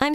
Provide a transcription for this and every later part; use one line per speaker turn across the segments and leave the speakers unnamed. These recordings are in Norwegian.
I'm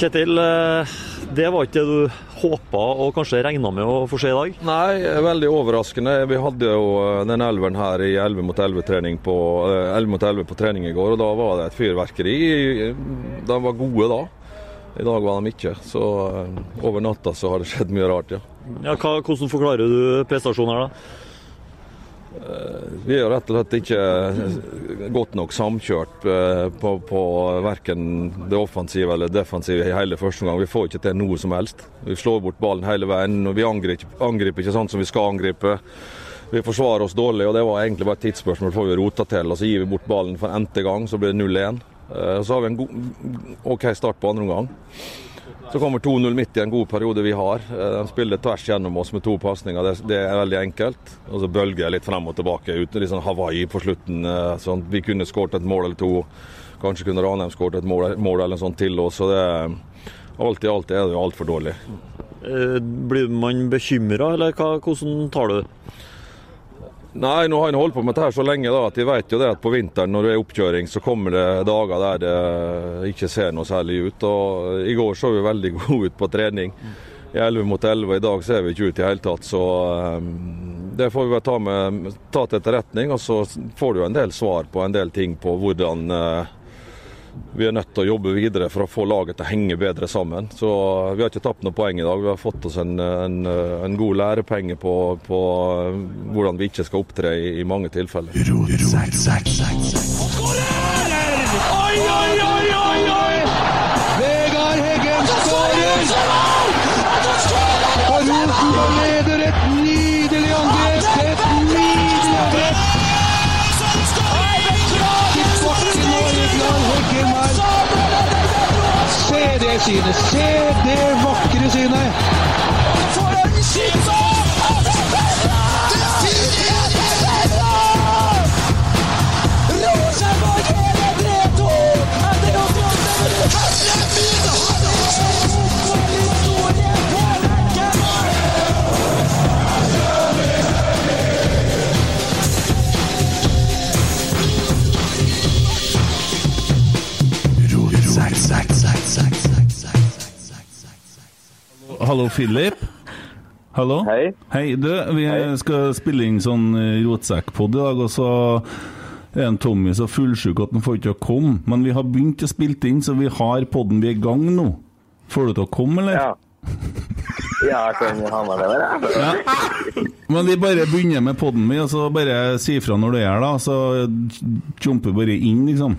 Kjetil, eh, det var ikke det du håpa og kanskje regna med å få se i dag?
Nei, veldig overraskende. Vi hadde jo eh, den elveren her i 11 mot 11 trening på, eh, 11 mot 11 på trening i går, og da var det et fyrverkeri. De var gode da. I dag var de ikke. Så eh, over natta så har det skjedd mye rart, ja.
Ja, hva, hvordan forklarer du prestasjonen her, da?
Eh, Vi er rett og slett ikke godt nok samkjørt eh, på, på verken det offensive eller defensive i hele første omgang. Vi får ikke til noe som helst. Vi slår bort ballen hele veien. og Vi angriper, angriper ikke sånn som vi skal angripe. Vi forsvarer oss dårlig, og det var egentlig bare et tidsspørsmål før vi rota til. Og så gir vi bort ballen for n-te gang, så blir det 0-1. Eh, og Så har vi en god, OK start på andre omgang. Så kommer 2-0 midt i en god periode vi har. Eh, De spiller tvers gjennom oss med to pasninger. Det, det er veldig enkelt. Og så bølger jeg litt frem og tilbake. Ut, litt sånn Hawaii på slutten. eh, Sånn, vi kunne skåret et mål eller to. Kanskje kunne Ranheim skåret et mål, mål eller en sånn til oss. Så det, alt i alt er det jo altfor dårlig.
Eh, Blir man bekymra, eller hva, hvordan tar du det?
Nei, nå har en holdt på med dette her så lenge da, at de vet jo det at på vinteren når det er oppkjøring, så kommer det dager der det ikke ser noe særlig ut. Og I går så vi veldig gode ut på trening. I 11 mot 11, i dag ser vi ikke ut i det hele tatt. Så eh, det får vi bare ta, med, ta til etterretning. Og så får du jo en del svar på en del ting på hvordan eh, vi er nødt til å jobbe videre for å få laget til å henge bedre sammen. Så Vi har ikke tapt noe poeng i dag. Vi har fått oss en, en, en god lærepenge på, på hvordan vi ikke skal opptre i, i mange tilfeller.
Oi, oi, oi, oi, oi! Vegard Heggen skårer! Og Rosenborg leder et nydelig angrep! Et nydelig angrep! Kitt bort til nå, Vegard Heggen her. Se det synet! Se det vakre synet!
Hallo, Philip. Hallo.
Hei.
du, vi skal spille inn sånn eh, rotsekkpod i dag, og så er en Tommy så fullsjuk at han får ikke til å komme. Men vi har begynt å spille inn, så vi har podden. Vi er i gang nå. Får du til å komme, eller?
Ja. Ja, jeg kan hamre det der. jeg.
Men vi bare begynner med podden min, og så bare si fra når du er her, da. Så jumper bare inn, liksom.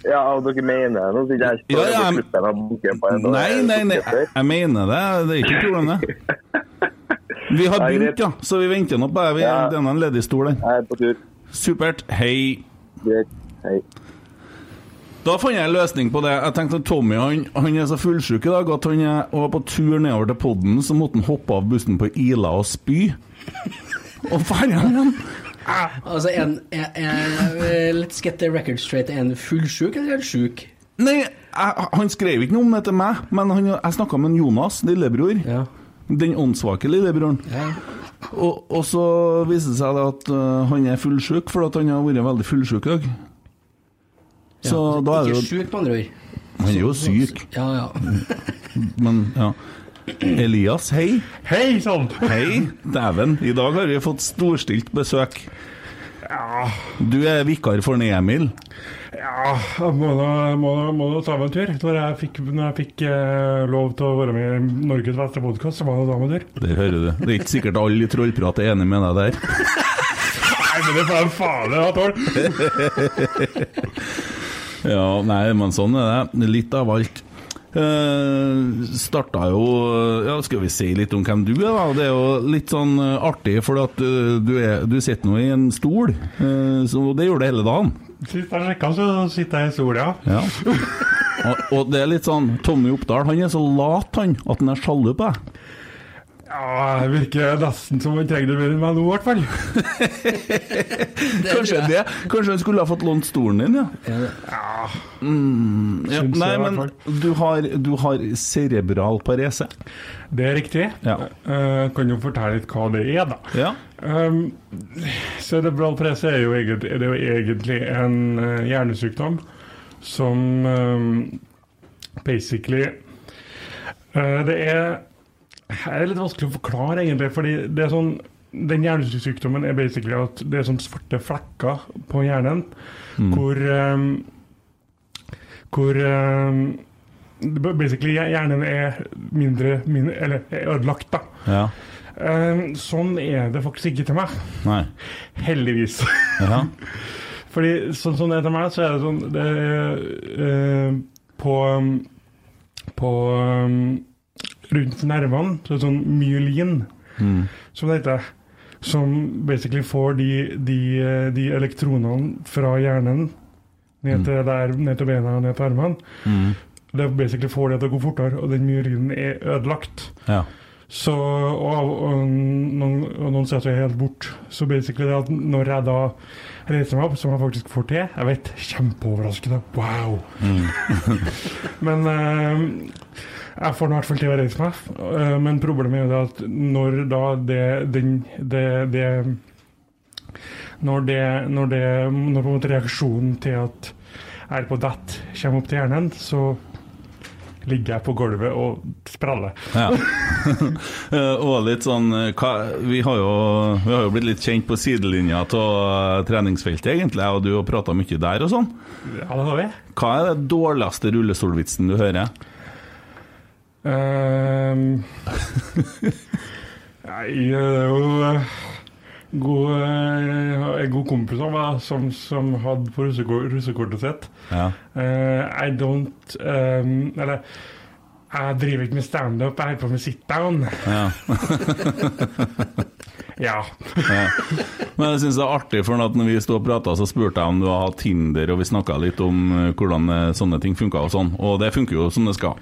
Ja, og dere mener det nå, så ikke jeg står
Ja, ja,
og
jeg-
slipper å bukke på en
Nei, nei, nei, jeg jeg mener det. Det er ikke noe problem, det. Vi har
Nei, greit.
begynt, ja, så vi venter nå på det.
Ja.
Det er en ledig stol der.
Jeg er på tur.
Supert. Hei.
Greit. Hei.
Da fant jeg en løsning på det. Jeg tenkte at Tommy han, han er så fullsjuk i dag at han er, og var på tur nedover til podden, så måtte han hoppe av bussen på Ila og spy. Og ferdig er han.
Altså, en, en, en, let's get the record straight. Er han fullsjuk eller er han sjuk?
Nei, jeg, han skrev ikke noe om det til meg, men han, jeg snakka med en Jonas, lillebror. Den åndssvake lillebroren. Og, og så viser det seg da at øh, han er fullsjuk, for at han har vært veldig fullsjuk i dag. Så da er det
Ikke
jo
sjuk, med andre ord.
Han er jo syk,
Ja, ja.
men ja. Elias, hei.
Hei sann!
Hei, dæven. I dag har vi fått storstilt besøk. Du er vikar for Emil.
Ja, jeg må da, må, da, må da ta meg en tur. Når jeg fikk, når jeg fikk eh, lov til å være med i Norges beste podkast, så må jeg da ta meg en tur.
Der hører du. Det er ikke sikkert alle i Trollprat er enig med deg der.
Nei, men det får jeg faen meg ha tål!
Ja, nei, men sånn er det. Litt av alt. Uh, starta jo Ja, skal vi si litt om hvem du er, da? Det er jo litt sånn eh, artig, for at eh, du, er, du sitter nå i en stol, eh, så det gjør du hele dagen.
Sist jeg sjekka, så sitter jeg i sola.
Ja. Og, og det er litt sånn Tommy Oppdal, han er så lat, han, at han er sjalu på deg.
Ja, jeg virker nesten som han trenger det mer enn meg nå, i hvert fall.
Kanskje det. Kanskje han skulle ha fått lånt stolen din, ja. Mm, ja.
Syns jeg
Nei,
i
men
hvert
du har, du har cerebral parese.
Det er riktig.
Ja.
Eh, kan jo fortelle litt hva det er, da.
Ja.
Um, cerebral presse er jo egentlig, det er jo egentlig en eh, hjernesykdom som ehm, basically eh, Det er her er det litt vanskelig å forklare, egentlig. fordi det er sånn, Den hjernesykdommen er basically at det er sånne svarte flekker på hjernen
Mm.
hvor ehm, hvor ehm, basically hjernen er mindre, mindre Eller er ødelagt, da.
Ja.
Eh, sånn er det faktisk ikke til meg.
Nei.
Heldigvis.
Ja.
Fordi sånn som det er til meg, så er det sånn det, er, eh, På um, På um, Rundt nervene så er det sånn myelin, som det heter. Som basically får de, de, eh, de elektronene fra hjernen ned til, der, ned til bena og ned til armene. Det basically får det til å gå fortere, og den myelinen er ødelagt.
ja.
Så, og, og noen, og noen setter jeg helt bort. Så basically det at når jeg da reiser meg opp, som jeg faktisk får til Jeg vet, kjempeoverraskende. Wow! men eh, jeg får nå i hvert fall til å reise meg. Eh, men problemet er jo det at når da det, den, det, det når det, når det Når på en måte reaksjonen til at jeg er på dett kommer opp til hjernen, så ligger jeg på gulvet og spreller.
ja. Eh, og litt sånn eh, hva, vi, har jo, vi har jo blitt litt kjent på sidelinja av eh, treningsfeltet, egentlig, og du har prata mye der og sånn.
Ja, det har vi.
Hva er den dårligste rullestolvitsen du hører?
Ehm, Nei, det er jo eh, god, eh, en god kompis av meg som, som hadde på russekor- russekortet sitt
Ja.
eh, I don't ehm, Eller jeg driver ikke med standup, jeg holder på med sit-down.
Ja.
Ja.
Men jeg synes det er artig, for at når vi stod og pratet, så spurte jeg om du har hatt Tinder, og vi snakket litt om eh, hvordan eh, sånne ting funket og sånn, og det funker jo som det skal.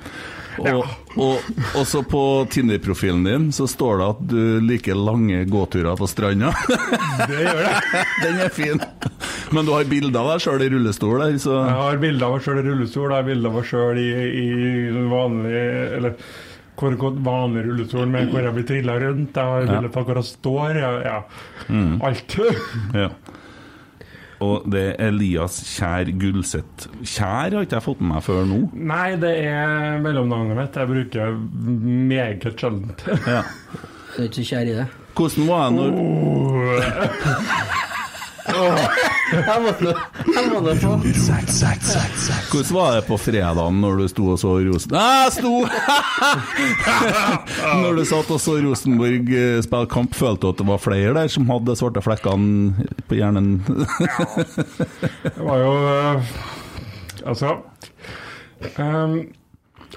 Og, og, og så på Tinder-profilen din så står det at du liker lange gåturer på stranda.
Det gjør det.
Den er fin. Men du har bilder av deg selv i rullestol der, så
Jeg har bilder av meg sjøl i rullestol, jeg har bilder av meg sjøl i, i sånn vanlig Eller hvor hvor vanlig rullestol med hvor jeg blir trilla rundt. Jeg har bilder av hvor jeg står. Jeg, ja. Alt.
Mm. ja. Og det er Elias Kjær Gullseth. Kjær har ikke jeg fått med meg før nå.
Nei, det er mellomnavnet mitt. Jeg bruker meget sjeldent.
Du er ikke så kjær i det.
Hvordan var det når...
Oh.
Jeg må nå- jeg må nå få-
Hvordan var det på fredagen når du sto og så Rosen... Nei, jeg sto! når du satt og så Rosenborg eh, spille kamp, følte du at det var flere der som hadde svarte flekkene på hjernen?
Det var jo øh, Altså ehm,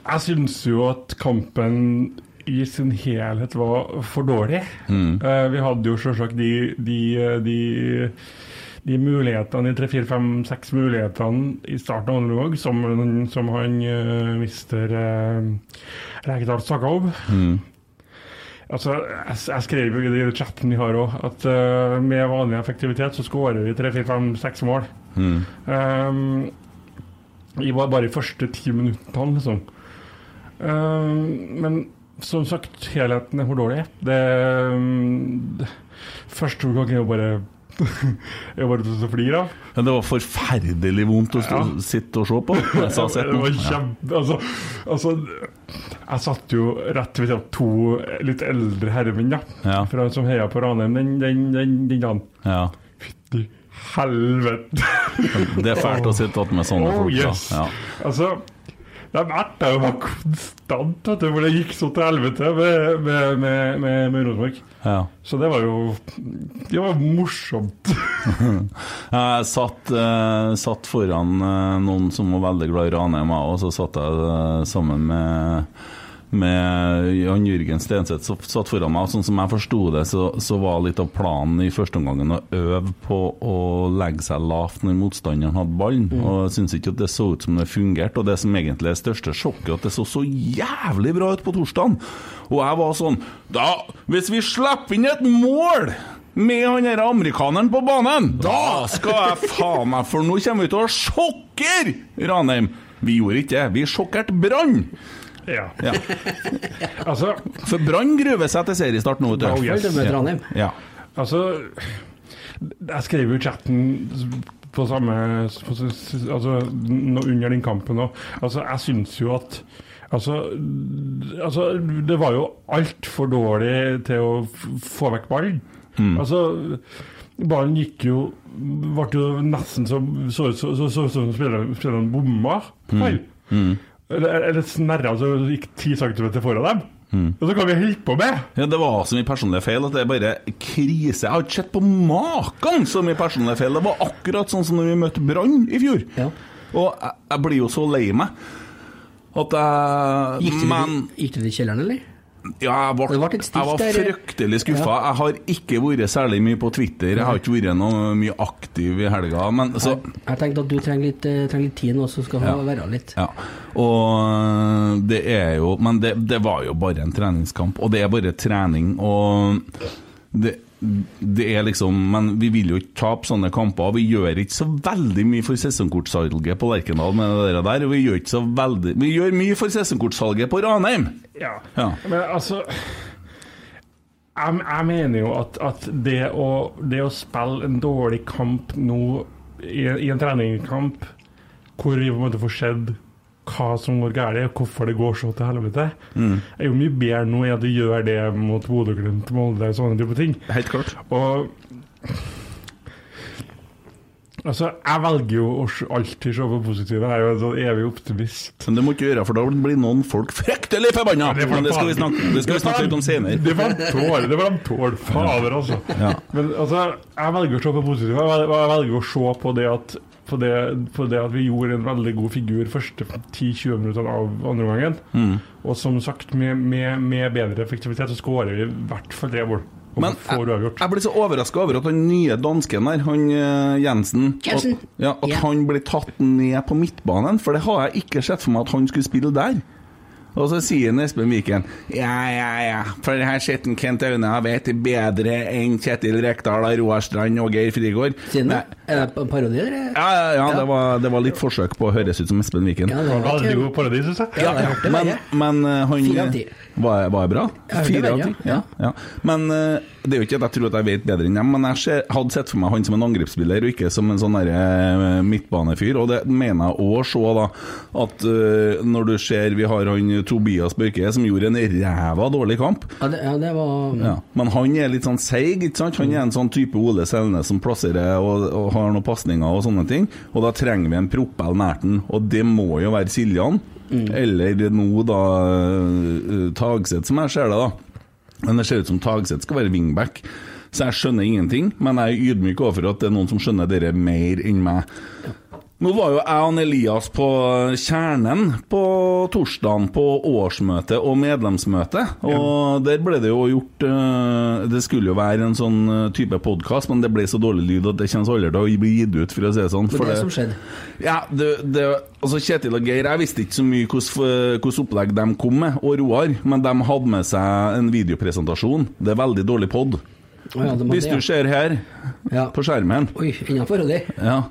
Jeg syns jo at kampen i sin helhet var for dårlig. Eh, vi hadde jo selvsagt de, de, de, de mulighetene, de tre, fire, fem, seks mulighetene i starten av andre omgang som, som eh,
Mm.
han uh, mister uh, Rekdal snakka om. Altså, jeg, jeg skrev jo i den chatten vi har òg, at eh, med vanlig effektivitet så skårer vi tre, fire, fem, seks mål.
Mm.
Um, I var bare de første ti minuttene, liksom. Um, men som sagt, helheten er for dårlig. Det, um, det Første gangen er jo bare Jeg bare til å flire av.
Ja, det var forferdelig vondt å stå, sitte og se på. Jeg sa sett
det var
noe. Ja.
kjempe... Altså, altså, jeg satt jo rett ved siden av to litt eldre herremenn da,
Ja.
fra, som heia på Ranheim den, den, den, den dagen.
Ja.
Fytti helvete!
Det er fælt altså. å sitte attmed sånne
Oh,
folk. da.
yes.
Ja.
Altså, de erta jo meg konstant, vet du, for det gikk så til helvete med, med, med, med, med Rosenborg.
Ja.
Så det var jo Det var morsomt.
Jeg satt, eh, satt foran eh, noen som var veldig glad i Ranheim, jeg, og så satt jeg eh, sammen med med Jan Jørgen Stenseth som satt foran meg. og Sånn som jeg forsto det, så, så var litt av planen i første omgangen å øve på å legge seg lavt når motstanderen hadde ballen. Og jeg syns ikke at det så ut som det fungerte. Og det som egentlig er det største sjokket, er at det så så jævlig bra ut på torsdagen. Og jeg var sånn Da, hvis vi slipper inn et mål med han der amerikaneren på banen, da skal jeg faen meg For nå kommer vi til å sjokkere Ranheim! Vi gjorde ikke det. Vi sjokkerte Brann!
Ja.
Ja.
altså
For Brann gruer seg til seriestart nå, vet du.
Oh, yes. Følg det med Trondheim.
Ja.
Altså, jeg skrev jo i chatten på samme på, altså, nå under den kampen òg. Altså, jeg syns jo at Altså, altså det var jo altfor dårlig til å f- få vekk ballen.
Mm.
Altså, ballen gikk jo Ble jo nesten så så ut som så, så, så, som spilleren spilleren bomma. på
Mm.
ball.
Mm.
Eller, eller snerra så gikk ti centimeter foran dem.
Mm.
Og så kan vi holde på med!
ja, det var så mye personlige feil at det er bare krise. Jeg har ikke sett på maken så mye personlige feil. Det var akkurat sånn som når vi møtte Brann i fjor. Og jeg, jeg blir jo så lei meg at jeg
Gikk du,
Men
gikk du til kjelleren, eller?
ja, jeg ble,
Det ble litt stilt
jeg var
der.
fryktelig skuffa. Jeg har ikke vært særlig mye på Twitter. Jeg har ikke vært noe mye aktiv i helga. Men så
Jeg tenkte at du trenger litt, eh, trenger litt tid nå, så skal han
Ja.
være litt.
Ja, og øh, det er jo Men det, det var jo bare en treningskamp, og det er bare trening, og det, det er liksom Men vi vil jo ikke tape sånne kamper, og vi gjør ikke så veldig mye for sesongkortsalget på Lerkendal med det der der, og vi gjør ikke så veldig Vi gjør mye for sesongkortsalget på Ranheim!
Ja.
Ja.
Men altså Jeg, jeg mener jo at, at det, å, det å spille en dårlig kamp nå i, i en treningskamp hvor vi på en måte får sett hva som går galt, og hvorfor det går så til helvete,
Mm.
er jo mye bedre nå enn at du gjør det mot Bodø, Glimt, Molde og sånne type ting.
Helt klart.
Og Altså, jeg velger jo å se- alltid se på det positive. Jeg er jo en sånn evig optimist.
Men det må ikke gjøre, for da blir noen folk fryktelig forbanna!
Ja, det får
Men
de
det skal vi
faen-
snakke, det skal vi
får
snakke
de-
litt om senere.
Det var de tål, det var de tål. Fader, altså.
Ja.
Men altså, jeg velger å se på positivt. Jeg vel- Jeg velger å se på det at på det, på det at vi gjorde en veldig god figur første 10-20 minutter av andre gangen.
Mm.
Og som sagt, med, med, med bedre effektivitet så skårer vi i hvert fall tre mål. Og
Men
får uavgjort.
Jeg blir så overraska over at han nye dansken der, han eh, Jensen, at,
Jensen.
ja, at han blir tatt ned på midtbanen. For det har jeg ikke sett for meg at han skulle spille der. Og så sier Espen Viken Ja, ja, ja, for her sitter en Kent Aune og vet bedre enn Kjetil Rekdal, Roar Strand og Geir Frigård.
Siden
Nei,
det er det en parodi, eller?
Ja, ja, ja, det var, det var litt forsøk på å høres ut som Espen Viken.
det var Veldig god
parodi, syns jeg.
Ja, ja. Men, men eh, han
Fire av ti.
Var, var jeg bra?
Jeg hørte
Fire
det,
av
ja.
ti? Ja. ja. Men eh, det er jo ikke at jeg tror at jeg vet bedre enn dem, men jeg ser, hadde sett for meg han som en angrepsspiller, og ikke som en sånn derre, eh, midtbanefyr. Og det mener jeg òg se, da, at eh, når du ser vi har han Tobias Børke, som gjorde en ræva dårlig kamp.
Ja, det, ja, det var
Ja. Men han er litt sånn seig, ikke sant? Han er en sånn type Ole Selnes som plasserer og, og har noen pasninger og sånne ting. Og da trenger vi en propell nært den, og det må jo være Siljan. Eller nå da eh, Tagseth, som jeg ser det, da. Men det ser ut som Tagseth skal være wingback. Så jeg skjønner ingenting, men jeg er ydmyk overfor at det er noen som skjønner dere mer enn meg. Nå var jo jeg og Elias på Kjernen på torsdagen på årsmøte og medlemsmøte. Og der ble det jo gjort eh, Det skulle jo være en sånn eh, type podkast, men det ble så dårlig lyd at det kommer aldri til å bli gitt ut, for å si det sånn.
Det
for
var det som skjedde.
Ja, det, det, altså Kjetil og Geir, jeg visste ikke så mye hvilket opplegg de kom med, og Roar, men de hadde med seg en videopresentasjon. Det er veldig dårlig pod.
Å ja, det må
Hvis
det,
du
ja.
ser her, på skjermen
Oi, innenfor, og det.
ja.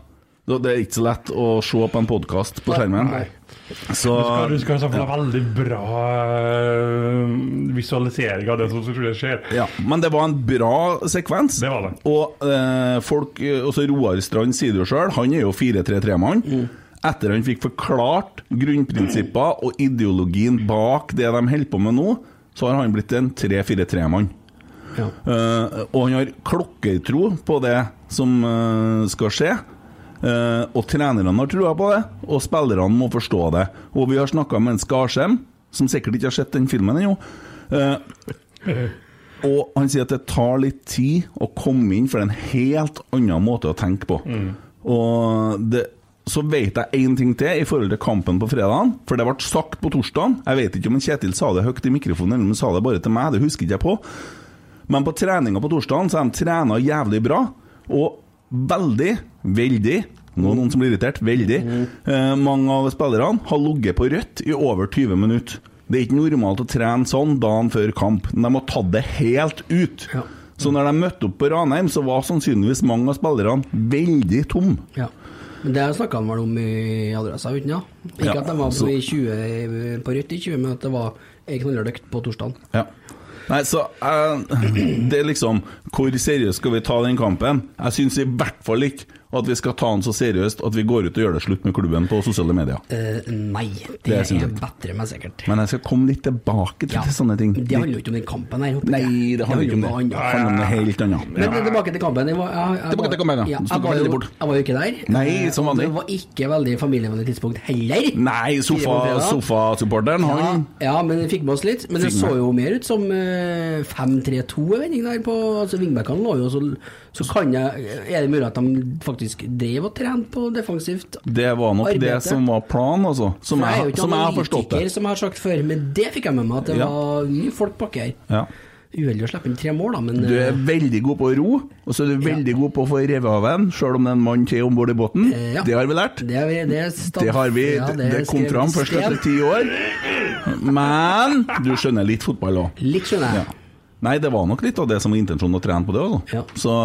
Da- Det er ikke så lett å se på en podkast på skjermen.
Nei.
Så
Du skal, du skal i så fall ha veldig bra eh, visualisering av det som skulle skje.
ja, Men det var en bra sekvens. Det var det. Og eh, folk, eh, også Roar Strand sier det jo sjøl, han er jo 4-3-3-mann. Etter han fikk forklart grunnprinsipper og ideologien bak det de holder på med nå, så har han blitt en 3-4-3-mann. Eh, og han har klokkertro på det som eh, skal skje. Eh, og trenerne har trua på det, og spillerne må forstå det. Og vi har snakka med en Skarsheim, som sikkert ikke har sett den filmen ennå. Eh, og han sier at det tar litt tid å komme inn, for det er en helt annen måte å tenke på.
Mm.
Og det, så vet jeg én ting til i forhold til kampen på fredagen, for det ble sagt på torsdagen. Jeg vet ikke om en Kjetil sa det høyt i mikrofonen, eller om han sa det bare til meg, det husker ikke jeg på. Men på treninga på torsdagen så har de trena jævlig bra, og veldig, veldig nå er det noen som blir irritert. Veldig. Eh, mange av spillerne har ligget på rødt i over 20 minutter. Det er ikke normalt å trene sånn dagen før kamp. De har tatt det helt ut. Så når de møtte opp på Ranheim, så var sannsynligvis mange av spillerne veldig tomme.
Ja. Men det snakka han vel om i adressa uten, ja. Ikke
Ja,
at de var på,
så-
i 20, på Rødt i 20, men at det var ei knallhard økt på torsdag.
Ja. Nei, så eh, Det er liksom Hvor seriøst skal vi ta den kampen? Jeg syns i hvert fall ikke at vi skal ta den så seriøst at vi går ut og gjør det slutt med klubben på sosiale medier.
Eh, nei, det,
Det synes
er
jeg ikke.
bedre, men sikkert.
Men jeg skal komme litt tilbake til sånne ting.
Det handler jo ikke om den kampen her. håper jeg.
Nei, det handler ikke om det.
annet.
Det handler om noe helt annet.
Men tilbake til kampen. Jeg var, jeg, jeg,
Tilbake til kampen, ja.
ja.
Du
Jeg
snakket
var,
veldig
jo,
fort.
jeg var jo ikke der.
Nei,
Eh,
som
og
vanlig.
Det var ikke veldig familievennlig tidspunkt heller.
Nei, sofa-
Tidlig på fredag.
sofasupporteren,
ja,
han
ja, men vi fikk med oss litt. Men det
Fikk
så
med.
jo mer ut som eh, 5-3-2 en vending der på altså Vingbekkene lå jo så Så kan jeg Er det mulig at de faktisk drev og trente på defensivt?
Det var nok det
Arbeidet.
som var planen, altså. Som
For er jo
jeg,
ikke
som jeg har forstått det.
analytiker, Som jeg har sagt før, men det fikk jeg med meg at det
Ja.
var mye folk baki her.
Ja.
Uheldig å slippe inn tre mål, da, men eh,
Du er veldig god på å ro, og så er du veldig god på å få revet av en, sjøl om det er en mann til om bord i båten.
Eh, ja.
Det har vi lært.
Det, er vi- det, er stand-
Det har vi,
Ja,
det, det
er
kom
skrevet
fram først
sted.
etter ti år. Men du skjønner litt fotball òg.
Litt skjønner jeg.
Nei, det var nok litt av det som var intensjonen å trene på det også. Så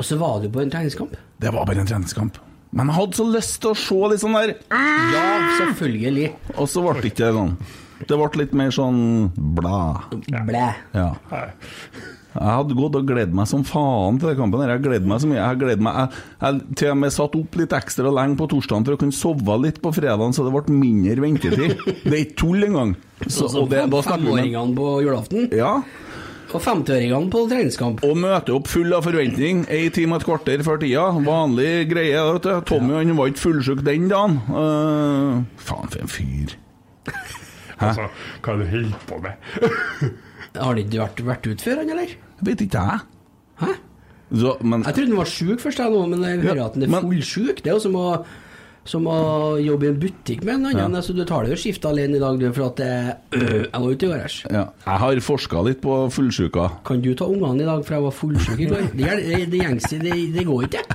Og så var du på en treningskamp?
Det var bare en treningskamp. Men jeg hadde så lyst til å se litt sånn der
Ja, selvfølgelig.
Og så ble det ikke sånn. Det ble litt mer sånn blæ.
Blæ.
Ja. Jeg hadde gått og gledet meg som faen til den kampen. her. Jeg gledet meg så mye. Jeg, gledet meg. Jeg, jeg til og med satt opp litt ekstra lenge på torsdagen for å kunne sove litt på fredagen, så det ble mindre ventetid. Det er ikke tull engang. Så,
Så, så
og det, da snakker vi med-
Altså, femåringene på julaften,
ja.
og femtiåringene på treningskamp.
Og møte opp full av forventning, ei time og et kvarter før tida. Vanlig greie. vet du. Tommy han var ikke fullsjuk den dagen. Eh, faen, for en fyr.
Altså, hva er det du holder på med?
Har det ikke vært, vært ut før, han, eller?
Vet ikke jeg. Så, men
Jeg trodde han var sjuk først, jeg nå, men jeg hører at han er fullsjuk. Det er jo som å, som å jobbe i en butikk med en annen. Så du tar det jo skiftet alene i dag, du, for at det, øh, jeg var ute i går æsj.
ja, jeg har forska litt på fullsjuka.
Kan du ta ungene i dag, for jeg var fullsjuk i går? Det, gjør- det, det, gjengs- det, det går ikke.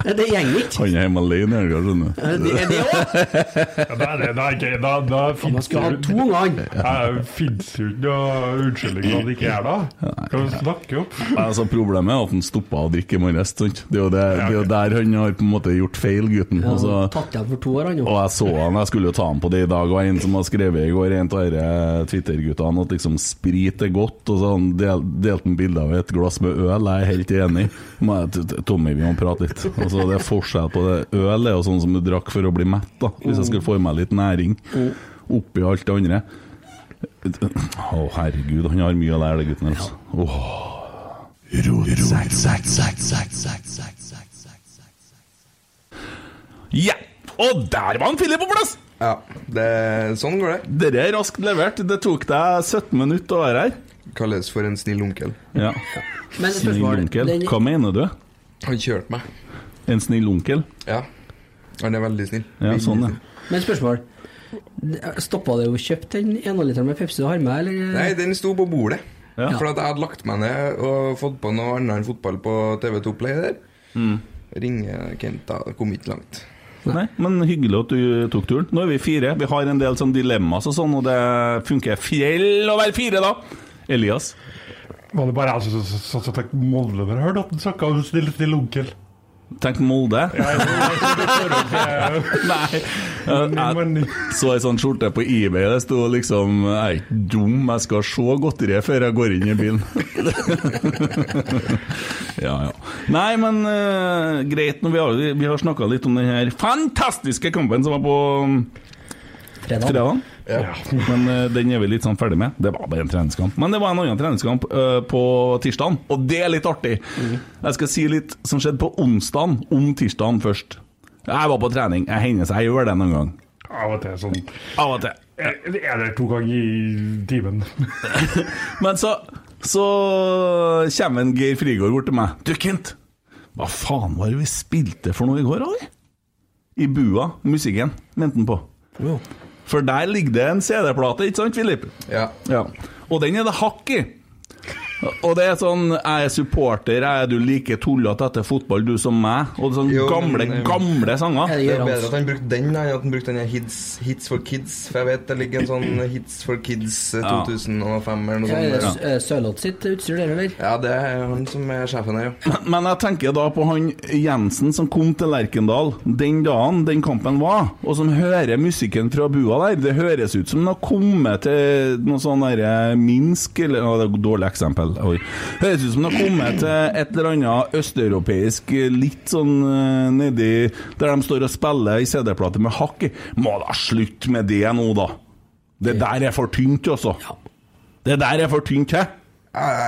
Det, det gjenger ikke.
Han er hjemme alene i helga, skjønner du.
Det er det òg.
Ja, da, er det- da, er ikke- da, da
Man
finnes
skal ha to unger.
det fins jo ikke noe unnskyldning for at det ikke er da. Hva snakker du om?
Altså, problemet er at han stoppa å drikke i morges. sant? Det er jo det, det er jo der han har på en måte gjort feil, gutten. Altså, Og, så,
Tatt igjen for to år, han jo.
og jeg så han, jeg skulle jo ta han på det i dag, og en som har skrevet i går, en av disse Twitter-guttene, at liksom sprit er godt, og så han del, delte han bilde av et glass med øl. Jeg er helt enig. Men jeg- t- t- Tommy, vi må prate litt. Altså, det er forskjell på det. Øl er jo sånn som du drakk for å bli mett, da, hvis jeg skulle få i meg litt næring oppi alt det andre. Å, herregud, han har mye å lære, den gutten her. Altså. Åh. Ja! Og der var han Philip på plass!
Ja, det, sånn går det.
Dere er raskt levert. Det tok deg 17 minutter å være her.
Kalles for en snill onkel.
Ja.
Men
Snill
spørsmålet
onkel. Hva mener du?
Han kjørte meg.
En snill onkel?
Ja. Han er veldig snill.
Ja, sånn, ja.
Men spørsmål. Stoppa det å kjøpe den ene literen med Pepsi du har med, eller?
Nei, den sto på bordet.
Ja.
For at jeg hadde lagt meg ned og fått på noe annet enn fotball på TV2 Play der. Ringer Kent, da. Det Kom ikke langt.
Mm. Nei, men hyggelig at du tok turen. Nå er vi fire. Vi har en del sånn dilemmas og sånn, og det funker fjell å være fire, da! Elias?
Var det bare jeg som som- som- som tenkte Molde når jeg hørte at han snakka om snill, snill onkel?
Tenk Molde.
Nei.
Jeg så ei sånn skjorte på eBay, det sto liksom Jeg er ikke dum, jeg skal se godteriet før jeg går inn i bilen. ja, ja. Nei, men eh, greit, nå, vi har, vi har snakka litt om den her fantastiske kampen som var på um,
Fredag.
fredagen. Men eh, den er vi litt sånn ferdig med. Det var bare en treningskamp. Men det var en annen treningskamp eh, på tirsdagen, og det er litt artig. Jeg skal si litt som skjedde på onsdagen, om tirsdagen først. Jeg var på trening. Jeg hender seg jeg gjør det noen gang.
Av og til sånn Eh,
Av og til.
En eller to ganger i timen.
Men så, så kommer en Geir Frigård bort til meg. Du, Kent, hva faen var det vi spilte for noe i går, eller? I bua. Musikken, mente han på. For der ligger det en CD-plate, ikke sant, Filip?
Ja.
Og den er det hakk i. Og det er sånn Jeg er supporter, jeg er du like tullete etter fotball, du som meg? Og det er sånn
Jo,
gamle,
men, eh,
gamle sanger.
Det er bedre at han brukte den da, enn at han brukte den her hits, hits for Kids. For jeg vet det ligger en sånn Hits for Kids eh,
Ja.
2005 eller noe
Ja, er det
sånt.
S- eh, Sørloth sitt utstyr, det, eller?
Ja, det er han som er sjefen her, jo.
Men- Men jeg tenker da på han Jensen som kom til Lerkendal den dagen den kampen var, og som hører musikken fra bua der. Det høres ut som han har kommet til noe sånn derre Minsk eller å, Det er et dårlig eksempel. Oi. Høres ut som han har kommet til et eller annet østeuropeisk litt sånn eh, nedi Der de står og spiller i CD-plate med hakk i. Må da slutte med det nå, da. Det der er for tynt, altså. Det der er for tynt, hæ?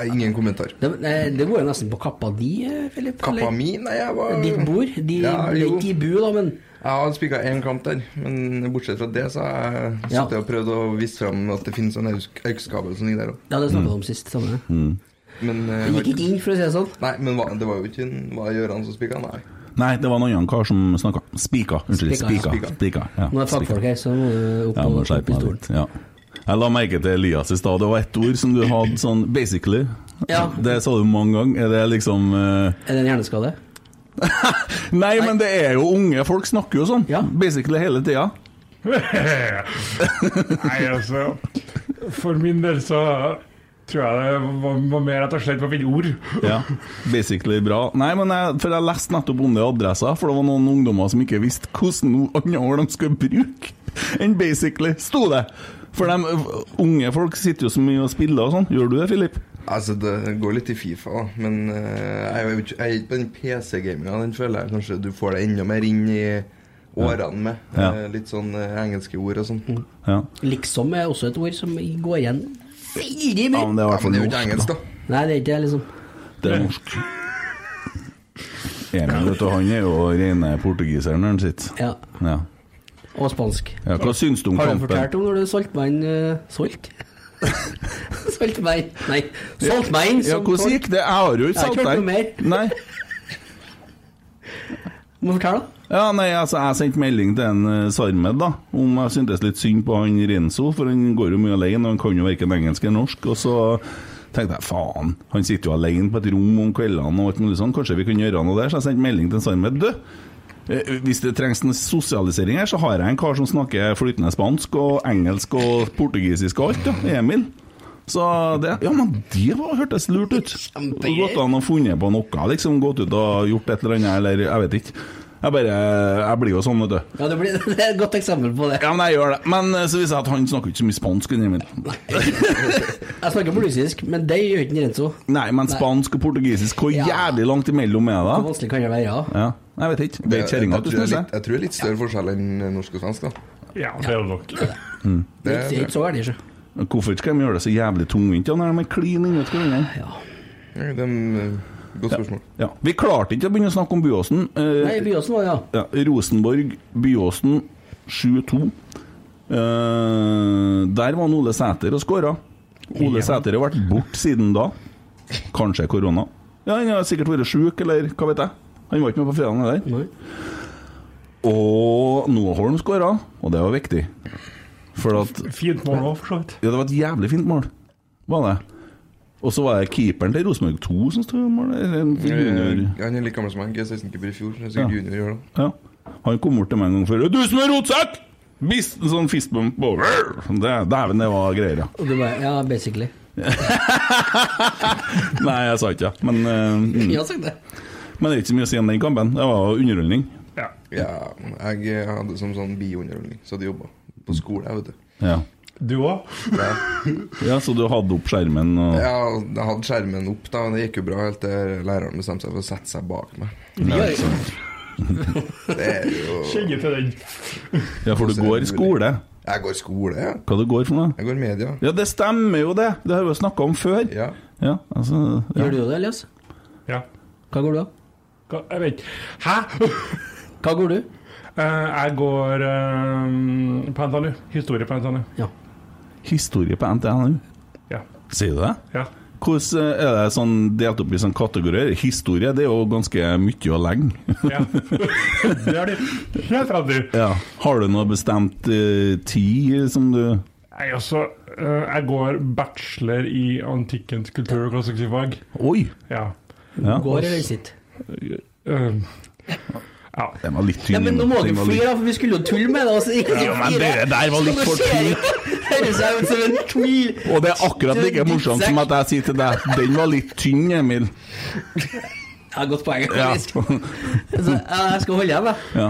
Ingen kommentar.
Det, nei, Eh, det går jo nesten på kappa di, eh, Philip.
Kappa
eller?
mi? Nei, jeg var
Ditt bord? De ble ikke i bu, da, men
Jeg har spika én kamp der, men bortsett fra det så har jeg
Ja.
sittet og prøvd å vise fram at det finnes en aux- AUX-kabel som ligger der òg.
Ja, det snakket vi
Mm.
om sist. Samme.
Men eh,
Det gikk ikke inn, for å si det sånn.
Nei, men hva, det var jo ikke en- var det Gøran som spika, nei.
Nei, det var en annen kar som snakka. Spika. Unnskyld,
Spika, ja.
spika.
Spika.
spika ja.
Nå er det fagfolk her, så må du opp
Ja, må
og opp
skjerpe
i
meg
stolen.
litt. Ja. Jeg la merke til Elias i stad. Det var ett ord som du hadde sånn basically.
Ja.
Det sa du mange ganger. Er det liksom eh,
Er det en hjerneskade?
Nei, men det er jo unge folk snakker jo sånn. Basically hele tida.
Nei, altså For min del så tror jeg det var, var mer at jeg slet med å finne ord.
Ja, basically bra. Nei, men jeg, for jeg leste nettopp om det i Adressa, for det var noen ungdommer som ikke visste hvordan andre ord de skulle bruke enn basically, sto det. For de unge folk sitter jo så mye og spiller og sånn. Gjør du det, Filip?
Altså, det går litt i Fifa, da, men eh, jeg er jo ikke jeg er ikke på den PC-gaminga. Den føler jeg kanskje du får det enda mer inn i årene med.
Ja.
Eh, Litt sånn eh, engelske ord og sånt.
Ja.
Liksom er også et ord Mm. som går igjen veldig
Ja, men
mye.
det er i hvert fall
jo
norsk,
ikke engelsk, da.
Nei, det er ikke det, liksom.
Det er norsk. Emil, vet du, han er jo rene portugiser når han sitter.
Ja.
Ja.
Og spansk.
Ja, hva syns du om
Har du
kampen?
fortalt om når du solgte meg en eh, Solgt? solgt meg Nei, solgt meg inn
Ja, hvordan gikk det? Jeg har jo ikke
Jeg har ikke
solgt
hørt
deg. Nei.
Må fortelle, da.
Ja, nei, altså, jeg sendte melding til en eh, Sarmed, da, om jeg syntes litt synd på han Renzo, for han går jo mye alene, og han kan jo verken engelsk eller norsk, og så tenkte jeg, faen, han sitter jo alene på et rom om kveldene og alt mulig sånn, kanskje vi kunne gjøre noe der, så jeg sendte melding til en Sarmed, du, eh, hvis det trengs en sosialisering her, så har jeg en kar som snakker flytende spansk og engelsk og portugisisk og alt, ja, Emil. Så det, ja, men det var, hørtes lurt ut. Og Godt han har funnet på noe, liksom gått ut og gjort et eller annet, eller jeg vet ikke. Jeg bare, jeg blir jo sånn, vet du.
Ja, det, blir, det er et godt eksempel på det.
Ja, men jeg gjør det. Men eh, så viser det seg at han snakker ikke så mye spansk. han Emil.
Jeg snakker portugisisk, men det gjør ikke Renzo.
Nei, men spansk og portugisisk, hvor jævlig langt imellom er
Hvor
det?
vanskelig kan det være? Ja.
Ja, jeg vet ikke. Det er
Jeg-
ikke kjerringa
jeg
du
tror det er
snuser?
litt- Jeg tror det er litt større forskjell enn norsk og svensk, da.
Ja, det er det nok.
Det er ikke så gærent, sjø.
Mm. Hvorfor skal de gjøre det så jævlig tungvint ja, når de er klin inni hverandre?
Ja, det er en, eh, Godt spørsmål.
Ja. Vi klarte ikke å begynne å snakke om Byåsen. Eh,
Nei, Byåsen var det, ja.
Ja, Rosenborg, Byåsen 7-2. Eh, der var han Ole Sæter og skåra. Ole Sæter har vært borte siden da. Kanskje korona. Ja, Han har sikkert vært sjuk, eller hva vet jeg. Han var ikke med på fredagen heller. Og Noholm skåra, og det var viktig. For at
Fint mål òg, for så vidt.
Ja, det var et jævlig fint mål, var det. Og så var det keeperen til Rosenborg 2 som sto i mål. eller en junior.
Eh, Han er like gammel som meg. Jeg er 16-keeper i fjor. så Jeg er
Ja.
sikkert junior i år, da.
Ja. Han kom bort til meg en gang før. 'Du som er rotsekk!' Bist, sånn fistbump på Det- Dæven, det var greier, ja.
Og du bare, ja, basically.
Nei, jeg sa ikke det, men eh, mm.
Jeg har sagt det.
Men det er ikke så mye å si om den kampen. Det var underholdning.
Ja. jeg hadde som sånn biunderholdning, så hadde jobba på skole, jeg, vet du.
Ja.
Du òg?
Ja.
ja, så du hadde opp skjermen og
ja, jeg hadde skjermen opp, da, og det gikk jo bra helt til læreren bestemte seg for å sette seg bak meg.
Ja.
Det er jo
Kjenner til den.
Ja, for du går i skole.
Jeg går i skole, ja.
Hva du går for noe?
Jeg går i media.
Ja, det stemmer jo det! Det har vi jo snakka om før.
Ja.
Ja, altså ja.
Gjør du det, Elias?
Ja.
Hva går du av?
Hva- Jeg vet Hæ?
Hva går du?
Eh, jeg går eh, på NTNU. Historie på NTNU.
Historie på NTNU.
Ja.
Sier du det?
Ja.
Hvordan eh, er det sånn delt opp i sånn kategorier? Historie det er jo ganske mye og lenge.
ja. Det er det helt rett i.
Ja. Har du noe bestemt eh, tid som du
Jeg, også, eh, jeg går bachelor i antikkens kultur- og klassikkfag.
Oi!
Ja.
Ja.
Går eller sitter?
Eh, ja.
Den var litt
Ja,
tynn.
men nå må
Den
dere
var
flire,
litt-
da, for vi skulle jo tulle med det. Altså, ikke
Ja, men
flire.
dere der var litt
Så nå
for
ser jeg- Høres jeg ut som en tull.
Og det er akkurat like morsomt som at jeg sier til deg Den var litt tynn, Emil.
Ja, godt poeng,
Ja.
faktisk. Altså, ja, jeg skal holde igjen, da.
ja.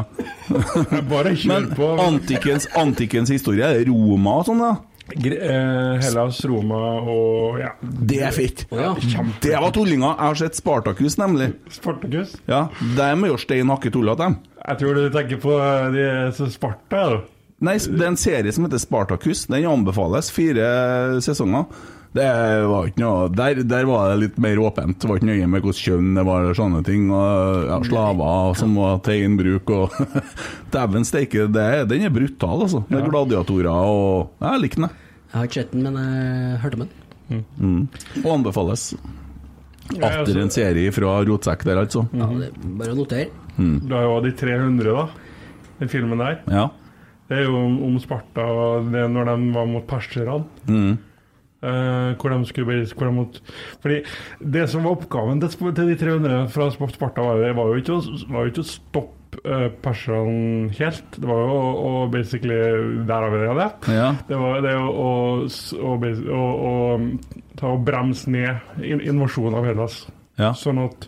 Bare kjør
Men
på.
antikkens, antikkens historie er Roma og sånn, da?
Gre eh, Hellas, Roma og ja.
Det er fett.
ja.
Det var tullinga. Jeg har sett Spartakus, nemlig.
Spartakus.
Ja, Dem er jo stein hakke tullete, dem.
Jeg tror du tenker på eh, de som Sparta, ja.
Nei, det er en serie som heter Spartakus. Den anbefales. Fire sesonger. Det var ikke noe Der, der var det litt mer åpent. Det var ikke nøye med hvilket kjønn det var, og sånne ting. Og ja, Slaver som var til egen bruk og Dæven steike, det er- den er brutal, altså. Det er gladiatorer og Jeg liker den, jeg.
Jeg har ikke sett den, men jeg hørte om den.
Mm. Og anbefales.
altså-
Atter en serie fra Rotsekk der, altså.
Ja, det er bare å notere.
Mm.
Du har jo de 300, da. Den filmen der.
Ja.
Det er jo om, om Sparta og det når de var mot perserne.
Mm.
eh, hvor de skulle bli hvor de måtte, Fordi det som var oppgaven til, Sp- til de 300 fra Sp- Sparta, var, jo- var, jo, ikke å, var jo ikke å stoppe eh, perserne helt. Det var jo å, å basically Der har vi det. det.
Ja.
Det var det å, å, s- å, bas- å, å ta og bremse ned in- invasjonen av Hellas.
Ja.
Sånn at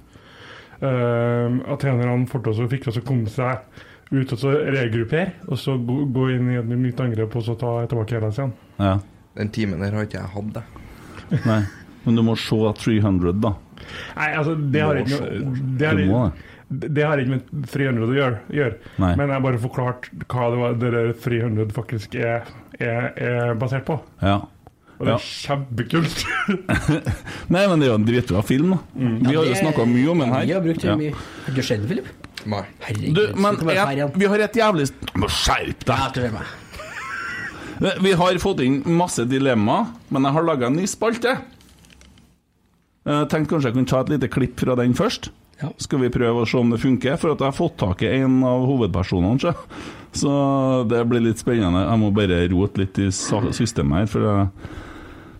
um, atenerne fort også fikk også komme seg ut og så regruppere, og så gå, gå inn i et nytt angrep og så ta tilbake Hellas igjen.
ja.
Den timen der har ikke jeg hatt, jeg.
Nei. Men du må se 300, da.
Nei, altså, det har ikke noe det har,
Du må
ikke- det har ikke med 300 å gjøre, gjøre.
Nei.
men jeg har bare forklart hva det, var, det der 300 faktisk er, er, er basert på.
Ja.
Og det
Ja.
er kjempekult! Mm.
Nei, men det er jo en dritbra film, da. Vi har jo snakka mye om den her.
Vi har brukt
Ja.
den mye. Har du sett den, Filip?
Nei.
Herregud.
Du, men
sitter bare her
jeg,
igjen.
vi har et jævlig Må Skjerp
Ja,
deg!
tror jeg meg.
Vi har fått inn masse dilemmaer, men jeg har laga en ny spalte. Jeg tenkte kanskje jeg kunne ta et lite klipp fra den først.
Ja.
Skal vi prøve å se om det funker? For at jeg har fått tak i en av hovedpersonene. sjø. Så det blir litt spennende. Jeg må bare rote litt i sa- systemet her, for jeg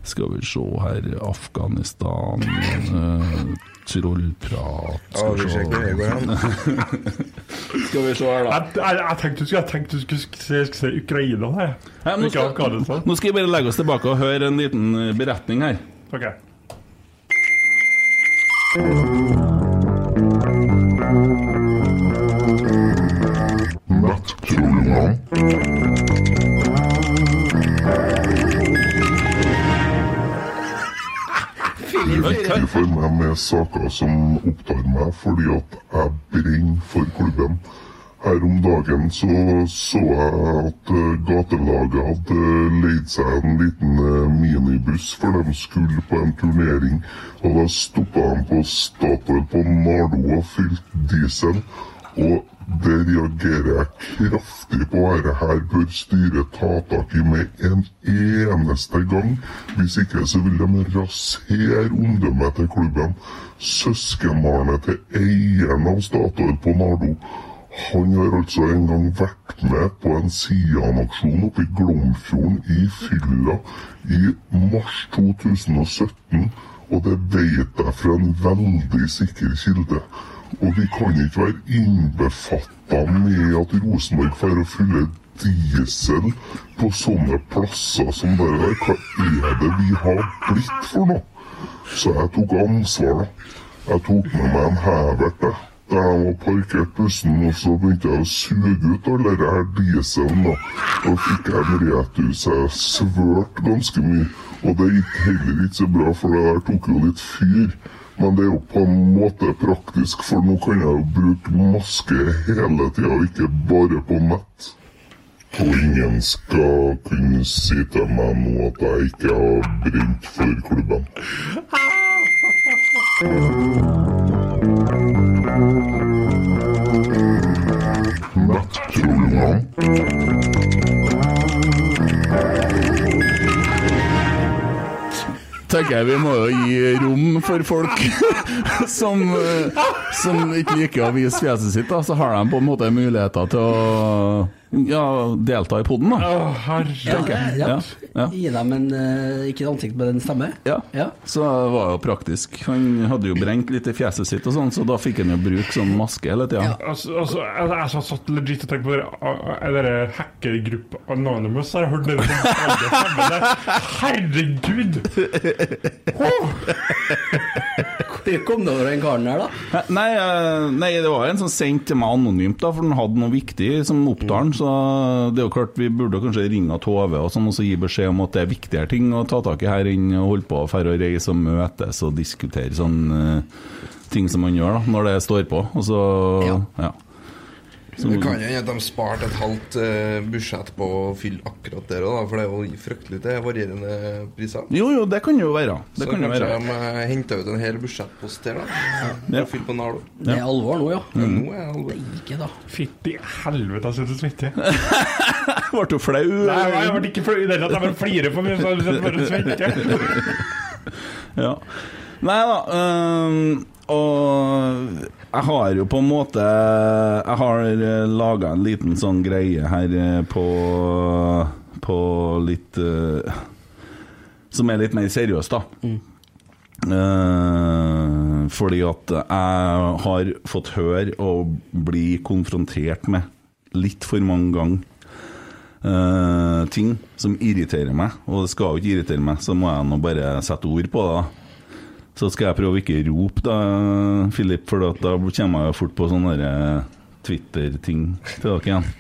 skal vi se her Afghanistan eh, Trollprat
Ja, vi ser hvor det går hen.
Skal vi se her, da.
Jeg, jeg, jeg tenkte du skulle, jeg tenkte du skulle sk- se, se Ukraina, jeg.
Nei, nå,
Ikke
skal,
Afghanistan.
nå skal vi bare legge oss tilbake og høre en liten eh, beretning her.
Ok.
Oi, hva-
for meg med saker som opptar meg, fordi at jeg brenner for klubben. Her om dagen så, så jeg at eh, gatelaget hadde leid seg en liten eh, minibuss, for de skulle på en turnering. Og da stoppa de på Statoil på Nardo og fylte diesel. Og det reagerer jeg kraftig på. Dette her bør styret ta tak i med en eneste gang. Hvis ikke så vil de rasere omdømmet til klubben. Søskenbarnet til eieren av Statoil på Nardo Han har altså en gang vært med på en Sian-aksjon oppe i Glomfjorden i fylla i mars 2017, og det vet jeg fra en veldig sikker kilde. Og vi kan ikke være innbefatta med at Rosenborg får å fylle diesel på sånne plasser som det der. Hva er det vi har blitt for noe? Så jeg tok ansvar, da. Jeg tok med meg en hevert, jeg. Der jeg var parkert bussen, og så begynte jeg å suge ut all denne her dieselen, da. Da fikk jeg en retur, så jeg svørte ganske mye. Og det gikk heller ikke så bra, for det der tok jo litt fyr. Men det er jo på en måte praktisk, for nå kan jeg jo bruke maske hele tida, ikke bare på nett. Og ingen skal kunne si til meg nå at jeg ikke har brent for klubben.
tenker jeg vi må jo gi rom for folk som, eh, som ikke liker å vise fjeset sitt, da. Så har de på en måte muligheter til å ja, delta i poden, da.
Ja,
tenker jeg. Ja,
ja.
ja.
Gi dem en eh, ikke et ansikt med en stemme.
Ja. Så det var jo praktisk. Han hadde jo brent litt i fjeset sitt, og sånn, så da fikk han jo bruke sånn maske hele tida.
Altså, altså, jeg, jeg satt- satt legit og tenkte på dere, a- a- dere hackergruppa Anonymous. Jeg hørte dere som alle sammen der. Herregud!
Hvor kom det over den karen her, da?
Hæ? Nei, eh, nei, det var en som sendte til meg anonymt, da, for den hadde noe viktig som oppdager
Mm.
den. Så det er jo klart vi burde kanskje ringe Tove og sånn, og så gi beskjed om at det er viktigere ting å ta tak i her enn å holde på å færre og reise og møtes og diskutere sånn eh, ting som man gjør da, når det står på. Og så, ja. Så-
Det kan jo hende at de sparte et halvt eh, budsjett på å fylle akkurat der òg, for det er jo fryktelig det er varierende priser.
Jo, jo, det kan jo være. Det
så
kan jo
kanskje
være.
de henta ut en hel budsjettpost der, da.
Ja.
Og fylt på Nardo.
Det er Ja.
alvor nå, ja.
Mm.
nå er det alvor.
Ikke da.
Fytti helvete, jeg sitter og svetter.
Ble du flau?
Nei, nei, jeg ble ikke flau i det hele tatt. Jeg bare flirer for mye, så jeg bare svetter.
ja. Nei da. øhm, og jeg har jo på en måte Jeg har laga en liten sånn greie her eh, på På litt eh, Som er litt mer seriøs, da. Eh, fordi at jeg har fått høre og bli konfrontert med litt for mange ganger eh, ting som irriterer meg, og det skal jo ikke irritere meg, så må jeg nå bare sette ord på det. da. Så skal jeg prøve å ikke rope, da, Philip, for at da kommer jeg jo fort på sånne der eh, Twitter-ting til dere igjen.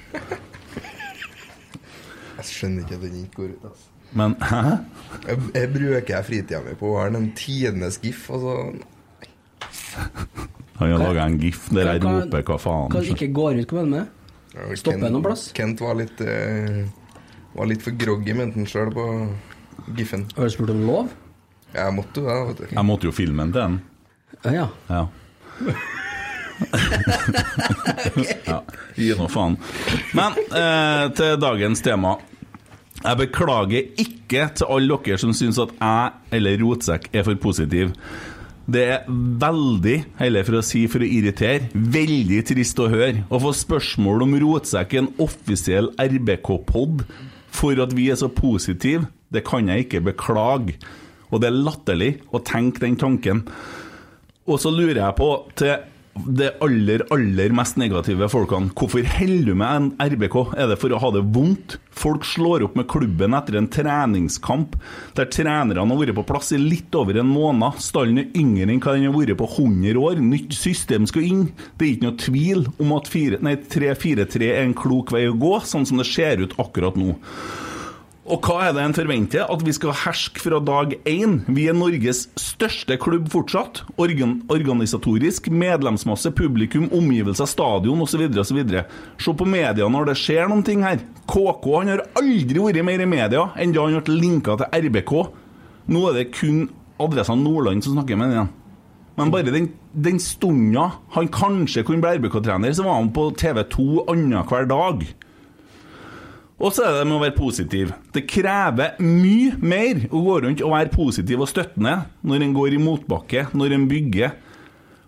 Jeg skjønner ikke at den ikke går ut, altså.
Men hæ?
Jeg, jeg bruker jeg fritida mi på å være den tiendes gif, altså.
Han har laga en gif der jeg
Hva- hva-
roper hva faen.
Hva ikke går ut, hva mener du?
Ja,
Stopper
Kent-
noen plass?
Kent var litt, eh, var litt for groggy, mente han sjøl, på Giffen.
Har du spurt om lov?
Jeg måtte jo det, vet du.
Jeg måtte jo filme den til den.
Ja.
Ja. ja. Gi nå faen. Men eh, til dagens tema. Jeg beklager ikke til alle dere som syns at jeg eller Rotsekk er for positiv. Det er veldig, heller for å si for å irritere, veldig trist å høre å få spørsmål om Rotsekk er en offisiell RBK-pod for at vi er så positive. Det kan jeg ikke beklage. Og det er latterlig å tenke den tanken. Og så lurer jeg på til det aller, aller mest negative folkene. Hvorfor holder du med en RBK? Er det for å ha det vondt? Folk slår opp med klubben etter en treningskamp der trenerne har vært på plass i litt over en måned. Stallen er yngre enn hva den har vært på 100 år. Nytt system skal inn. Det er ikke noe tvil om at fire- nei, 3-4-3 er en klok vei å gå, sånn som det ser ut akkurat nå. Og hva er det en forventer? At vi skal herske fra dag én? Vi er Norges største klubb fortsatt. Organ organisatorisk, medlemsmasse, publikum, omgivelser, stadion osv. osv. Se på media når det skjer noen ting her. KK han har aldri vært mer i media enn da han ble linka til RBK. Nå er det kun adressa Nordland som snakker med den igjen. Men bare den, den stunda han kanskje kunne bli RBK-trener, så var han på TV 2 annenhver dag. Og så er det med å være positiv. Det krever mye mer å gå rundt og være positiv og støttende når en går i motbakke, når en bygger.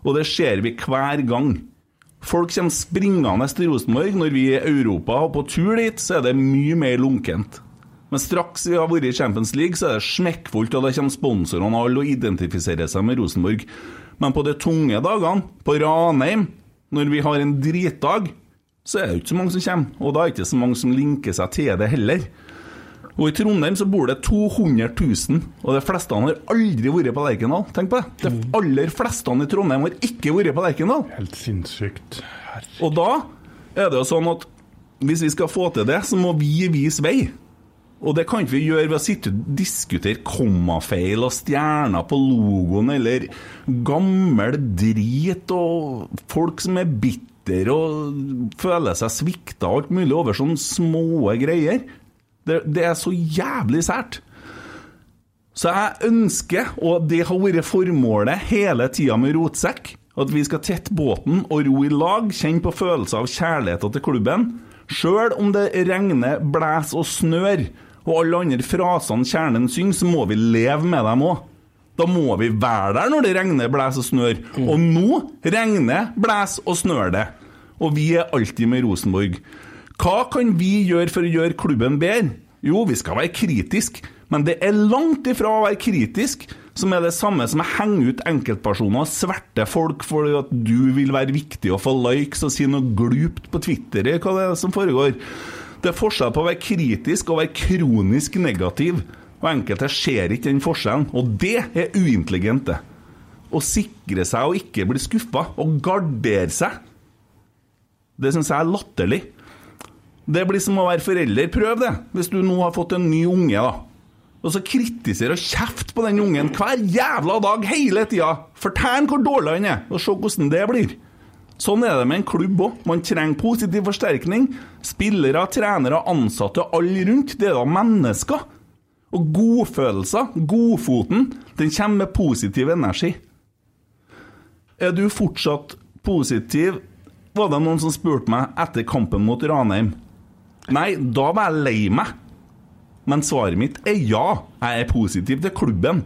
Og det ser vi hver gang. Folk kommer springende til Rosenborg. Når vi er i Europa og på tur dit, så er det mye mer lunkent. Men straks vi har vært i Champions League, så er det smekkfullt, og da kommer sponsorene og alle og identifiserer seg med Rosenborg. Men på de tunge dagene, på Ranheim, når vi har en dritdag, så er det jo ikke så mange som kommer. Og da er det ikke så mange som linker seg til det heller. Og i Trondheim så bor det 200 000, og de fleste har aldri vært på Lerkendal. Tenk på det. De aller fleste i Trondheim har ikke vært på Lerkendal.
Mm. Helt sinnssykt.
Og da er det jo sånn at hvis vi skal få til det, så må vi vise vei. Og det kan ikke vi gjøre ved å sitte og diskutere kommafeil og stjerner på logoen, eller gammel drit og folk som er bitter og føler seg svikta og alt mulig over sånne små greier. Det, det er så jævlig sært. Så jeg ønsker, og det har vært formålet hele tida med Rotsekk, at vi skal tette båten og ro i lag, kjenne på følelser av kjærligheten til klubben. Sjøl om det regner, blæs og snør, og alle andre frasene kjernen synger, så må vi leve med dem òg. Da må vi være der når det regner, blæs og snør. Og nå regner, blæs og snør det. Og vi er alltid med Rosenborg. Hva kan vi gjøre for å gjøre klubben bedre? Jo, vi skal være kritisk, men det er langt ifra å være kritisk som er det samme som å henge ut enkeltpersoner og sverte folk for at du vil være viktig og få likes og si noe glupt på Twitter. Hva det er som foregår? Det er forskjell på å være kritisk og å være kronisk negativ. Og enkelte ser ikke den forskjellen, og det er uintelligente. Å sikre seg og ikke bli skuffa, og gardere seg, det syns jeg er latterlig. Det blir som å være forelder. Prøv det, hvis du nå har fått en ny unge, da. Og så kritisere og kjefte på den ungen hver jævla dag hele tida. Fortell han hvor dårlig han er, og se hvordan det blir. Sånn er det med en klubb òg. Man trenger positiv forsterkning. Spillere, trenere, ansatte og alle rundt. Det er da mennesker. Og godfølelser, godfoten, den kommer med positiv energi. Er du fortsatt positiv? Var det noen som spurte meg etter kampen mot Ranheim? Nei, da var jeg lei meg. Men svaret mitt er ja. Jeg er positiv til klubben.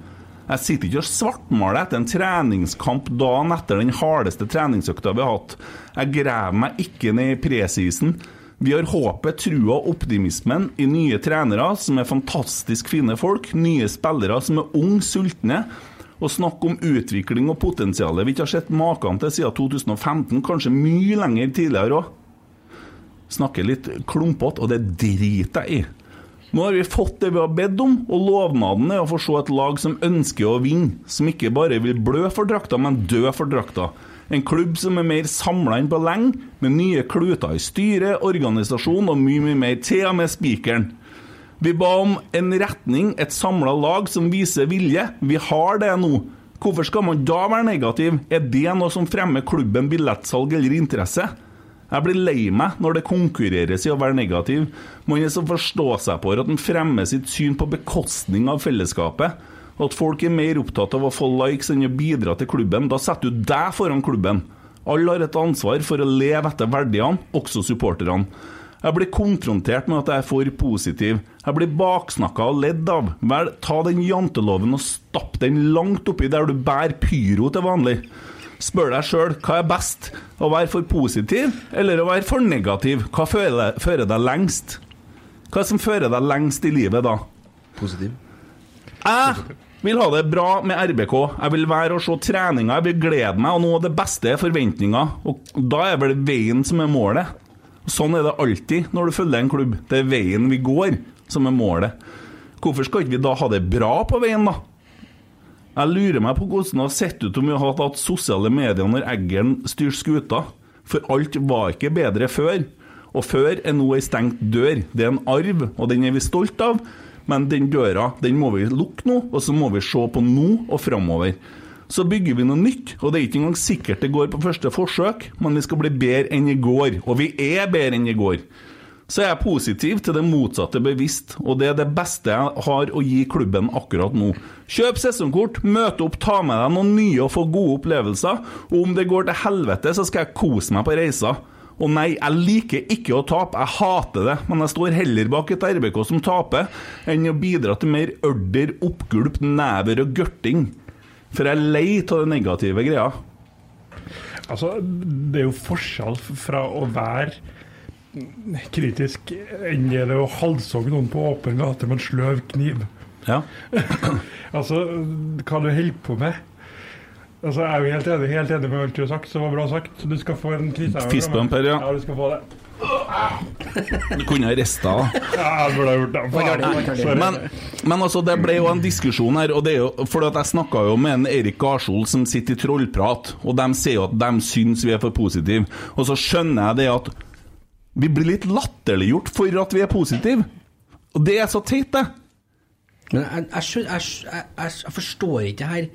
Jeg sitter ikke og svartmaler etter en treningskamp dagen etter den hardeste treningsøkta vi har hatt. Jeg graver meg ikke ned i presisen. Vi har håpet, trua og optimismen i nye trenere som er fantastisk fine folk, nye spillere som er unge, sultne. Og snakk om utvikling og potensialet vi ikke har sett maken til siden 2015, kanskje mye lenger tidligere òg. Snakker litt klumpete, og det driter jeg i. Nå har vi fått det vi har bedt om, og lovnaden er å få se et lag som ønsker å vinne. Som ikke bare vil blø for drakta, men dø for drakta. En klubb som er mer samla enn på lenge, med nye kluter i styre, organisasjon og mye, mye mer. Til og med spikeren. Vi ba om en retning, et samla lag som viser vilje. Vi har det nå. Hvorfor skal man da være negativ? Er det noe som fremmer klubben, billettsalg eller interesse? Jeg blir lei meg når det konkurreres i å være negativ. Man er så forstå seg på at man fremmer sitt syn på bekostning av fellesskapet. Og at folk er mer opptatt av å få likes enn å bidra til klubben. Da setter du deg foran klubben. Alle har et ansvar for å leve etter verdiene, også supporterne. Jeg blir konfrontert med at jeg er for positiv. Jeg blir baksnakka og ledd av. Vel, ta den janteloven og stapp den langt oppi der du bærer pyro til vanlig. Spør deg sjøl hva er best, å være for positiv eller å være for negativ? Hva fører, fører deg lengst? Hva som fører deg lengst i livet da?
Positiv.
Jeg vil ha det bra med RBK. Jeg vil være og se treninga, jeg vil glede meg, og noe av det beste er forventninger. Og da er vel veien som er målet. Sånn er det alltid når du følger en klubb. Det er veien vi går, som er målet. Hvorfor skal ikke vi da ha det bra på veien, da? Jeg lurer meg på hvordan det har sett ut om vi hadde hatt sosiale medier når Eggern styrte skuta. For alt var ikke bedre før. Og før er nå ei stengt dør. Det er en arv, og den er vi stolt av. Men den døra den må vi lukke nå, og så må vi se på nå og framover. Så bygger vi noe nytt, og det er ikke engang sikkert det går på første forsøk, men vi skal bli bedre enn i går. Og vi er bedre enn i går. Så jeg er positiv til det motsatte bevisst, og det er det beste jeg har å gi klubben akkurat nå. Kjøp sesongkort, møte opp, ta med deg noen nye og få gode opplevelser. Og om det går til helvete, så skal jeg kose meg på reisa. Og nei, jeg liker ikke å tape, jeg hater det, men jeg står heller bak et RBK som taper, enn å bidra til mer ørder, oppgulp, never og gørting. For jeg er lei av det negative greia.
Altså, det er jo forskjell fra å være kritisk enn det er å halshogge noen på åpen gate med en sløv kniv.
Ja.
altså, hva du holder på med. Altså, Jeg er jo helt enig, helt enig med alt du har sagt, så det var bra sagt. Du skal få en krise.
Fistbump her, ja.
ja. Du skal få det.
Du kunne ha rista, da.
Ja, jeg burde ha gjort det. Sorry.
Men, men altså, det ble jo en diskusjon her, og det er jo fordi at jeg snakka jo med en Erik Garsol som sitter i Trollprat, og de sier jo at de syns vi er for positive. Og så skjønner jeg det at vi blir litt latterliggjort for at vi er positive. Og det er så teit, det.
Men jeg, jeg, skjøn- jeg, skj- jeg, jeg, jeg forstår ikke det her.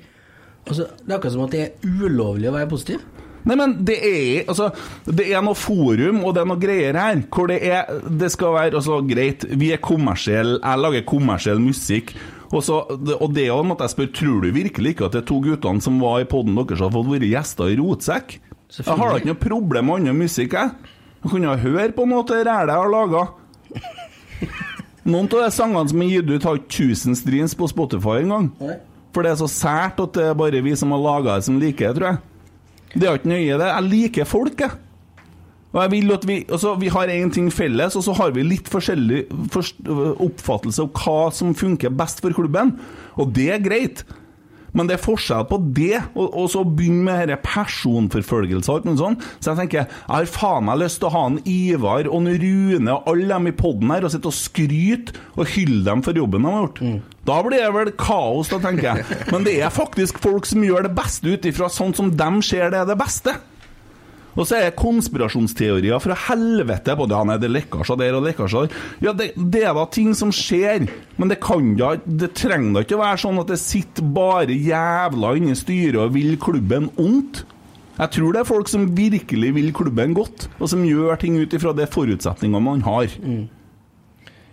Altså, det er akkurat som at det er ulovlig å være positiv.
Nei, men det er altså, det er noe forum og det er noe greier her hvor det er Det skal være altså, greit, vi er kommersielle, jeg lager kommersiell musikk. Og, så, og det er jo at jeg spør Tror du virkelig ikke at det er to guttene som var i poden deres, har fått være gjester i Rotsekk? Jeg har da ikke noe problem med annen musikk, jeg. Jeg kunne jo høre på noe av det rælet jeg har laga. Noen av de sangene som er gitt ut, har ikke 1000 streams på Spotify engang. For det er så sært at det er bare vi som har laga det, som liker det, tror jeg. Det er ikke nøye, det. Jeg liker folk, jeg. Og jeg vil at vi, altså, vi har én ting felles, og så har vi litt forskjellig forst- oppfattelse av hva som funker best for klubben. Og det er greit, men det er forskjell på det og, og så begynne med denne personforfølgelse og alt mulig sånn. Så jeg tenker, jeg har faen meg lyst til å ha en Ivar og en Rune og alle dem i poden her og sitte og skryte og hylle dem for jobben de har gjort. Da blir det vel kaos, da, tenker jeg. Men det er faktisk folk som gjør det beste ut ifra sånn som dem ser det er det beste. Og så er det konspirasjonsteorier fra helvete på det. Han er det lekkasjer der og lekkasjer der. Ja, det, det er da ting som skjer, men det kan da Det trenger da ikke å være sånn at det sitter bare jævla inne i styret og vil klubben ondt. Jeg tror det er folk som virkelig vil klubben godt, og som gjør ting ut ifra de forutsetningene man har.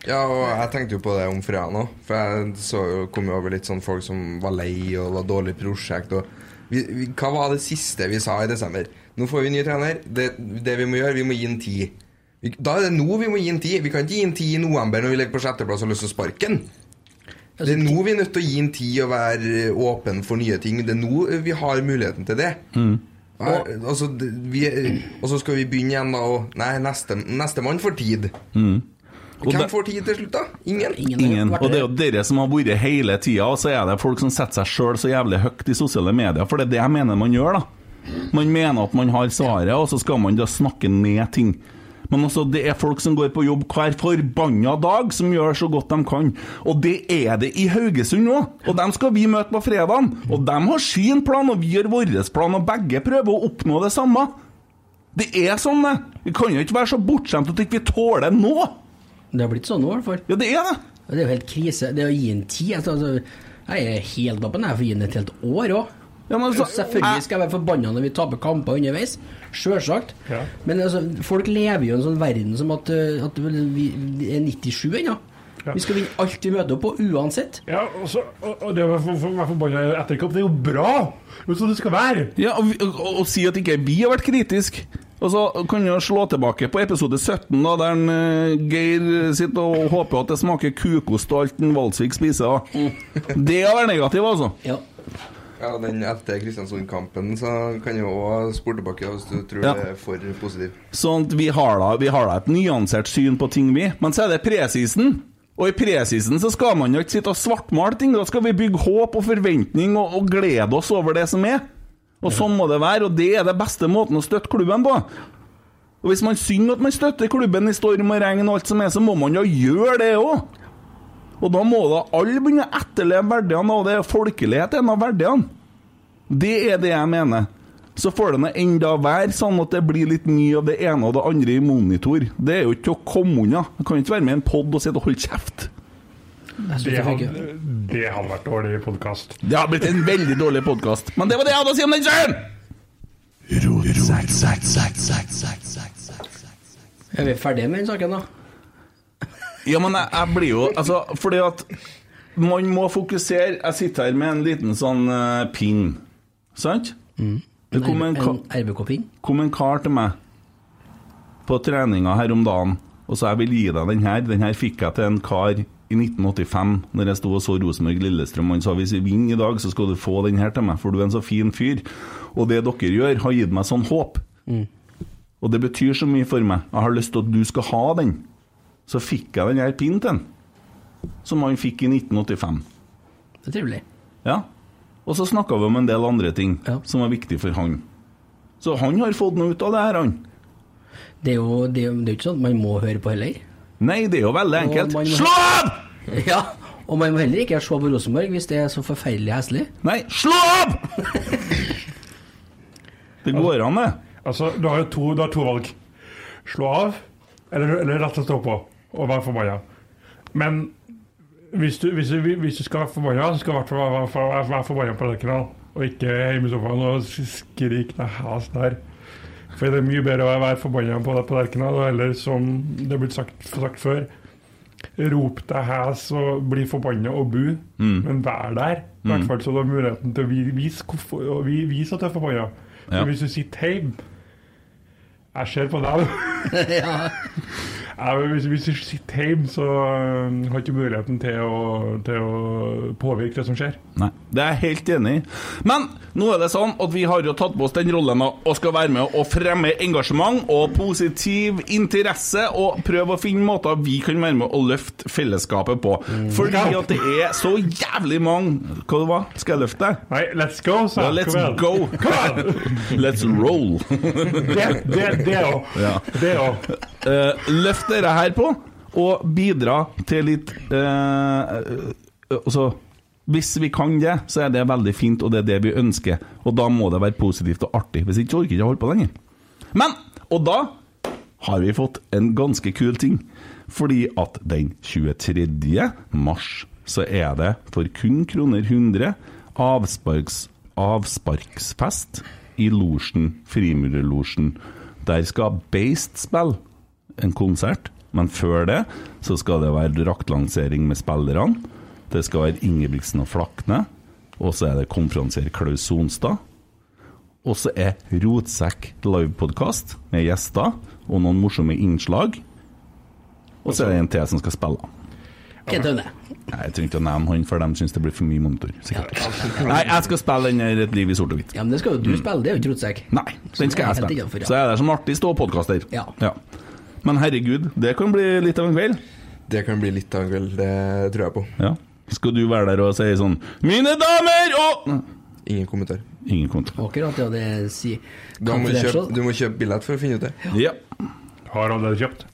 Ja, og jeg tenkte jo på det om fredagen òg. For jeg så jo, kom jo over litt sånn folk som var lei og var dårlig prosjekt. Og vi, vi, hva var det siste vi sa i desember? Nå får vi ny trener. Det, det vi må gjøre, vi må gi en ti. Vi, da er det nå vi må gi en ti. Vi kan ikke gi en ti i november når vi ligger på sjetteplass og har lyst til å sparke den. Det er nå vi er nødt til å gi en Altså, ti og være åpen for nye ting. Det er nå vi har muligheten til det.
Mm.
Og, altså, det- vi, og så skal vi begynne igjen da og Nei, neste- nestemann får tid.
Mm. Og
Hvem
det-
får tid til slutt, da? Ingen?
Ingen. Og det er jo dere som har vært hele tida, og så er det folk som setter seg sjøl så jævlig høyt i sosiale medier, for det er det jeg mener man gjør, da. Man mener at man har svaret, og så skal man da snakke ned ting. Men også, det er folk som går på jobb hver forbanna dag, som gjør så godt de kan. Og det er det i Haugesund òg! Og dem skal vi møte på fredag. Og dem har sin plan, og vi har vår plan, og begge prøver å oppnå det samme. Det er sånn, det. Vi kan jo ikke være så bortskjemt at ikke vi ikke tåler noe.
Det har blitt sånn nå, i hvert fall.
Ja, det er det.
Det er jo helt krise. Det å gi en ti altså, altså, Jeg er helt oppe jeg får gi den et helt år òg.
altså,
Selvfølgelig skal jeg være forbanna når vi taper kamper underveis. Sjølsagt. Men altså, folk lever jo i en sånn verden som at, uh, at vi vi er 97 ennå. Vi skal vinne alt vi møter opp på, uansett.
Ja, og, så, og, og det å være for- for- være forbanna etter kamp, det er jo bra! Det er sånn det skal være!
Ja, og, vi- og, og si at ikke vi har vært kritisk Og så kan jeg slå tilbake på episode 17 da, Der en, eh, Geir sitter og håper at det smaker kukost og alt en Valsvik spiser da. Det har vært negativt altså
Ja, den etter Kristiansund-kampen så kan jeg òg spore tilbake hvis du tror
Ja.
det er for positivt.
Sånn at vi har, da, vi har da et nyansert syn på ting vi Men så er det presisen og i presisen så skal man jo ikke sitte og svartmale ting, da skal vi bygge håp og forventning og, og glede oss over det som er. Og sånn må det være, og det er det beste måten å støtte klubben på. Og hvis man synger at man støtter klubben i storm og regn og alt som er, så må man jo gjøre det òg. Og da må da alle begynne å etterleve verdiene, og det er folkelighet en av verdiene. Det er det jeg mener. Så får det nå enda være sånn at det blir litt mye av det ene og det andre i monitor. Det er jo ikke til å komme unna. Jeg kan ikke være med i en pod og sitte og holde kjeft.
Det hadde, det hadde vært dårlig podkast.
Det har blitt en veldig dårlig podkast. Men det var det jeg hadde å si om den sjøl!
Er vi ferdige med den saken, da?
Ja, men jeg, jeg blir jo Altså, fordi at man må fokusere Jeg sitter her med en liten sånn eh, pin, sant?
Mm.
Det kom en, ka- kom en kar til meg på treninga her om dagen og sa jeg vil gi deg den her. Den her fikk jeg til en kar i 1985, når jeg sto og så Rosenborg-Lillestrøm. Han sa hvis vi vinner i dag, så skal du få den her til meg, for du er en så fin fyr. Og det dere gjør, har gitt meg sånn håp. Og det betyr så mye for meg. Jeg har lyst til at du skal ha den. Så fikk jeg den her pinnen til han, som han fikk i 1985.
Det er trivelig.
Ja. Og så snakka vi om en del andre ting som var viktig for han. Så han har fått noe ut av det her, han.
Det er jo, det er jo det er jo ikke sånn at man må høre på heller.
Nei, det er jo veldig enkelt. Slå av!
Ja, og man må heller ikke se på Rosenborg hvis det er så forferdelig heslig.
Nei, slå av! Det går an, det.
Altså, du har jo to, du har to valg. Slå av, eller, eller rett og slett stå på og være forbanna. Men hvis du, hvis, du, hvis du skal være forbanna, så skal du i hvert fall være- være- være- være forbanna på Lerkendal. Og ikke hjemme i sofaen og skrike deg has der. For det er mye bedre å være forbanna på, på Lerkendal, og heller, som det er blitt sagt, sagt før, rop deg hes og bli forbanna og bu,
Mm.
men vær der. I hvert
Mm.
fall så du har muligheten til å vi- vise, hvorfor, og vi- vise at du er forbanna. For
Ja.
Hvis du sitter hjemme Jeg ser på deg, du. Ja, men hvis, hvis du sitter hjemme, så øh, har du ikke muligheten til å, til å påvirke det som skjer.
Nei, det er jeg helt enig i. Men nå er det sånn at vi har jo tatt på oss den rollen da, og skal være med å fremme engasjement og positiv interesse, og prøve å finne måter vi kan være med å løfte fellesskapet på. Fordi at det er så jævlig mange Hva det var Skal jeg løfte deg?
Nei, let's go, sa
Ja,
jeg.
let's
Kom igjen.
go. let's roll.
Det- det- det også.
Ja.
Det
Eh, løft dere her på, og bidra til litt eh, eh, Altså, hvis vi kan det, så er det veldig fint, og det er det vi ønsker. Og da må det være positivt og artig. Hvis ikke så orker jeg ikke å holde på lenger. Men, og da har vi fått en ganske kul ting. Fordi at den 23. mars så er det for kun kroner 100 avsparks, avsparksfest i losjen, Frimurerlosjen. Der skal Beist spille en konsert, men før det så skal det være draktlansering med spillerne. Det skal være Ingebrigtsen og Flakne, og så er det konferansier Klaus Sonstad. Og så er Rotsekk livepodkast med gjester og noen morsomme innslag. Og så er det en til som skal spille.
Kent Aune.
Nei, Jeg trenger ikke å nevne han, for de syns det blir for mye monitor. Sikkert. Nei, jeg skal spille den her Et liv i sort og hvitt. Mm.
Ja, men det skal jo du spille, det er jo ikke rotsekk.
Nei, den skal jeg
Helt
spille.
innenfor, ja.
Så er det som artig ståpodkaster. Ja. ja. Men herregud, det kan bli litt av en kveld.
Det kan bli litt av en kveld, det tror jeg på.
Ja. Skal du være der og si sånn Mine damer og
Ingen kommentar.
Ingen kommentar.
Akkurat, ja, det sier
Du må,
Confidential.
kjøpe, du må kjøpe billett for å finne ut det.
Ja.
Har allerede kjøpt.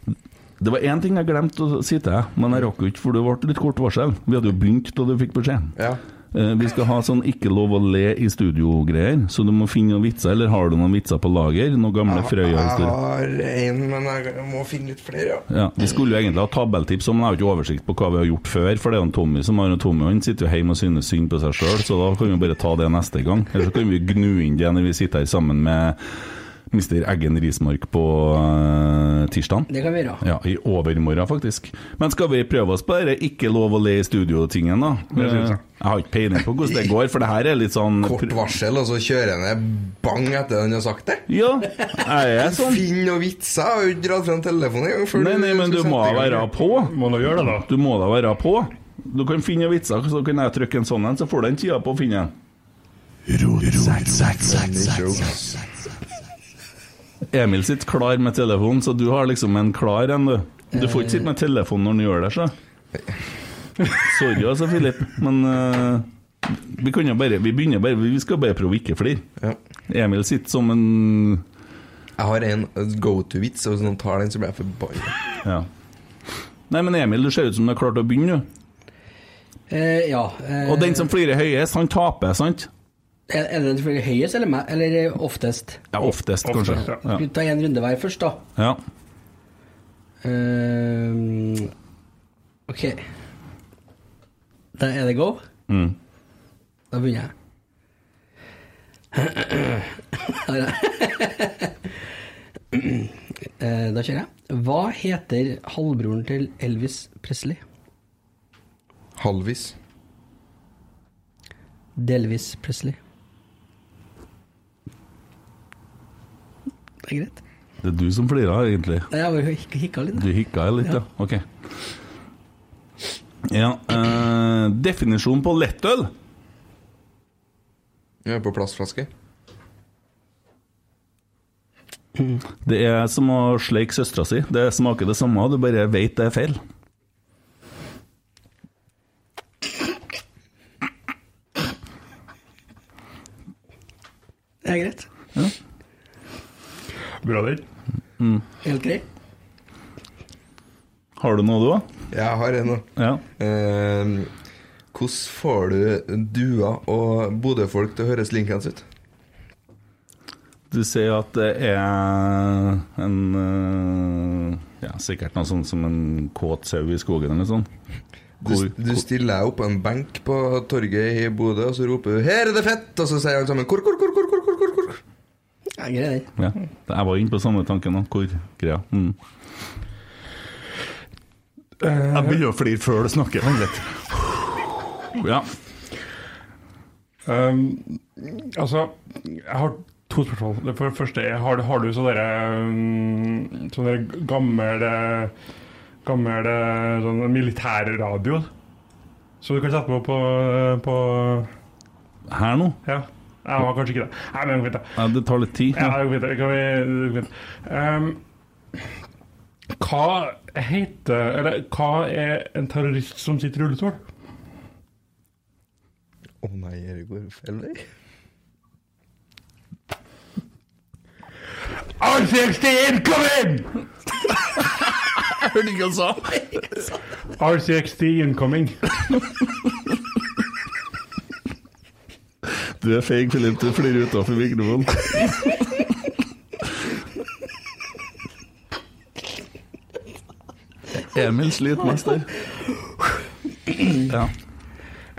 Det var én ting jeg glemte å si til deg, men jeg rakk jo ikke, for det ble litt kort varsel. Vi hadde jo begynt da du fikk beskjed. Eh, Vi skal ha sånn ikke lov å le i studio-greier, så du må finne noen vitser. Eller har du noen vitser på lager? Noen gamle
Jeg
Frøya-historier?
har én, men jeg må finne litt flere, ja.
Ja, Vi skulle jo egentlig ha tabelltips, men jeg har jo ikke oversikt på hva vi har gjort før. For det er jo en Tommy som har en Tommy, og han sitter jo hjemme og synes synd på seg sjøl, så da kan vi bare ta det neste gang. Eller så kan vi gnu inn det når vi sitter her sammen med Mr. Eggen Rismark på uh, tirsdag.
Det kan vi gjøre.
Ja, i overmorgen faktisk. Men skal vi prøve oss på det? Ikke lov å le i studio-tingen, da?
Det synes
Eh,
jeg.
Jeg har ikke peiling på hvordan det går, for det her er litt sånn
Kort varsel, og så kjører jeg ned bang etter den har sagt det.
Ja, jeg er sånn.
Finn noen vitser. Jeg har jo ikke dratt frem telefonen engang. før
Nei, nei, men du
skal
må
sette i gang.
være på.
Må da gjøre det, da.
Du må da være på. Du kan finne vitser, så kan jeg trykke en sånn en, så får du den tida på å finne en. Emil sitter klar med telefonen, så du har liksom en klar en, du. Du får ikke sitte med telefonen når du gjør det, så. Sorry altså, Filip, men eh, vi kan jo bare Vi begynner bare Vi skal bare prøve å ikke flire. Emil sitter som en
Jeg har en go to-vits, og hvis noen tar den, så blir jeg forbanna.
Ja. Nei, men Emil, du ser ut som du har klart å begynne, du.
Eh, ja. eh,
Og den som flirer høyest, han taper, sant?
Er er det den som er høyest eller, me- eller oftest?
Ja, oftest, kanskje. Ja.
Skal vi ta en runde hver først, da?
Ja.
Ehm, ok. Da er det go.
Mm.
Da begynner jeg. Eh, da kjører jeg. Hva heter halvbroren til Elvis Presley?
Halvis.
Delvis Presley. Det er greit.
Det er du som flirer, egentlig.
Nei, Jeg bare hik- hikka litt.
Du hikka litt, ja. Ok. Ja, eh, definisjon på lettøl?
Ja, på plastflaske.
Det er som å sleike søstera si. Det smaker det samme, du bare veit det er feil.
Det er greit.
Bra der.
Mm.
Helt greit.
Har du noe, du òg?
Jeg har en nå. Eh, hvordan får du dua og Bodø-folk til å høres linkens ut?
Du sier at det er en eh, Ja, sikkert noe sånt som en kåt sau i skogen eller noe sånt.
Du, du stiller deg opp på en benk på torget i Bodø, og så roper du 'Her er det fett!' Og så sier alle sammen 'Hvor, hvor, hvor, hvor, hvor, hvor, hvor, hvor?'
Ja, greit, det.
Ja. Jeg var inne på samme tanken nå, hvor greia. Mm. Jeg begynner å flire før du snakker. Vent litt. Ja.
Um, altså, jeg har to spørsmål. Det for det første er Har, har du sånne derre um, Sånne der gamle Gamle eh, sånn militærradio som du kan sette på på, på
Her nå?
Ja. Jeg har kanskje ikke det. Nei, men vent, da.
Ja, det tar litt tid.
Ja, det går fint, det kan vi, det går fint. Ehm, hva heter Eller hva er en terrorist som sitter i rullestol?
Å nei, det går feil vei.
R61, kom inn!
Jeg hørte ikke hva han sa.
R60 incoming.
Du er feig, Filip. Du flirer utafor mikrofonen. Emil sliter mest der. Ja.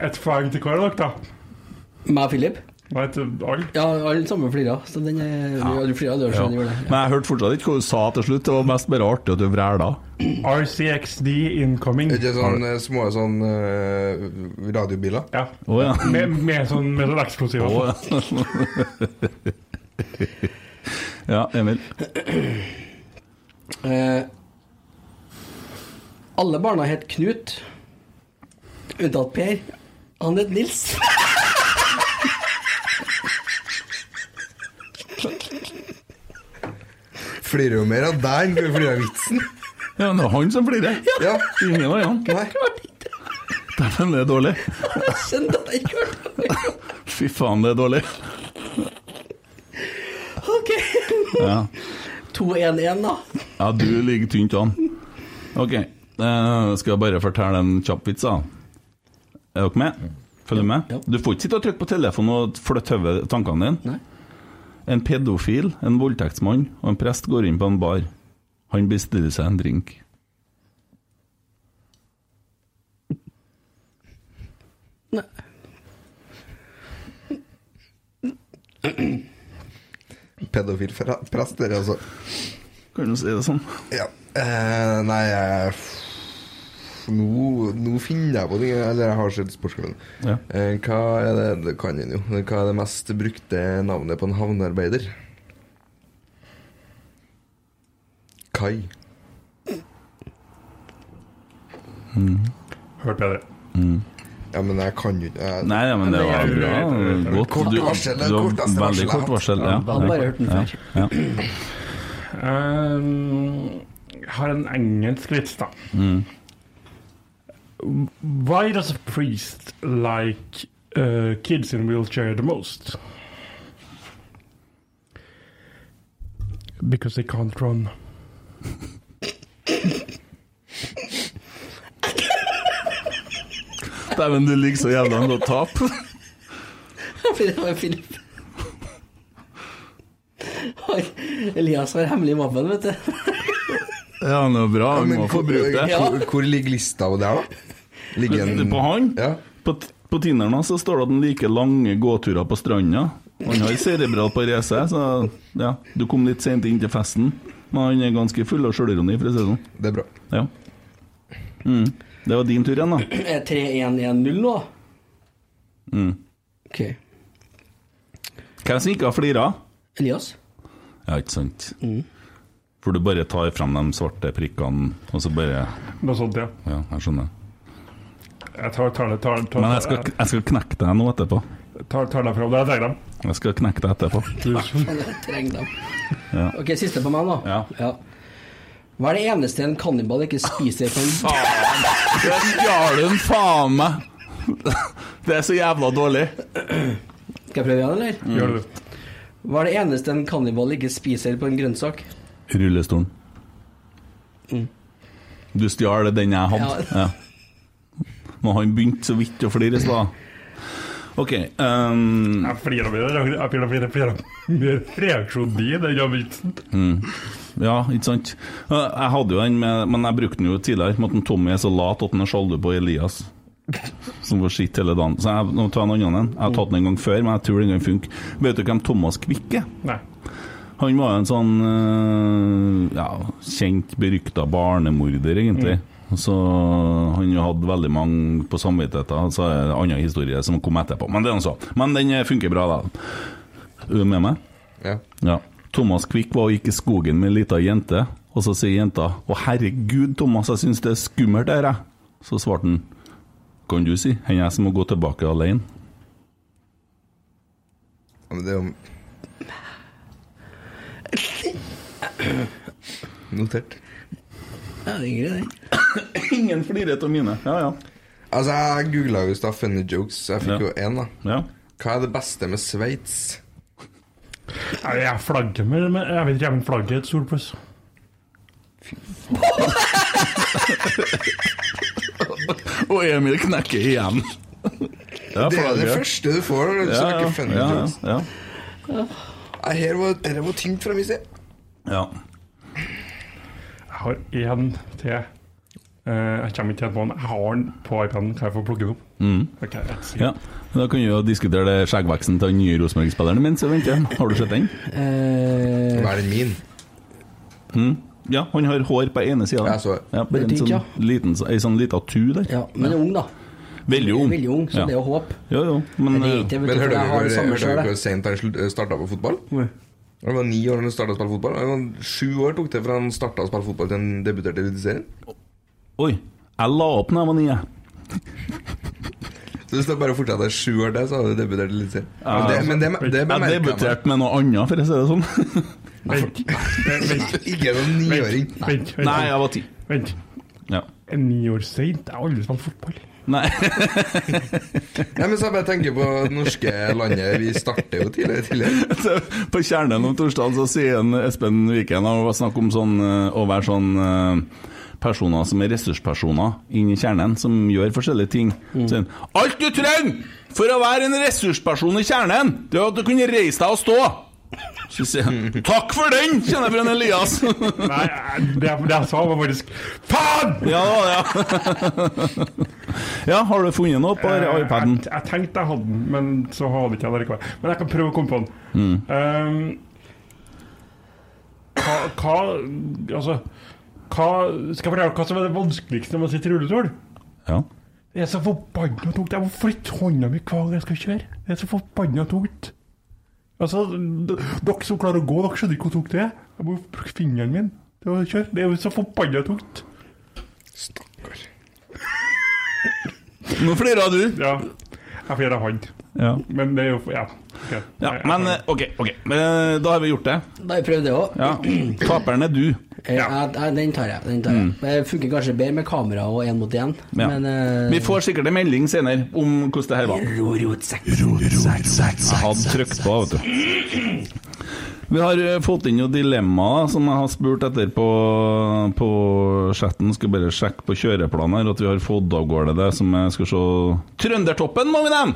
Et poeng til hver av dere, da.
Meg og Philip?
Nei, til alle.
Ja, alle sammen flirer. Så den er ja. Du flirer, du
Ja.
skjønner gjør det.
Men jeg hørte fortsatt ikke hva du sa til slutt. Det var mest bare artig at du vræla.
RCXD incoming.
Er det ikke sånn, eh, små sånn eh, radiobiler?
Ja.
Å, ja.
Med, med sånn, med sånn eksplosiv
Å,
også.
Ja, Emil.
Eh, alle barna het Knut, unntatt Per. Han het Nils.
Flirer jo mer av deg enn du flirer av vitsen.
Ja, det er han som flirer.
Ja.
Ingen av
Nei.
Dæven, det er dårlig.
Skjønner jeg ikke hva det er.
Fy faen, det er dårlig.
Ok.
Ja.
2-1-1, da.
Ja, du ligger tynt an. Ok, eh, skal jeg bare fortelle en kjapp vits, da. Er dere med? Følger med? Du får ikke sitte og trykke på telefonen og flytte hodet tankene dine. En pedofil, en voldtektsmann og en prest går inn på en bar. Han bestiller seg en drink.
Pedofil fra- prest, dere, altså.
Kan du si det sånn?
Ja. Eh, nei, jeg f- nå, nå finner jeg på ting. Eller jeg har sett Sportsklubben.
Ja.
Eh, hva er det Det kan en jo. Hva er det mest brukte navnet på en havnearbeider? Kai.
Hørt bedre.
Ja, men jeg kan jo ikke jeg-
Mm. Nei, ja, men det var bra. Godt.
Kort altså,
Du-
varsel. det
du har
korteste
veldig
varselet jeg har
kort
hatt.
varsel. Ja.
Hadde bare hørt den før.
Ja.
Um, jeg har en engelsk vits, da.
Mm.
Why does a priest like uh, kids in wheelchair the most? Because they can't run.
Dæven, du ligger så jævla an til å tape.
For det var Philip. Har- Elias har hemmelig mappen, vet du.
Ja, det er bra.
Ja,
Vi
men
må få
hvor-
bruke det.
Hvor, hvor ligger lista der, da? Ligger en
På han?
Ja.
På, t- på Tinderen hans så står det at han liker lange gåturer på stranda. Han har cerebral parese, så ja, du kom litt sent inn til festen. Men han er ganske full av sjølironi, for å si det sånn.
Det er bra.
Ja. Mm. Det var din tur igjen, da.
Er 3-1-1-0 nå?
Mm.
Ok.
Hvem som ikke har flira?
Elias?
Ja, ikke sant?
Mm.
For du bare tar frem de svarte prikkene, og så bare
Noe sånt, ja.
Ja, jeg skjønner.
Jeg tar, tar, det- tar, tar,
Men jeg skal, jeg skal knekke deg nå etterpå.
tar, tar deg fra deg. Jeg trenger dem.
Jeg skal knekke deg etterpå.
Jeg trenger dem.
Ja.
Ok, siste på meg, da. Ja. Hva er det eneste en kannibal ikke spiser på en
Det stjal hun faen meg! Det er så jævla dårlig.
Skal jeg prøve igjen, eller?
Mm. Gjør det.
Hva er det eneste en kannibal ikke spiser på en grønnsak?
Rullestolen. Du stjal den jeg hadde. Ja. Men han begynte så vidt å flire i stad. OK ehm,
Jeg flirer av det. Jeg flirer av det. Jeg flirer av reaksjonen din. Den gjør vitsen.
Mm. Ja, ikke sant. Eh, Jeg hadde jo den, med, men jeg brukte den jo tidligere. Med at den Tommy er så lat at han er sjalu på Elias, som får skitt hele dagen. Så jeg, nå tar jeg en annen en. Jeg har tatt den en gang før, men jeg tror den gang funker. Vet du hvem Thomas Kvikke er?
Nei.
Han var jo en sånn eh, ja, kjent, berykta barnemorder, egentlig. Så han hadde veldig mange på samvittigheten, så er det en annen historie som kom etterpå. Men det er noe så. Men den eh, funker bra, da. Er du med meg?
Ja.
Ja. Thomas Quick var og gikk i skogen med ei lita jente, og så sier jenta 'Å, herregud, Thomas, jeg syns det er skummelt her', jeg. Så svarte han 'Kan du si? Hen jeg som må gå tilbake alene'.
Ja, Men det er jo Notert.
Ja, det er greit,
det. Ingen flirer av mine. Ja, ja.
Altså, jeg googla jo i stad 'funny jokes'. Jeg fikk jo én, da.
Ja.
Hva er det beste med Sveits?
Jeg, jeg flagger med men Jeg vet ikke om flagget er et solpuss.
Og Emil knekker igjen.
Det er det første du får når du snakker funny
ja,
jokes.
Ja, ja.
Nei, her var, her var tyngt fra min side.
Ja.
Jeg har én til. Eh, jeg kommer ikke helt på den. Jeg har den på iPaden. Kan jeg få plukke den opp?
Mm.
Ok, jeg sier-
ja. Da kan vi jo diskutere det skjeggveksten til den nye Rosenborg-spilleren min, så venter jeg. Har du sett den? Eh,
Hva er den min?
Mm. Ja, han har hår på ene sida.
Jeg så det.
Ja, bare en
Det er tynt,
sånn
ja.
liten, ei sånn lita tu der.
Ja, men ung, da.
Veldig ung.
Veldig ung, så det er jo håp.
Jo, jo, men,
Det er ikke-
eh,
Men
for jeg
hører dere
har det
hvor-
samme
hører
selv,
dere
jeg.
hvor sent han starta på fotball? Han var ni år da han starta å spille fotball. Han var Sju år tok det fra han starta å spille fotball til han debuterte i Eliteserien.
Oi, jeg la opp da jeg var ni. jeg.
Så hvis det bare fortsatte sju år til, så hadde du debutert i Eliteserien. Men det- Men det, det,
jeg
bemerker jeg meg.
debuterte med noe annet, for å si det sånn.
Ikke noen niåring.
Vent, vent.
Nei, jeg var ti.
Vent.
Ja.
En Ni år seint? Jeg har aldri spilt fotball.
Nei.
Nei, men så jeg bare tenker på det norske landet. Vi starter jo tidligere. tidligere.
Så På kjernen om torsdagen så sier en Espen Viken og det var snakk om sånn, eh, å være sånn eh, personer som er ressurspersoner inni kjernen, som gjør forskjellige ting.
Mm.
Så sier han, Alt du trenger for å være en ressursperson i kjernen, det er at du kunne reise deg og stå. Så sier han Takk for den, kjenner jeg fra en Elias.
Nei, jeg- det, jeg- det jeg sa, var faktisk Faen!
Ja, det var det, ja. ja, har du funnet noe på
Eh,
iPaden?
Jeg, jeg tenkte jeg hadde den, men så hadde ikke jeg den likevel. Men jeg kan prøve å komme på den.
Mm.
Ehm, hva, hva Altså hva, Skal jeg fortelle hva som er det vanskeligste når man sitter i rullestol?
Ja.
Det er så forbanna tungt. Jeg må flytte hånda mi hver gang jeg skal kjøre. Det er så forbanna tungt. Altså, d- dere som klarer å gå, dere skjønner ikke hvor tungt det er. Jeg må bruke fingeren min til å kjøre. Det er jo så forbanna tungt.
Nå flirer du.
Ja. Jeg flirer av han.
Ja.
Men det er jo Ja. ok.
Ja, men eh, OK, ok. Men, eh, da har vi gjort det.
Da har jeg prøvd det òg.
Ja. Taperen er du.
Eh, Den tar jeg. Den tar jeg.
Mm.
Det funker kanskje bedre med kamera og én mot én,
Ja.
men eh,
Vi får sikkert en melding senere om hvordan det her var. Jeg hadde trykt på, vet du. Vi har eh, fått inn noen dilemmaer som jeg har spurt etter på, på chatten. Skal bare sjekke på kjøreplanen her at vi har fått av gårde det som jeg skal se Trøndertoppen må vi nevne!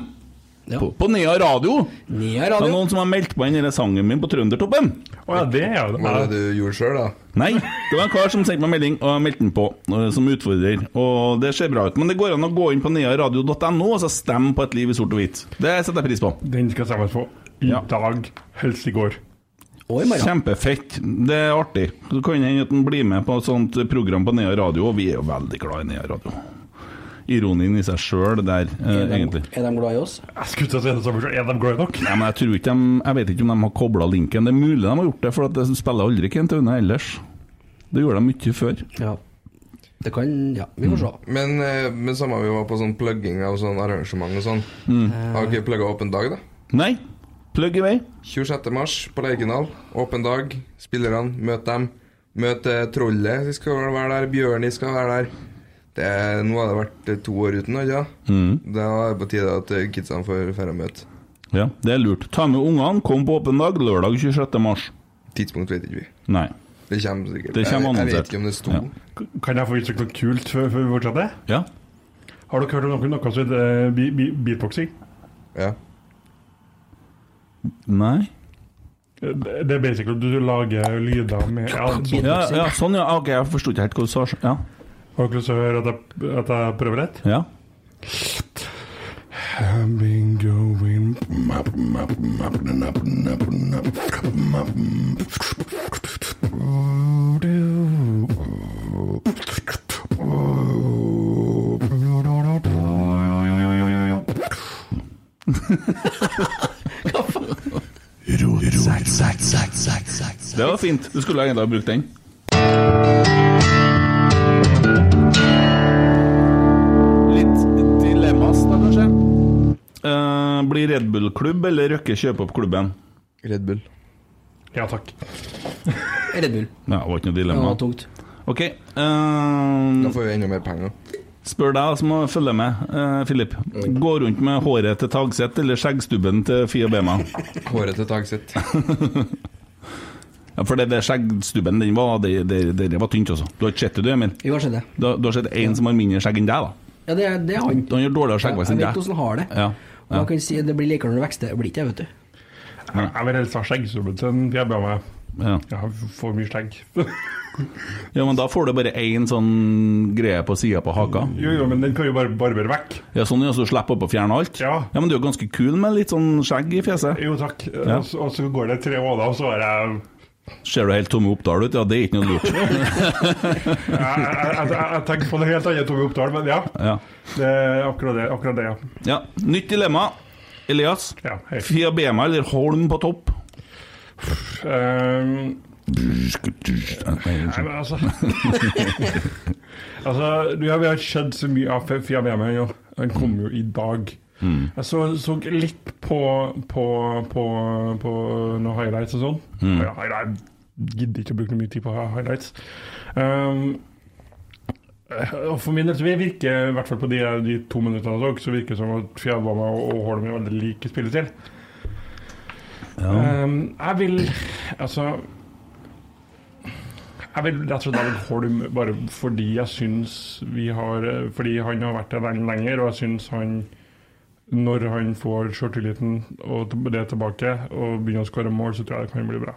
På, på Nea Radio.
Radio.
Det er noen som har meldt på inn denne sangen min på Trøndertoppen.
Å ja, det er jo
Hva var det du gjorde sjøl, da?
Nei, det var en kar som sendte meg melding og jeg meldte den på eh, som utfordrer. Og det ser bra ut, men det går an å gå inn på nearadio.no og så stemme på et liv i sort og hvitt. Det setter jeg pris på.
Den skal stemmes på i dag, helst i går.
Kjempefett. Det er artig. Så kan det hende at den blir med på et sånt program på Nea Radio, og vi er jo veldig glad i Nea Radio. Ironien i seg sjøl der, eh, egentlig.
er de glad i oss?
Jeg skulle til å si det samme selv. Er de glad nok?
Nei, men jeg, tror ikke de, jeg vet ikke om de har kobla linken. Det er mulig de har gjort det, for at det spiller aldri Kent Aune ellers. Det gjorde de mye før.
Ja. Det kan Ja, vi får se.
Men, eh, men samme vi var på sånn plugging av sånn arrangement og sånn.
Mm.
Har dere plugga åpen dag, da?
Nei. Plugg i vei.
26. mars på Lerkendal. Åpen dag. Spillerne, møt dem. Møt eh, Trollet, de skal vel være der. Bjørni skal være der. Det, er- nå har det vært eh, to år uten, ikke sant?
Mm.
Da er det på tide at eh, kidsene får dra og møte.
Ja, det er lurt. Ta med ungene, kom på åpen dag lørdag 26. mars.
Tidspunkt vet ikke vi.
Nei.
Det kommer sikkert.
Det kommer
jeg, jeg
annonsert.
vet ikke om det sto.
Ja.
Kan jeg få uttrykke noe kult før før vi fortsetter?
Ja.
Har dere hørt om noe, noe som heter eh, bi- bi- beatboxing?
Ja.
Nei.
Eh, Det det er basically du, du lager lyder med ja, sånn.
Ja, ja, sånn, ja. Ok, jeg forsto ikke helt hva du sa. Ja.
Har dere lyst til å høre at jeg, at jeg prøver rett?
ja.
I've been going
Det var fint. Du skulle egentlig ha brukt den. Litt dilemmas, da, kanskje? Eh, blir Red Bull-klubb eller Røkke kjøpe opp klubben?
Red Bull.
Ja takk.
Red Bull.
Ja, det var ikke noe dilemma.
Det var tungt.
Ok. ehm,
Da får vi enda mer penger.
spør deg som må følge med, eh, Filip. Gå rundt med håret til Tagseth eller skjeggstubben til Fia Bema?
Håret til Tagseth.
ja, for det, det skjeggstubben, den var, det, det, det, det var tynt, altså. Du har ikke sett det, du, Emil?
Jo, jeg har sett det.
Du, har- du har sett en som har mindre skjegg enn deg, da?
Ja, det er, det er han.
Han gjør dårligere skjeggvekst
Jeg
enn deg.
vet hvordan han har det.
Ja.
Og jeg kan si at det blir likere når du vokser. Det blir ikke det, vet du.
Jeg jeg vil helst ha skjeggsubben til en fjærbe av meg.
Ja.
Jeg har for mye skjegg.
ja, men da får du bare én sånn greie på sida på haka.
Jo, jo, men den kan jo bare barbere vekk.
Ja, sånn ja, så du slipper opp å fjerne alt? Ja. Men du er jo ganske kul med litt sånn skjegg i fjeset.
Jo altså. takk.
Ja.
Og, så, og så går det tre måneder, og så er jeg
Ser du helt Tommy Oppdal ut? Ja, det er ikke noe lurt.
Jeg, jeg, jeg, jeg tenker på det helt annet Tommy Oppdal, men ja.
Ja.
Det er akkurat det. Akkurat det ja.
ja. Nytt dilemma. Elias. Fia Bema eller Holm på topp?
Ehm, Nei, men
Nei,
altså Altså, du, ja, Vi har skjedd så mye av F- Fia VM her nå. Den kom jo i dag.
Mm.
Jeg så, så litt på, på, på, på noen highlights og sånn.
Mm.
Ja, highlight- gidder ikke å bruke noe mye tid på highlights. Um, Eh, og for min del så virker i hvert fall på de, de to minuttene jeg så, så virker det som at Fia Bama og Holm er veldig like spillestil.
Ja.
Um, jeg vil Altså Jeg vil rett og slett jeg vil Holm bare fordi jeg syns vi har eh, Fordi han har vært der lenge lenger, og jeg syns han Når han får sjøltilliten og t- det tilbake, og begynner å skåre mål, så tror jeg det kan bli bra.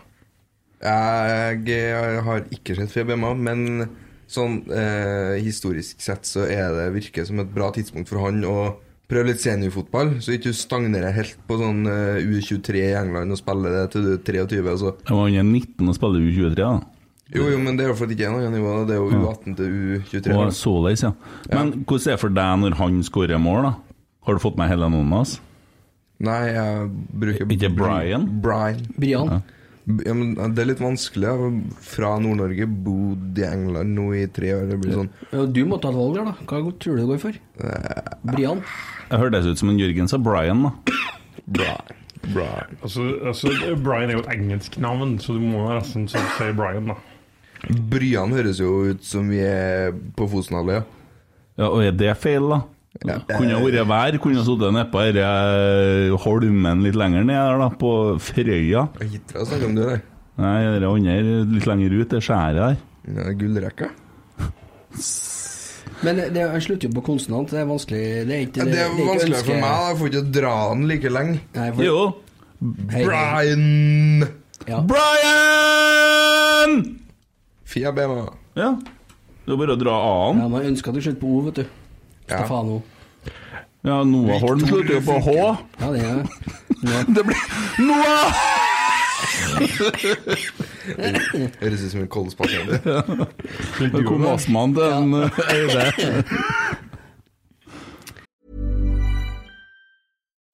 Jeg har ikke sett Fjellbema, men sånn eh, historisk sett så er det virker som et bra tidspunkt for han å prøve litt seniorfotball, så ikke du stagnerer helt på sånn eh, U23 i England og spiller det til du er 23. og så-
Jeg var under 19 og spiller U23, da.
Jo, jo, men det er jo fordi det ikke er noe nivå. Det er jo U18 til U23.
Og såleis, ja. Men hvordan er det for deg når han skårer mål, da? Har du fått med hele navnet hans?
Nei, jeg bruker
Ikke Brian?
Brian.
Brian.
Ja. B- Ja, men det er litt vanskelig. Jeg har Fra Nord-Norge, bodd i England nå i tre år. Det blir sånn
Ja, Du må ta et valg der, da. Hva tror du det går for? Brian?
Jeg hørtes ut som en Jørgen sa Brian, da.
Brian. Brian.
Altså, altså, Brian er jo et engelsk navn, så du må nesten så si Brian, da.
Bryan høres jo ut som vi er på Fosenhalvøya.
Ja, og er det feil, da? Kunne ha vært vær, kunne ha sittet nedpå denne holmen litt lenger ned der, da, på Frøya.
Hitra snakker om det der.
Nei, det andre litt lenger ut, det skjæret der.
Ja, Gullrekka?
Men det, jeg slutter jo på konsonant. Det er vanskelig. Det er ikke
Ja, det er
ikke
vanskeligere
ønske-
for meg. da. Jeg får ikke dra den like lenge.
Nei, for-
Jo.
Hei.
Brian!
Brian!
Fia Bema.
Ja. Det er bare å dra A-en.
Ja, man ønsker at du slutter på O, vet du. Stefano.
Ja, Noah Holm slutter jo på H.
Ja, det er
Det blir Noah!
Høres ut som en koldspasient.
Det kom astmaen til en eh, Eide.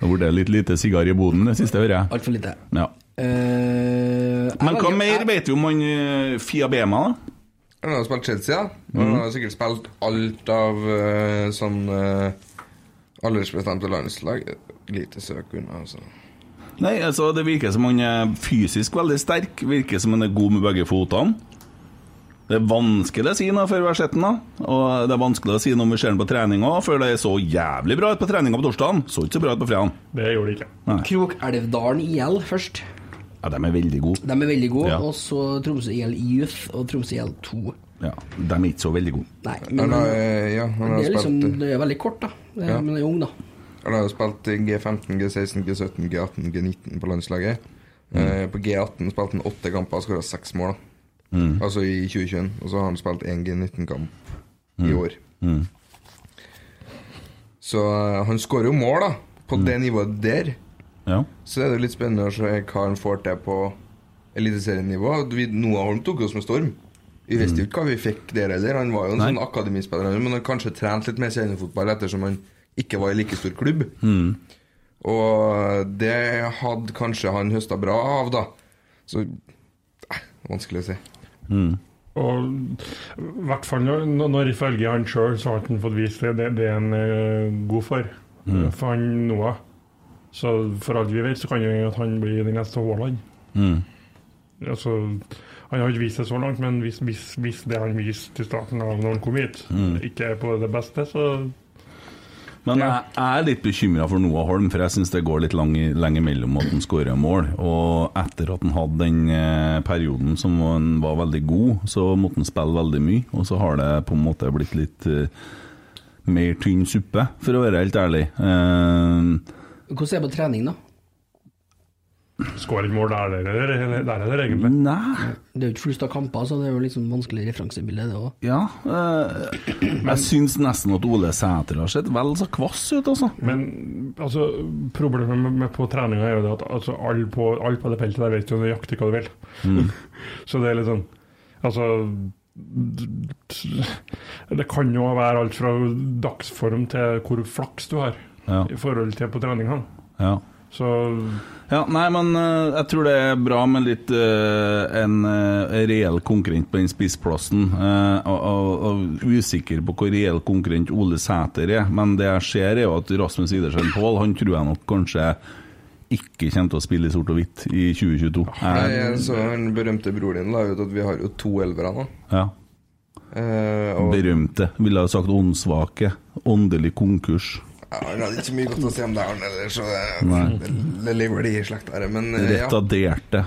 Det har vært litt lite sigar i boden det siste, hører jeg.
Altfor lite.
Ja.
Eh,
Men hva mer vet du om han eh, Fia Bema, da? Mm.
Han har jo spilt Chelsea, da. Og Han har sikkert spilt alt av eh, sånn eh, aldersbestemte landslag. Lite søk unna, altså.
Nei, altså Det virker som han er fysisk veldig sterk. Virker som han er god med begge fotene. Det er vanskelig å si noe før vi har sett den, da. Og det er vanskelig å si noe om vi ser den på trening òg, før det så jævlig bra ut på treninga på torsdagen. Så ikke så bra ut på fredagen.
Det gjorde det ikke.
Nei.
Krokelvdalen IL først.
Ja, de er veldig gode.
De er veldig gode.
Ja.
Og så Tromsø IL Youth og Tromsø IL 2.
Ja, De er ikke så veldig gode.
Nei,
Han har, eh, ja, han har
det, er liksom,
spilt
det er veldig kort, da. Det er,
Ja.
Men det er ung, da.
Han har jo spilt i G15, G16, G17, G18, G19 på landslaget.
Mm.
Eh, På G18 spilte han åtte kamper og skåra seks mål. da.
Mm.
Altså i 2021. Og så har han spilt én G19-kamp i
Mm.
år. Så eh, han skårer jo mål, da. På det nivået der.
Mm. Ja.
Så er det jo litt spennende å se hva han får til på eliteserienivå. Vi- Noah Holm tok oss med storm. Vi visste jo ikke hva vi fikk der heller. Han var jo en
Mm. Nei.
sånn akademispiller, men han har kanskje trent litt mer seniorfotball ettersom han ikke var i like stor klubb.
Mm.
Og eh, det hadde kanskje han høsta bra av, da. Så eh, Vanskelig å si.
Mm.
Og i hvert fall når, når ifølge han sjøl så har han fått vist det, det, det er han eh, god for.
Mm.
For han Noah. Så for alt vi vet, så kan det hende at han blir den neste Haaland.
Mm.
Altså, han har ikke vist det så langt, men hvis, hvis, hvis det han viste i starten av når han kom hit,
Mm.
ikke er på det beste, så
Men jeg, jeg er litt bekymra for Noah Holm, for jeg syns det går litt lang, lenge mellom at han skårer mål. Og etter at han hadde den eh, perioden som han var veldig god, så måtte han spille veldig mye. Og så har det på en måte blitt litt eh, mer tynn suppe, for å være helt ærlig. Eh,
Hvordan er det på trening, da?
skårer ikke mål der, der, der, der er det egentlig.
Nei.
Det er jo ikke flust av kamper, så det er jo liksom vanskelig referansebilde, det òg.
ja, eh, jeg syns nesten at Ole Sæter har sett vel så kvass ut, altså.
Men altså, problemet med, med på treninga er jo det at altså, alle på, alle på det feltet der vet jo nøyaktig hva du vil.
Mm.
Så det er litt sånn Altså d- d- Det kan jo være alt fra dagsform til hvor flaks du har
Ja.
i forhold til på treninga.
Ja.
Så
Ja, nei, men eh, jeg tror det er bra med litt eh, en eh, reell konkurrent på den spissplassen. eh, og, og, og usikker på hvor reell konkurrent Ole Sæter er, men det jeg ser er jo at Rasmus Idersen Pål, han tror jeg nok kanskje ikke kommer til å spille i sort og hvitt i Eh, 2022.
Ah, Nei, altså.
Jeg-
jeg så den berømte broren din la ut at vi har jo to elvere nå.
ja.
Eh, og
Berømte. Ville ha sagt åndssvake. Åndelig konkurs.
ja, han hadde ikke så mye godt å si om det, han ellers, så
Nei.
det, det lever de i slekta her. Men eh, ja.
Retarderte.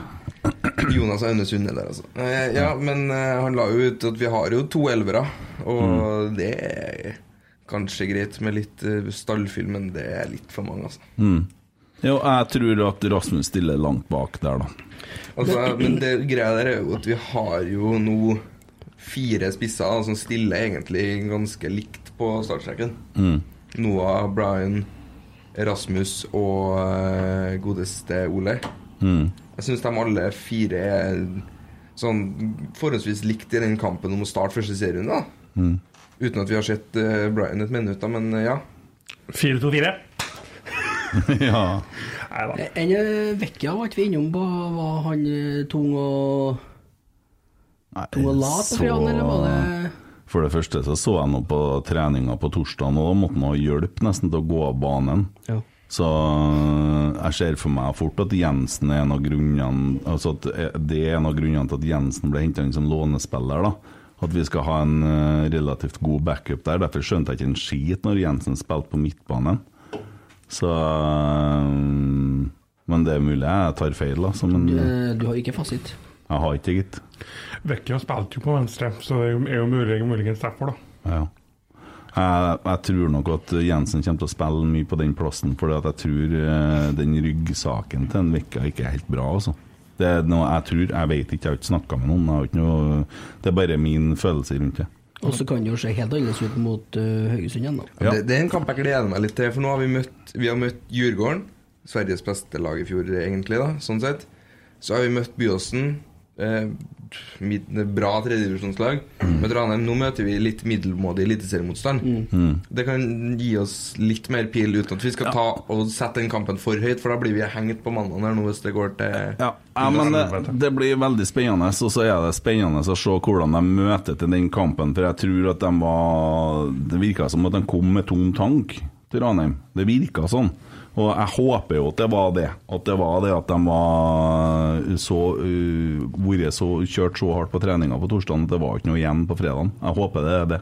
Jonas Aune Sunde der, altså. Eh, ja, men eh, han la jo ut at vi har jo to elvere, og det er kanskje greit med litt eh, stallfyll, men det er litt for mange, altså.
Mm. Jo, jeg tror at Rasmus stiller langt bak der, da.
altså men det greia der er jo at vi har jo nå fire spisser da, som stiller egentlig ganske likt på startstreken.
Mm.
Noah, Brian, Rasmus og eh, godeste Ole.
Mm.
Jeg syns de alle fire er sånn forholdsvis likt i den kampen om å starte første serien, da.
mm.
Uten at vi har sett eh, Brian et minutt, da, men eh, ja.
4-2-4.
ja.
En eh, Vecchia var ikke vi innom på Var han eh, tung og Tung og lat på fredagen, eller var det
For det første så så jeg nå på treninga på torsdagen, og da måtte han ha hjelp nesten til å gå av banen.
Ja.
Så eh, jeg ser for meg fort at Jensen er en av grunnene Altså at det er en av grunnene til at Jensen ble henta inn som lånespiller, da. At vi skal ha en eh, relativt god backup der. Derfor skjønte jeg ikke en skit når Jensen spilte på midtbanen. Så eh, Men det er mulig jeg tar feil, altså. Men
Eh, Du har ikke fasit.
jeg har ikke det, gitt.
Vecchia spilte jo på venstre, så det er jo- er jo mulig, muligens derfor, da.
Ja. Jeg, jeg tror nok at Jensen kommer til å spille mye på den plassen, for jeg tror eh, den ryggsaken til en Vekka ikke er helt bra. Altså. Det er noe jeg tror, jeg vet ikke, jeg har ikke snakka med noen. Jeg har ikke noe, det er bare min følelse rundt det.
Og så kan det jo se helt annerledes ut mot eh, Haugesund igjen, da.
Det, det er en kamp jeg gleder meg litt til, for nå har vi møtt, vi har møtt Djurgården. Sveriges beste lag i fjor, egentlig, da, sånn sett. Så har vi møtt Byåsen. Eh, mid, bra tredjedivisjonslag. Med Ranheim. Nå møter vi litt middelmådig eliteseriemotstand.
Mm.
Det kan gi oss litt mer pil uten at vi skal ta og sette den kampen for høyt, for da blir vi hengt på mandag her nå hvis det går til
Ja, men eh, det, det blir veldig spennende, og så er det spennende å se hvordan de møter til den kampen. For jeg tror at de var Det virka som at de kom med tom tank til Ranheim. Det virka sånn. Og jeg håper jo at det var det. At det var det at de var eh, så uh, vært så kjørt så hardt på treninga på torsdag at det var ikke noe igjen på fredagen. Jeg håper det er det.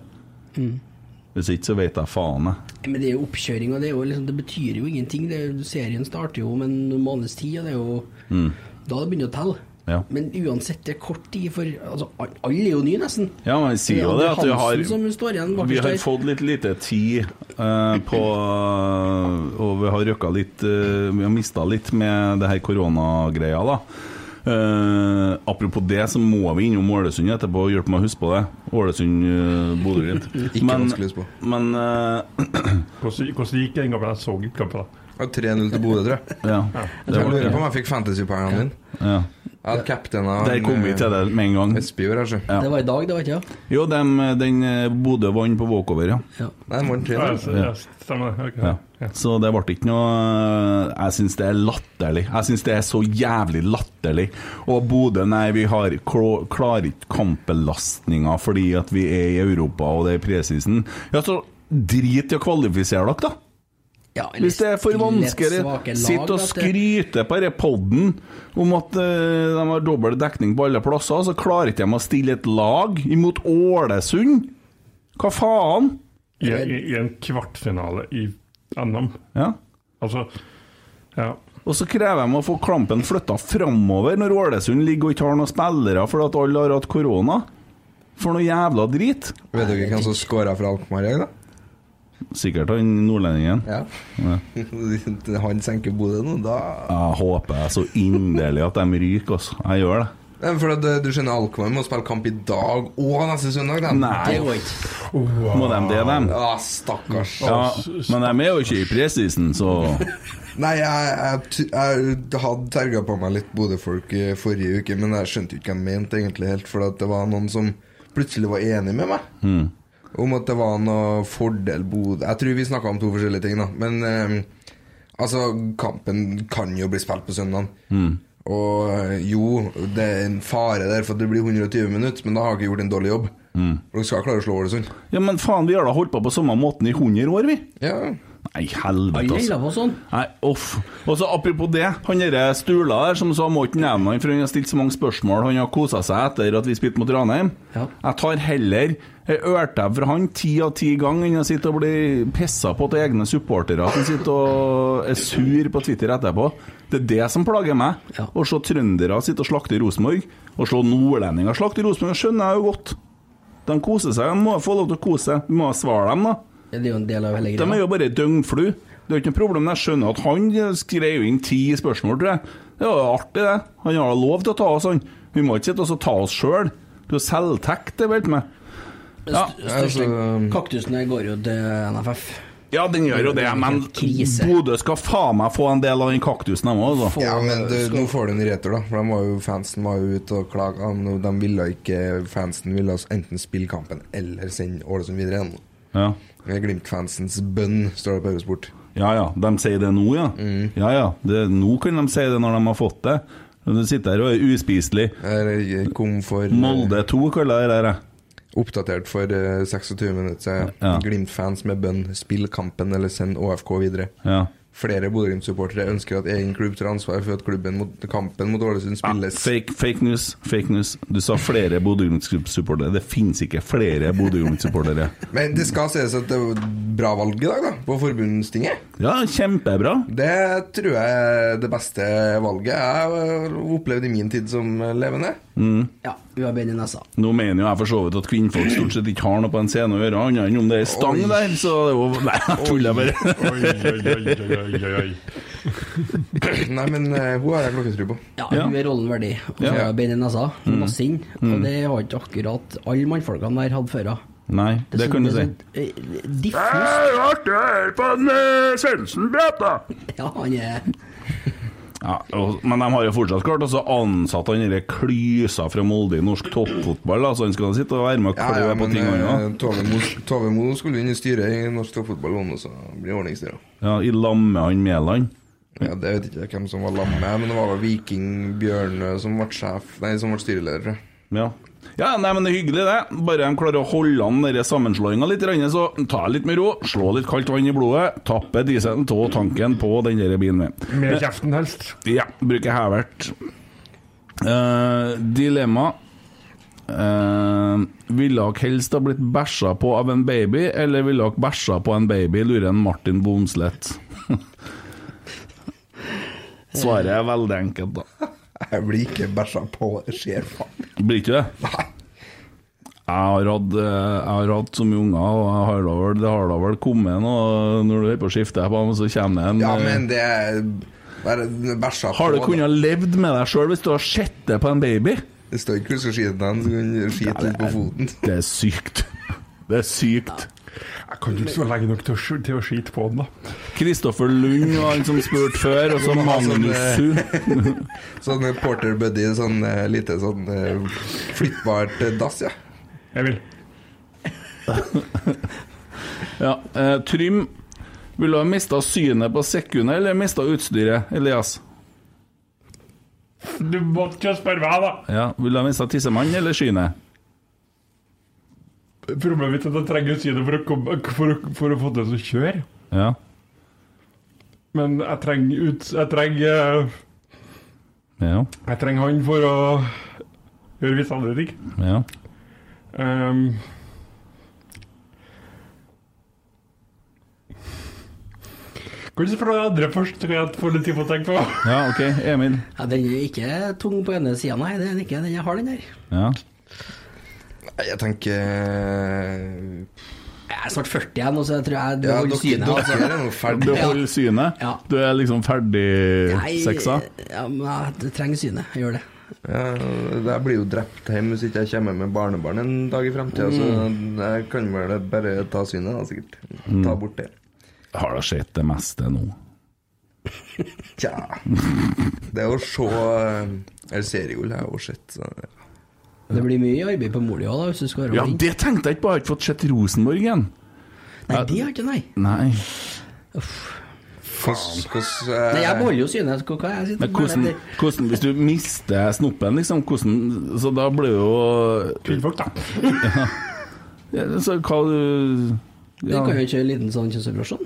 Mm. Eh,
Hvis ikke så vet jeg faen, jeg.
Men det er jo oppkjøring, og det, er jo liksom, det betyr jo ingenting. Det er, jo- serien starter jo om en måneds tid, og det er jo
Mm.
da det begynner å telle.
Ja.
Men uansett, det er kort tid, for altså, all- alle er jo nye, nesten.
Ja, men jeg sier jo det at vi har-
Hansen som står igjen
Vi
bakerst
har
der.
fått litt lite tid eh, på eh, Og vi har røkka litt eh, Vi har mista litt med det her koronagreia, da. Eh, apropos det, så må vi innom Ålesund etterpå og hjelpe meg å huske på det. Ålesund-Bodø-Glimt.
Ikke vanskelig å huske på.
Men
eh,
Hvordan hvordan gikk den kampen? Jeg så ikke kampen, da.
3-0 til Bodø, tror jeg.
Ja.
Jeg tror jeg lurer på om jeg fikk fantasypoengene mine.
Ja.
Jeg hadde captaina
Der kom vi til det med en gang. Ja.
Det var i dag, det var ikke det?
Jo, dem, den eh, Bodø vant på walkover, ja.
Nei, morgen tre,
Ja,
da.
altså. ja, stemmer det. ok.
Ja. Så det ble ikke noe eh, Jeg syns det er latterlig. Jeg syns det er så jævlig latterlig. Og Bodø, nei, vi har klo- klarer ikke kampbelastninga fordi at vi er i Europa og det er presisen. Ja, så drit i å kvalifisere dere, da! Hvis det er for vanskelig, sitt og skryte på denne poden om at eh, de har dobbel dekning på alle plasser, så klarer ikke de å stille et lag imot Ålesund! Hva faen?
I, i, I en kvartfinale i NM.
Ja.
Altså Ja.
Og så krever de å få klampen flytta framover når Ålesund ligger og ikke har noen spillere fordi at alle har hatt korona. For noe jævla drit.
Vet dere hvem som skåra for Alkmaar i dag, da?
Sikkert han nordlendingen.
Ja.
Ja.
Han senker Bodø nå, da
Jeg håper jeg så inderlig at de ryker, altså. Jeg gjør det.
Nei, men For at eh, du skjønner, Alkmaar må spille kamp i dag og neste søndag, da.
Nei. Det går Må de det, dem?
Ja, stakkars.
Ja, men de er jo ikke i presisen, så
Nei, jeg, jeg, t- jeg hadde terga på meg litt Bodø-folk eh, forrige uke, men jeg skjønte jo ikke hva de mente egentlig helt, for at det var noen som plutselig var enig med meg.
mm.
Om at det var noe fordel Bodø Jeg tror vi snakka om to forskjellige ting, da. Men eh, altså, kampen kan jo bli spilt på søndag.
Mm.
Og eh, jo, det er en fare der for at det blir 120 minutter, men da har jeg ikke gjort en dårlig jobb.
Mm.
For dere skal klare å slå Ålesund.
Ja, men faen, vi har da holdt på på samme måten i 100 år, vi.
Ja.
Nei, helvete, altså.
Alle holder på sånn.
Nei, off. Og så apropos det, han derre Stula der som sa må ikke nevne han, for han har stilt så mange spørsmål, han har kosa seg etter at vi spilte mot Ranheim. Jeg tar heller ei ørtev fra han ti av ti ganger enn å sitte og bli pissa på til egne supportere som sitter og er sur på Twitter etterpå. Det er det som plager meg. Å se trøndere sitte og slakte Rosenborg, og se nordlendinger slakte Rosenborg, skjønner jeg jo godt. De koser seg, de må få lov til å kose seg. Vi må svare dem, da.
Ja, Det er jo en del av hele
De er
greia.
jo bare døgnflu. Det er jo ikke noe problem. Jeg skjønner at han skrev inn ti spørsmål, tror jeg. Det var jo artig, det. Han har lov til å ta oss, han. Vi må ikke sitte og så ta oss sjøl. Det er jo selvtekt, det vet vi. Ja.
Den største kaktusene går jo til NFF.
Ja, den gjør jo det, men Bodø skal faen meg få en del av den kaktusen, de òg, altså.
Ja, men du, nå får du en retur, da. For de var jo, fansen var jo ute og klaga. og De ville ikke Fansen ville oss enten spille kampen eller sende Ålesund videre igjen.
Ja.
Det er Glimt-fansens bønn, står det på Eurosport. Mm.
Ja ja, de sier det nå, ja. Ja ja, det, nå kan de si det når de har fått det. Men Du sitter her og er uspiselig. Molde 2 kaller jeg det her. jeg.
Oppdatert for eh, 26 minutter siden.
Ja.
Glimt-fans med bønn 'spill kampen eller send ÅFK videre'.
Ja.
Flere Bodø-Glimt-supportere ønsker at egen klubb tar ansvar for at klubben mot, kampen mot Ålesund spilles.
Fake, fake news, fake news. Du sa flere Bodø Glimt-supportere. Det finnes ikke flere Bodø Glimt-supportere.
Men det skal sies at det var bra valg i dag, da, på forbundstinget.
Ja, kjempebra.
Det tror jeg er det beste valget jeg har opplevd i min tid som levende.
Mm.
Ja, UAB i nesa.
Nå mener jo jeg for så vidt at kvinnfolk stort sett ikke har noe på en scene å gjøre, annet enn om det er stang
Oi.
der, så det er jo Nei, jeg tuller bare.
Nei, men eh, hun har jeg klokketro på.
Ja, hun er rollen verdig. Og så
Ja.
er hun bein i nesa,
Mm.
masse inn. Og
Mm.
det har ikke akkurat alle mannfolkene der hatt før av.
Nei,
Det
det
er
kan du
så-
si.
det er så, eh,
Det
Diffust.
er artig å høre på en Svendsen-brett, da!
Ja, han er
Ja, og, men de har jo fortsatt klart å ansette han derre klysa fra Molde i norsk toppfotball, da, så han skal sitte og være med og
Ja,
klø
ja,
på
men
ting han
eh,
òg.
Tove Mo- Tove Mo skulle inn i styret i norsk toppfotball nå, så det blir ordningsstyret.
Ja, I lam med han Mæland.
Ja, det vet ikke jeg hvem som var lamme, men det var vel Viking Bjørnø som ble sjef Nei, som ble styreleder, tror jeg.
Ja. ja, nei, men det er hyggelig, det. Bare de klarer å holde an denne sammenslåinga litt, grann, så ta det litt med ro, slå litt kaldt vann i blodet, tappe dieselen av tanken på den der bilen min.
Med kjeften helst.
Ja, bruker hevert. Eh, dilemma. Eh, ville dere helst ha blitt bæsja på av en baby, eller ville dere bæsja på en baby, lurer en Martin Bomslett. Svaret er veldig enkelt, da.
Jeg blir ikke bæsja på, det skjer faen.
Blir ikke det? Jeg har, hatt, eh, jeg har hatt så mye unger, og jeg har da vel, det har da vel kommet noe når du er på skiftet, på dem, så kommer det en
Ja,
eh,
men det er bare bæsja på.
Har du
da.
kunnet levd med deg sjøl hvis du har sett det på en baby?
Det står ikke hvordan du skal skite den, så kan du skite litt på foten.
Det er sykt. Det er sykt.
Jeg kan jo ikke stå lenge nok til å, sk- til å skite på den, da.
Kristoffer Lund var han som spurte før, og så
Du må ha sånn,
Magnus Su.
Sånn eh, porter buddy, sånn eh, lite sånn eh, flyttbart eh, dass, ja.
Jeg vil.
Ja, eh, Trym, vil du ha mista synet på sekundet, eller mista utstyret, Elias?
Du måtte ikke spørre meg, da.
Ja, Vil du ha mista tissemannen eller synet?
Problemet mitt er at jeg trenger å si det for å, komme, for, å, for å få det til å kjøre.
Ja.
Men jeg trenger ut... Jeg trenger eh,
Ja.
Jeg trenger han for å gjøre visse andre ting.
ja.
Ehm. kan du spørre noen andre først, så kan jeg få litt tid på å tenke på?
ja, OK. Emil.
ja, Den er ikke tung på ene sida, nei. Den er ikke, den er hard, den der.
Ja.
Nei, Jeg tenker eh,
Jeg er snart 40 igjen, og så jeg tror jeg
Ja,
beholder
dere-
synet.
dere
altså.
er jo ferdig.
Behold synet. Du er liksom ferdig
Nei,
seksa?
Ja, men jeg jeg trenger synet. Jeg gjør det.
Ja, jeg blir jo drept hjemme hvis ikke jeg kommer med barnebarn en dag i fremtiden så jeg kan vel bare ta synet, da, sikkert. Ta
Mm.
bort det.
Har da sett det meste nå.
Tja Det å se eh, Eller seriegull har jeg jo sett. så, ja.
Det blir mye arbeid på Molia da, hvis du skal være
Ja,
med inn.
det tenkte jeg ikke på, jeg har ikke fått sett Rosenborg igjen.
Nei, det har ikke, nei.
Nei.
Hvordan hvordan,
Nei, jeg
eh,
beholder jo synet. Hva hva er jeg sitter
Men hvordan,
med?
hvordan, hvis du mister snoppen, liksom, hvordan Så da blir jo
Kvinnfolk, da.
Ja. ja. Så hva du
Du
ja.
kan jo kjøre en liten sånn kjønnsoperasjon.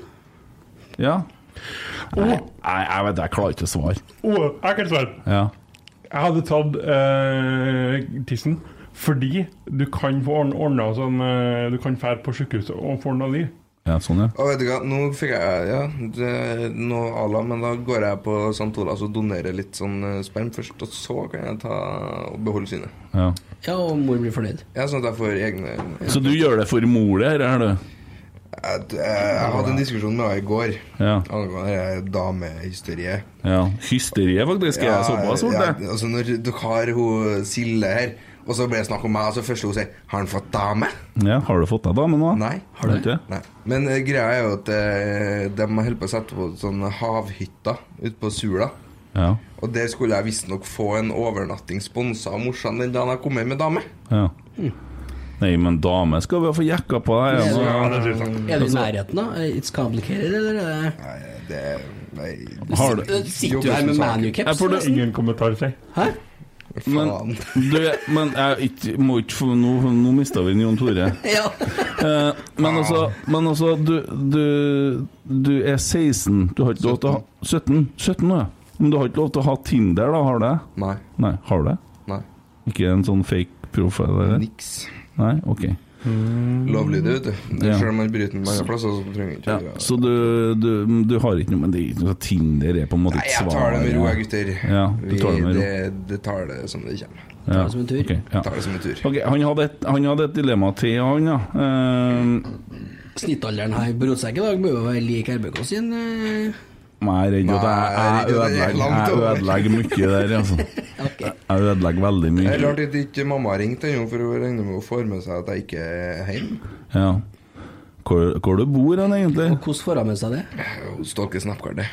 ja. Nei, nei, jeg vet jeg klarer ikke å svare.
Oh, jeg kan svare.
Ja.
Jeg hadde tatt eh, tissen fordi du kan få ordn- ordna sånn eh, Du kan fære på sykehuset og få ordna liv.
ja, sånn, ja.
Å, vet du hva, nå fikk jeg ja, det, noe à la, men da går jeg på St. Olavs og donerer litt sånn eh, sperm først, og så kan jeg ta og beholde synet.
ja.
Ja, og mor blir fornøyd.
Ja, sånn at jeg får egne
Så du gjør det for mor, det her, er du?
Jeg, jeg, jeg hadde en diskusjon med henne i går
Ja.
angående eh, damehysteriet.
ja. Hysteriet, faktisk. er såpass fort,
ja,
det.
altså når dere har hun Silje her Og så ble det snakk om meg, og så først hun sier 'Har han fått dame?'
Ja, har du fått deg dame nå?
Nei.
Har du ikke?
Nei. Men eh, greia er jo at eh, de holder på å sette på sånne havhytter ute på Sula.
Ja.
Og der skulle jeg visstnok få en overnatting sponsa av morsan den dagen jeg kom hjem med dame.
ja. Nei, men dame skal vi ha få jekka på deg.
Er du-
altså.
Er du i
Altså,
nærheten, da? It's complicated, eller? er det- eh?
Har du?
Sitter- Sitter du her med
Ja,
manucaps?
for det-
Ingen kommentar, si.
Men, du, men jeg, ikke, må ikke, få- nå, nå mista vi en Jon Tore. Eh, men altså, men altså du, du, du er 16. Du har ikke lov til å ha 17? 17 nå, ja. Men du har ikke lov til å ha Tinder, da? Har du det?
Nei.
Nei, har du det?
Nei.
Ikke en sånn fake profil? Eller?
Niks.
Nei, ok.
Lovlydig, vet du. Det er
Ja.
Selv om man bryter den mange plasser, så trenger man ikke å
Ja,
gjøre det.
så du, du, du har ikke noe med det så Tinder er på en måte
Nei,
ikke
jeg
svaret?
tar det med ro, jeg, gutter.
Ja, du
Vi-
tar det med ro.
det, det tar det som det kommer.
Ja, Tar det som en tur. ok, ja.
Tar det som en tur.
Ok, han, hadde et, han hadde et dilemma til, han, ja. Eh,
Snittalderen her på Rotsekk i dag må jo være lik RBK sin. eh.
Nei, jeg er redd
Nei,
at jeg, jeg,
det er
ødelegger,
langt
jeg
over.
ødelegger mye der, altså. Jeg ødelegger veldig
Det er
mye.
rart at ikke mamma har ringt ennå, for hun regner med å få med seg at jeg ikke er hjemme.
Ja. Hvor, hvor du bor hen, egentlig?
Hvordan får hun med seg det?
Hun stalker Snapcard, det.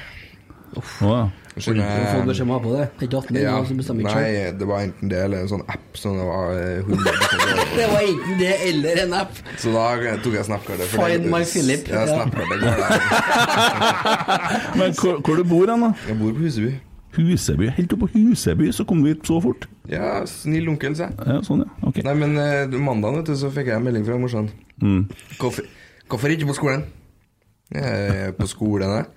Å, ja.
Hun får beskjed om å ha på det. Det er ikke 18 år
Ja,
som bestemmer ikke selv.
nei, det var enten det eller en sånn app som det var eh, 100% over.
Det var enten det eller en app.
Så da tok jeg Snapcard. for det-
Find my Philip.
Ja,
Ja.
Snapcard, det går der.
Men hvor, hvor du bor hen, da?
Jeg bor på Huseby.
Huseby? Helt oppe på Huseby, så kom vi hit så fort?
Ja, snill onkel, sa jeg.
Ja, sånn, ja. Ok.
Nei, men eh, mandagen, vet du, så fikk jeg en melding fra morsan.
Mm.
Hvorfor, hvorfor ikke på skolen? Jeg er på skolen, jeg.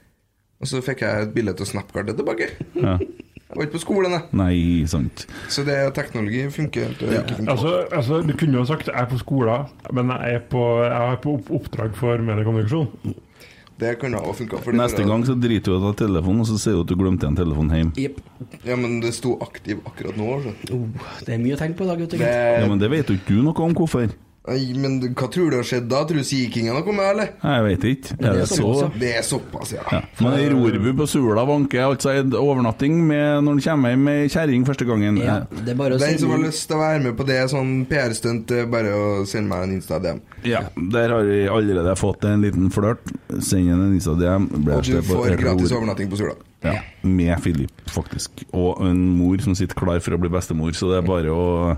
Og så fikk jeg et bilde av Snapcard tilbake.
Ja.
Jeg var ikke på skolen, jeg.
Nei, sant.
Så det er teknologi funker. Det ikke funker.
Altså, altså, du kunne jo ha sagt 'jeg er på skolen', men jeg er på, jeg er på opp- oppdrag for mediekommunikasjon.
Det kan ha funka.
Neste gang så driter du i å ta telefonen, og så sier du at du glemte en telefon hjem.
Ja, men det sto aktiv akkurat nå. Så.
Oh, Det er mye å tenke på i dag, gutter.
Det-
Ja, men det vet jo ikke du noe om hvorfor.
Nei, men hva tror du har skjedd da? Tror du Sea King har kommet, eller?
Jeg vet ikke. Er det
sånn
så
Det er såpass, ja.
ja. Men ei rorbu på Sula vanker altså en overnatting med, når han kommer hjem med kjerring første gangen.
Ja,
det er bare å
Den
sende-
som har lyst til å være med på det sånn PR-stunt, eh, bare å sende meg en Insta-DM.
Ja, der har vi allerede fått en liten flørt. Send henne en Insta-DM. Blir
Og du
jeg på
får gratis
ror-
overnatting på Sula.
Ja, med Philip, faktisk. Og en mor som sitter klar for å bli bestemor, så det er bare å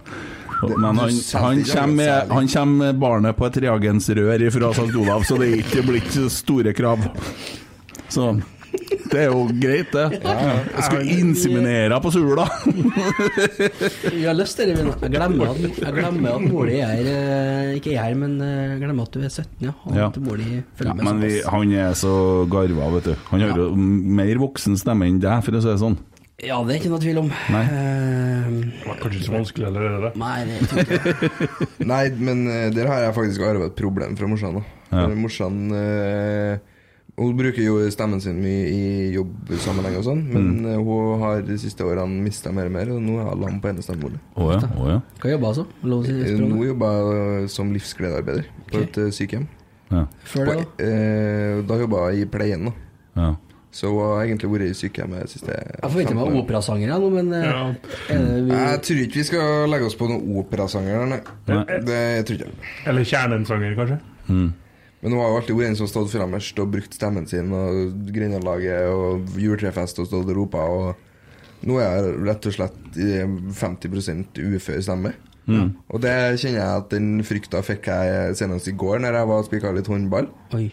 Det-
Men
du
han,
selger
han,
ikke
kommer,
noe
med-
særlig.
han kommer med barnet på et reagensrør fra St. Olav, så det er ikke blir ikke store krav. Så det er jo greit, det. Jeg skulle inseminere på Sula.
Vi har lyst til det, men jeg glemmer at, jeg glemmer at mora er eh, Ikke jeg, men eh, jeg glemmer at du er 17, ja. Og
Ja.
at mora
Ja,
følger med
men vi,
såpass.
han er så garva, vet du. Han har jo mer voksen stemme enn deg, for å si det sånn.
Ja, det er ikke noe tvil om.
Nei.
Eh,
Kanskje ikke så vanskelig, eller er det det?
Nei, det tror jeg ikke.
Nei, men eh, der har jeg faktisk arva et problem fra morsan. da.
Ja.
For Morsan eh, hun bruker jo stemmen sin mye i jobbsammenheng og
Mm.
sånn, men eh, hun har de siste årene mista mer og mer, og nå har jeg lam på ene stemmebordet.
Å ja, å ja.
Hva jobber altså? Lov å si
Eh,
spørre om
Nå
det?
jobber jeg som livsgledearbeider på et eh, sykehjem.
Ja.
Før det,
da? Eh, da jobba jeg i pleien, da.
Ja.
Så hun har egentlig vært i sykehjemmet de siste
Jeg forventer
15
meg
årene.
operasanger jeg, nå, men eh, er det vi,
Jeg tror ikke vi skal legge oss på noen operasanger, nei. Det tror jeg ikke.
Eller kjernensanger, kanskje?
Mm.
Men hun har jo alltid vært en som stått fremmest og brukt stemmen sin, og Grendalaget og juletrefest og stått og ropa, og nå er jeg rett og slett i 50 ufør stemme.
Mm.
Og det kjenner jeg at den frykta fikk jeg senest i går, når jeg var og spikka litt håndball.
Oi.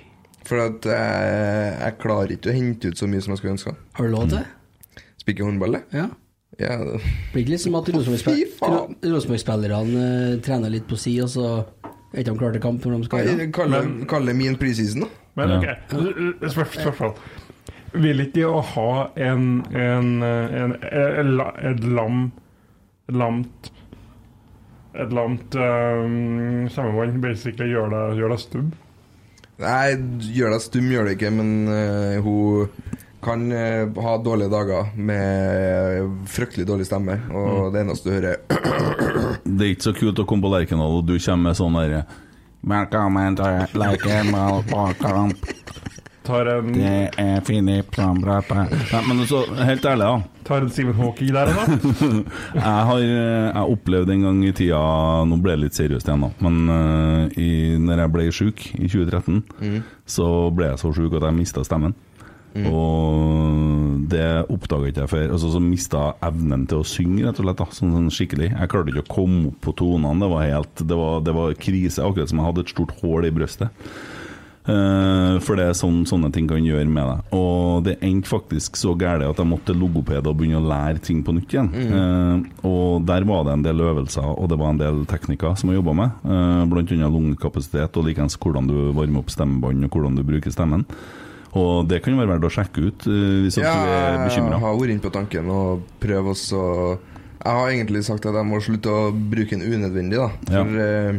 For at jeg, jeg klarer ikke å hente ut så mye som jeg skulle ønske.
Har du lov til det?
Spikke håndball,
det?
Ja. det-
Blir det litt som at Rosenborg-spillerne Rosenborg-spillerne, eh, trener litt på si, og så er ikke de klare til kamp når de skal gjøre
Nei, Kall det- kall det min preseason, da.
Men
Ja.
ok, Spør- spørsmål. Vil ikke det å ha en, en, en, en, la- et lam et lamt et lamt um, stemmebånd basically gjør deg, gjør deg stubb?
Nei, gjør deg stum, gjør det ikke, men eh, hun kan eh, ha dårlige dager med fryktelig dårlig stemme, og
Mm.
det eneste du hører er
Det er ikke så kult å komme på Lerkendal, og du kommer med sånn derre Velkommen til Lerkendal på kamp.
tar en
Det er fine planbraper. Ja, men så, helt ærlig, da.
Tar en Stephen Hawking der, da?
jeg har eh, jeg opplevde en gang i tida Nå ble det litt seriøst igjen, da. Men eh, i, når jeg ble sjuk i 2013,
Mm.
så ble jeg så sjuk at jeg mista stemmen.
Mm.
Og det oppdaga ikke jeg før. Altså, så mista jeg evnen til å synge, rett og slett. Da. Sånn, sånn skikkelig. Jeg klarte ikke å komme opp på tonene. Det var, helt, det, var, det var krise, akkurat som jeg hadde et stort hull i brøstet. Eh, for det er sånn sånne ting kan gjøre med deg. Og det endte faktisk så gærent at jeg måtte til logoped og begynne å lære ting på nytt igjen. Eh, og der var det en del øvelser, og det var en del teknikker som jeg jobba med. Uh, blant annet lungekapasitet, og likeens hvordan du varmer opp stemmebånd, og hvordan du bruker stemmen. Og det kan jo være verdt å sjekke ut eh, hvis at du er bekymra.
jeg har vært inne på tanken og prøve også Jeg har egentlig sagt at jeg må slutte å bruke den unødvendig, da.
Ja.
For eh,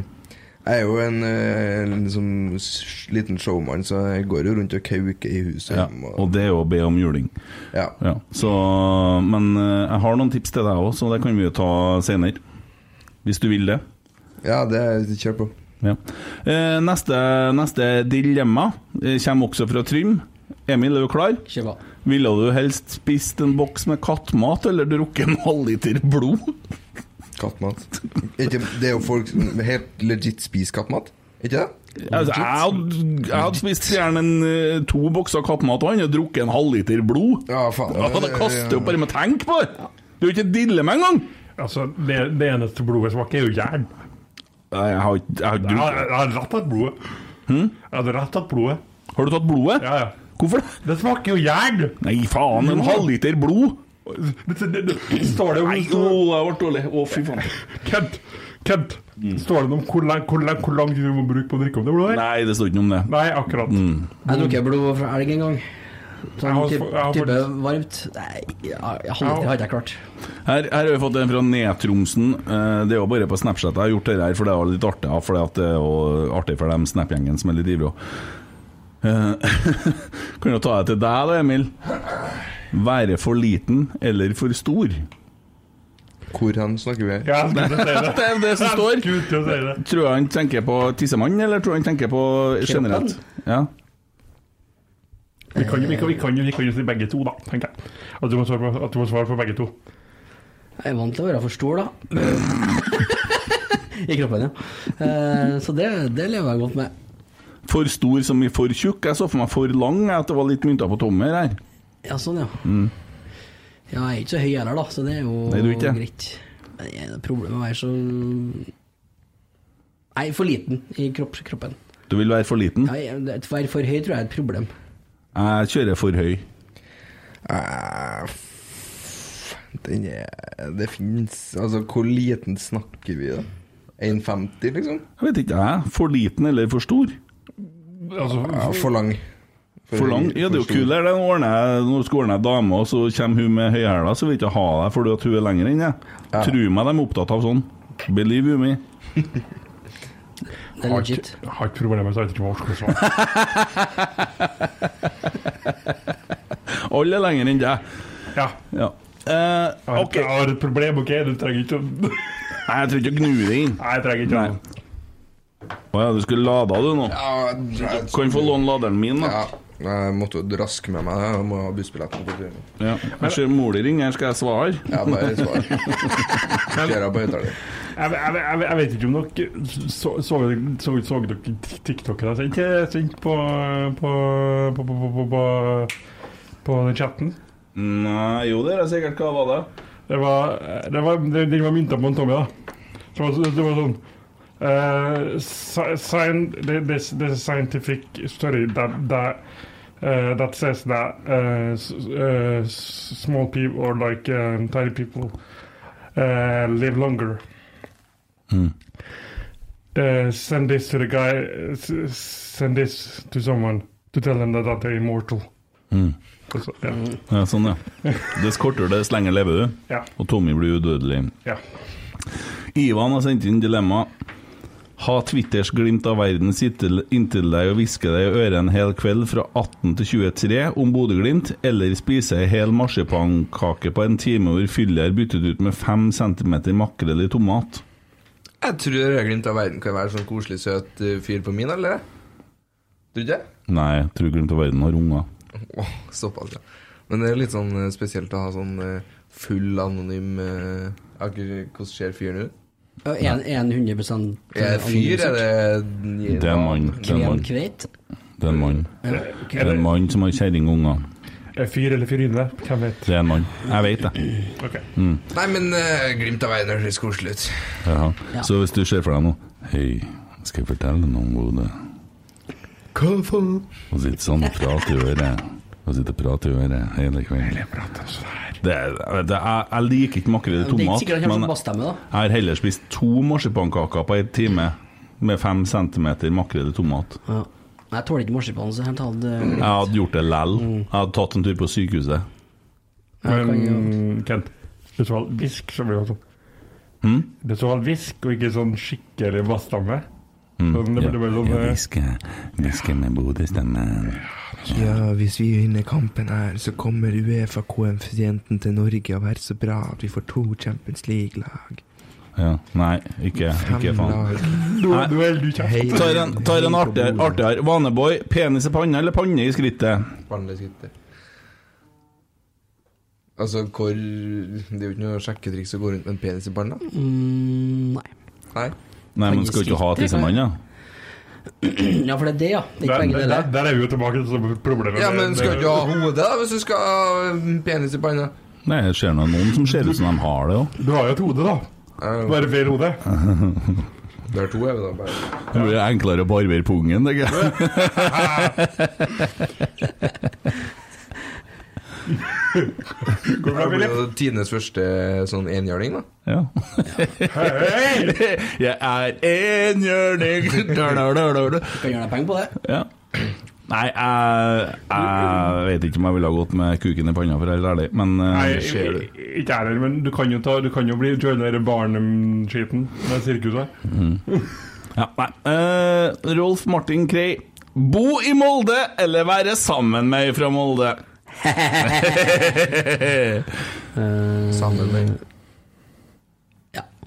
jeg er jo en, eh, en liksom, s- liten showman, så jeg går jo rundt og kauker i huset.
Ja,
hjemme,
og det er jo å be om juling.
Ja.
så, men eh, jeg har noen tips til deg òg, så det kan vi jo ta senere. Hvis du vil det.
Ja, det kjør på.
Ja. Eh, neste, neste dilemma eh, kommer også fra Trym. Emil, er du klar? Ville du helst spist en boks med kattmat eller drukket en halvliter blod?
Kattmat. Ikke, det er jo folk som helt legit spiser kattmat, ikke det?
Altså, jeg, hadde, jeg hadde spist gjerne en, eh, to bokser kattmat og han hadde drukket en halvliter blod.
Ja, faen.
Da hadde jeg kastet opp bare med tenk på det! Det er jo ikke et dilemma engang!
Altså, det, det eneste blodet smaker, er jo jern.
Jeg har, jeg har
jeg, har- jeg har rett tatt blodet. Jeg hadde rett tatt blodet.
Hm? Har du tatt blodet?
Ja, ja.
Hvorfor
det? Det smaker jo jern!
Nei, faen, en
Jo.
halvliter blod!
Står det om
Nei, åh, jeg ble dårlig. Å, fy faen. Mm.
Kent, Kent. Står det noe om hvor lang, hvor, lang, hvor lang tid du må bruke på å drikke om det blodet?
Nei, det står ikke noe om det. Mm.
Nei, akkurat.
Jeg drukket blod fra elg en gang.
Jeg
Sånn
har-
type,
jeg har
type
fått-
varmt. Nei, jeg, jeg holder, har ikke jeg klart.
Her, her har vi fått en fra Ned-Tromsen. Eh, Det er jo bare på Snapchat jeg har gjort det her, for det er jo litt artig. ja, For det at det er jo artig for dem Snap-gjengen som er litt ivrige. Eh, kan jo ta det til deg da, Emil. Være for liten eller for stor?
Hvor hen snakker vi?
Ja, jeg skulle til å si det.
det er det som står.
Jeg skulle til å si det.
Tror du han tenker på tissemann, eller tror du han tenker på generelt? Ja.
Vi kan jo vi kan, vi kan, jo- vi kan jo si begge to, da, tenker jeg. At du må svare på, at du må svare på begge to.
Jeg er vant til å være for stor, da. I kroppen, ja. Eh, så det, det lever jeg godt med.
For stor som i for tjukk? Jeg så for meg for lang, jeg, at det var litt mynter på tommer her.
Ja, sånn, ja.
Mm.
Ja, jeg er ikke så høy heller, da, så det er jo
Nei, du er ikke.
greit. Men det er problemet med å være så Jeg er for liten i kropp, kroppen.
Du vil være for liten?
Ja, jeg, det- å være for høy tror jeg er et problem.
Jeg kjører for høy.
Eh, Den er, det fins Altså, hvor liten snakker vi, da? 1,50, liksom?
Jeg vet ikke, jeg. For liten eller for stor?
Altså,
ja, for lang.
For lang? Ja, det er jo
for stor.
kulere. det. Nå ordner jeg- Nå skal jeg ordne ei dame, og så kommer hun med høyhæla, så vil jeg ikke ha deg fordi at hun er lenger enn deg.
Ja.
Tro meg, de er opptatt av sånn. Believe you me.
Det er
Har
legit.
ikke- Har ikke problemer med så jeg vet ikke hva jeg skal svare.
Alle er lenger enn deg.
Ja.
Eh,
Jeg har, jeg har et problem, OK? Du trenger ikke å Nei,
jeg trenger ikke å gnu det inn.
Nei, jeg trenger ikke å
Å ja, du skulle lada du nå?
jeg-
kan få låne laderen min, da.
Jeg måtte jo raske med meg. Jeg må ha bussbilletten på turen.
Ja. Jeg ser mor di ringer, skal jeg svare?
Ja, bare svar. Kjører jeg på høyttaler.
Jeg, jeg, jeg, jeg vet ikke om dere så, så, så, så dere TikTok-en jeg sendte sendte på, på, på, på, på, på, på, på den chatten?
Nei, jo det er sikkert. Hva var det?
Det var, det var, det, den var mynta på en Tommy, da. Så var- det, det var sånn eh, sci- scien- the, the, the scientific story that, that, eh, that says that eh, s- eh, s- small people or like eh, tiny people eh, live longer. Uh, send this to the guy. uh, s- s- Send this to someone to tell them that, that they're immortal.
Mm.
Og så- ja.
Ja, sånn, ja. Dess kortere, dess lenger lever du.
Ja.
Og Tommy blir udødelig.
Ja.
Ivan har sendt inn dilemma. Ha Twitters glimt av verden sitte inntil deg og hviske deg i øret en hel kveld fra 18 til 23 om Bodø-Glimt, eller spise ei hel marsipankake på en time hvor fyllet er byttet ut med 5 cm makrell i tomat.
Jeg tror Rødglimt av verden kan være sånn koselig, søt eh, fyr på min, eller? Tror du ikke? det?
Nei, jeg tror grunnen til verden har unger.
Åh, Såpass, ja. Men det er litt sånn eh, spesielt å ha sånn eh, full anonym eh, akkur- Hvordan ser fyren ut?
Ja, en- en eh, 100%
Er det fyr, er det
Det er en mann. Det er en mann.
Kremkveit?
Det er en mann.
Ja.
Det er en mann som har kjerring og unger.
Er det fyr Eh, eller fyrinne? Hvem vet?
Det er en mann. Jeg vet det. Mm.
Nei, men eh, glimt av øynene høres koselig ut.
Jaha.
Ja.
Så hvis du ser for deg nå Hei, skal jeg fortelle noe om Bodø?
Hva faen?
Og sitte sånn og prate i øret. Og sitte og prate i øret hele kvelden. Det, er- jeg vet det, jeg, jeg liker ikke makrell i
Det er ikke
tomat,
sikkert han sånn kommer
men
til å basse deg med, da.
jeg har heller spist to marsipannkaker på en time med fem centimeter makrell i tomat.
Ja. Nei, Jeg tåler ikke marsipan, så jeg hadde
Mm.
Jeg hadde gjort det lell.
Mm.
Jeg hadde tatt en tur på sykehuset.
Men Kent, hvis du hadde visk, så blir det sånn.
Mm?
Hvis du hadde visk, og ikke sånn skikkelig bassstamme sånn, det
Mm, Ja.
blir bare sånn
Ja,
eh,
hviske- hviske med Bodø-stemmen.
Ja, hvis vi vinner kampen her, så kommer Uefa-koeffisienten til Norge å være så bra at vi får to Champions League-lag.
Ja. Nei, ikke, ikke
Fem
faen.
lag.
Nei.
Du er du kjeft.
Tar en, tar en artigere, artigere. Vaneboy, penis i panna eller panne i skrittet?
Barneskrittet. Altså, hvor Det er jo ikke noe sjekketriks å gå rundt med en penis i panna.
Mm, nei.
Nei.
Nei, men skal ikke ha tissemann, da?
Ja, for det er det, ja. Det er ikke
Der,
begge
der, der,
deler.
der er vi jo tilbake til problemet.
Ja,
med-
men skal du ikke ha hodet, da, hvis du skal ha en penis i panna?
Nei, jeg ser nå noen som ser ut som de har det òg.
Du har jo et hode, da. Bare feil hode.
Det er to hoder, da. bare.
Det blir enklere å barbere pungen, tenker
Det blir jo tidenes første sånn enhjørning, da.
Ja. jeg. Jeg er enhjørning
Du kan gjøre deg penger på det.
Ja. Nei, jeg, jeg vet ikke om jeg ville ha gått med kuken i panna, for å være helt ærlig, men eh,
Nei, ikke jeg heller, men du kan jo, ta, du kan jo bli joine den der barneskiten med sirkuset.
Mm. Ja, nei. Eh, Rolf Martin Krei. Bo i Molde eller være sammen med ei fra Molde?
Sammen med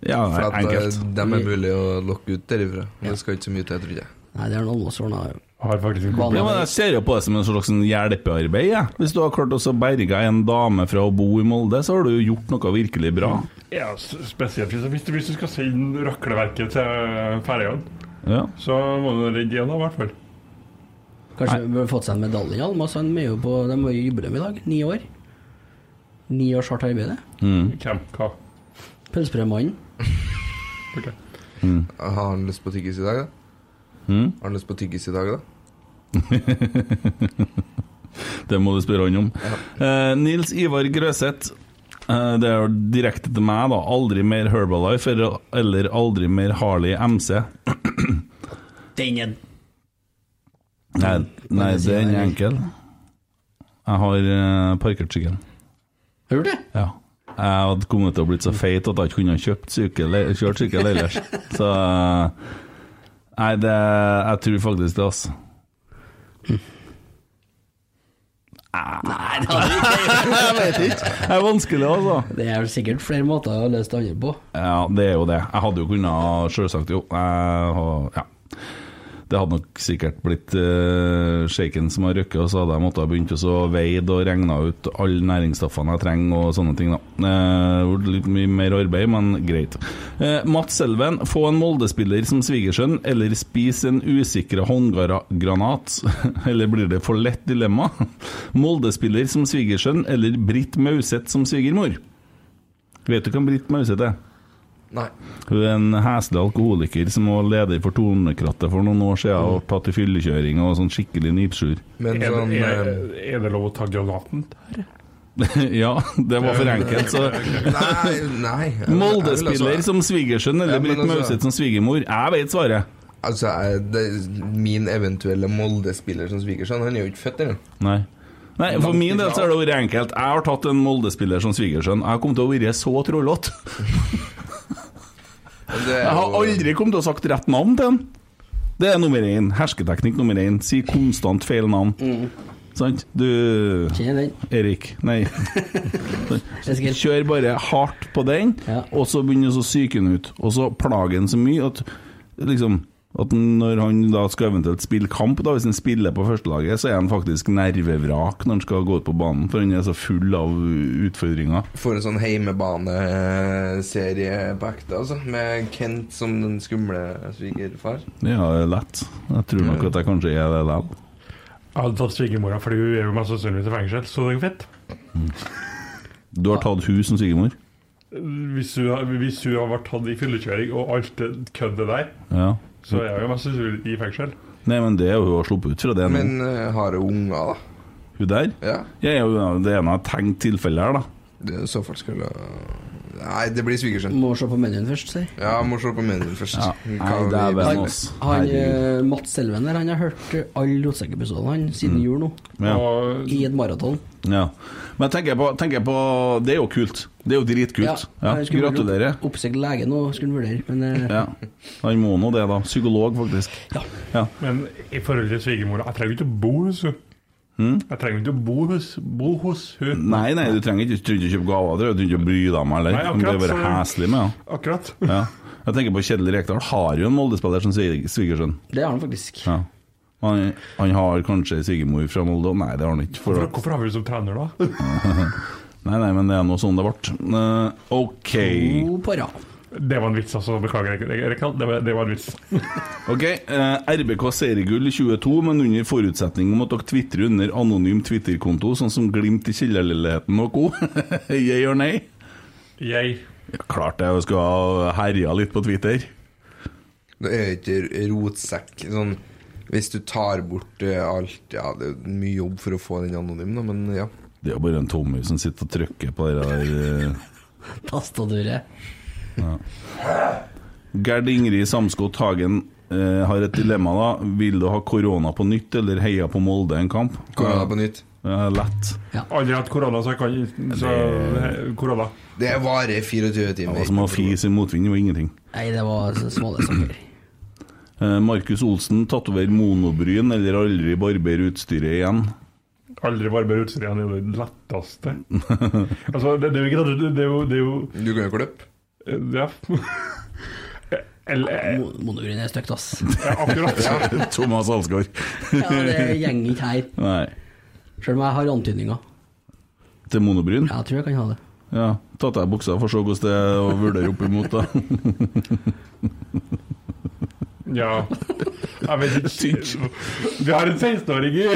Ja,
For at eh,
enkelt.
dem er mulig å lokke ut derifra. Men Det skal ikke så mye til, tror jeg.
Nei, det er noen som ordna
Har faktisk en
Ja, men jeg ser jo på det som en slags sånn hjelpearbeid. jeg. Hvis du har klart også å berge en dame fra å bo i Molde, så har du jo gjort noe virkelig bra.
Ja, s- spesielt hvis, hvis, du, hvis du skal sende rakleverket til Færøyene,
Ja.
så må du redde en, da, i hvert fall.
Kanskje vi burde fått seg en medalje, Almas. Han er jo på De har jo jubileum i dag. Ni år. Ni års hardt arbeid. det.
Mm,
Hvem? Hva?
Pølsebrødmannen.
mm.
Har han lyst på tyggis i dag, da? Har han lyst på tyggis i dag, da?
Det må du spørre han om. Eh, Nils Ivar Grøseth. eh, det er jo direkte til meg, da. Aldri mer Herbalife eller- eller aldri mer Harley MC.
Den er Mm.
Nei, nei den er enkel. Jeg har eh, parkert sykkelen.
Har du det?
Ja. Jeg hadde kommet til å blitt så feit at jeg ikke kunne ha kjøpt sykkel, kjørt sykkel ellers. Så eh, Nei, det Jeg tror faktisk det, altså.
Nei, det hadde vi ikke.
Jeg vet ikke. Det er vanskelig, altså.
Det er vel sikkert flere måter å løse det andre på.
Ja, det er jo det. Jeg hadde jo kunnet ha- selvsagt jo. Jeg har- ja. Det hadde nok sikkert blitt uh, shaken som har røkket, og så hadde jeg måttet ha begynt å så veid og regna ut alle næringsstoffene jeg trenger og sånne ting. da. Eh, det ble litt mye mer arbeid, men greit. Eh, Mats Elven, få en Molde-spiller som svigersønn, eller spis en usikra håndgranat. eller blir det for lett dilemma? Molde-spiller som svigersønn, eller Britt Mauseth som svigermor? Vet du hvem Britt Mauseth er?
Nei.
Hun er en heslig alkoholiker som var leder for Tornekrattet for noen år siden og tatt i fyllekjøring og sånn skikkelig nipsjur.
er, det, er, er det lov å ta granaten?
ja, det var for enkelt, så
Nei, nei. jeg- jeg vil
Molde-spiller
altså-
som svigersønn eller
Ja, men
Britt
altså-
Mauseth som svigermor? Jeg vet svaret.
Altså, jeg- det, Min eventuelle Molde-spiller som svigersønn, han er jo ikke født ennå.
Nei. Nei, For
Langt
min del
ifra.
så har det vært enkelt. Jeg har tatt en Molde-spiller som svigersønn. Jeg kom til å være så trollete. Jeg har aldri kommet til å sagt rett navn til han. Det er nummer én. Hersketeknikk nummer én. Si konstant feil navn. Sant? Du Erik. Nei. Kjør bare hardt på den, og så begynner så å psyke den ut. Og så plage den så mye at liksom At når han da skal eventuelt spille kamp, da, hvis han spiller på førstelaget, så er han faktisk nervevrak når han skal gå ut på banen, for han er så full av utfordringer.
For en sånn heimebaneserie på ekte, altså. Med Kent som den skumle svigerfar.
Ja, det er lett. Jeg tror nok at jeg kanskje er det likevel.
Jeg hadde tatt svigermora, for hun er jo mest sannsynligvis i fengsel, så det går fint.
Du har tatt hun som svigermor?
Hvis hun, har- hvis hun har vært tatt i fyllekjøring og alt det køddet der,
Ja.
så er hun jo mest sannsynlig i fengsel.
Nei, men det er jo hun har sluppet ut fra det nå.
Men,
eh, har hun unger,
da? Hun der?
Ja.
ja, ja det ene jeg tenkt tilfellet her, da.
Det er i så fall skulle Nei, det blir svigersønn.
Må se på menyen først, sier
Ja, må se på menyen først.
Ja.
Hva
Nei, det er
vi-
vel
Han, han eh, Mats Selven der, han har hørt eh, alle Rotsekk-episodene han siden jul nå.
Mm. Ja.
Og- I et maraton.
Ja. Men tenker jeg, på, tenker jeg på Det er jo kult. Det er jo dritkult. Ja,
jeg skulle
Gratulerer.
vurdere Oppsøkt lege nå, skulle vurdere, men eh,
Ja. Han må nå det, da. Psykolog, faktisk. Ja.
Men i forhold til svigermora Jeg trenger ikke å bo hos henne. Jeg trenger ikke å bo hos, bo hos hun.
Mm. Nei, nei, du trenger ikke, du trenger ikke kjøpe gaver. Du trenger ikke å bry deg om heller.
Nei,
Du
akkurat,
må bare
så-
heslig med, ja.
Akkurat.
ja. Jeg tenker på Kjedel Rekdal. Har jo en Molde-spiller som svig- svigersønn.
det har han faktisk.
Ja. Han, han har kanskje svigermor fra Molde? Nei, det har han ikke. For
Hvorfor,
at-
hvorfor har vi henne som trener, da?
Nei, nei, men det er nå sånn det ble. Eh, OK.
Det var en vits, altså. Beklager, Rek- Rek- Rekdal. Det, var- det var en vits.
Ok, eh, RBK seriegull i 22, men under forutsetning om at dere tvitrer under anonym Twitter-konto, sånn som Glimt i kjellerleiligheten og co. Jeg gjør nei.
Jeg
Ja, klart jeg skulle ha herja litt på Twitter.
Det er jo ikke rotsekk. Sånn, hvis du tar bort eh, alt Ja, det er mye jobb for å få den anonym, da, men ja.
Det er jo bare en Tommy som sitter og trykker på det der eh.
Tastaduret.
ja. Gerd Ingrid Samskott Hagen eh, har et dilemma, da. Vil du ha korona på nytt, eller heia på Molde en kamp?
Korona på nytt.
Ja, lett.
Aldri hatt korona, så jeg kan så,
Det-
Korona.
Det varer 24
Det
timer.
var som å fise i motvind, det var ingenting.
Nei, det var så småle saker.
Eh, Markus Olsen, tatover monobryn eller aldri barber utstyret igjen?
Aldri barber utstyret igjen. Det er det letteste. Altså, det, det er jo ikke det, det er jo, det er jo Eh,
Du kan jo klippe.
Ja. Eller
Monobryn er stygt, ass.
Ja, akkurat.
Thomas Alsgaard.
Ja, det gjenger ikke her.
Nei.
Selv om jeg har antydninger.
Til monobryn?
Jeg tror jeg kan ha det.
Ja. Tatt av buksa for å se hvordan det er å vurdere opp imot, da.
Ja. Jeg vet ikke. Vi har en 16-åring i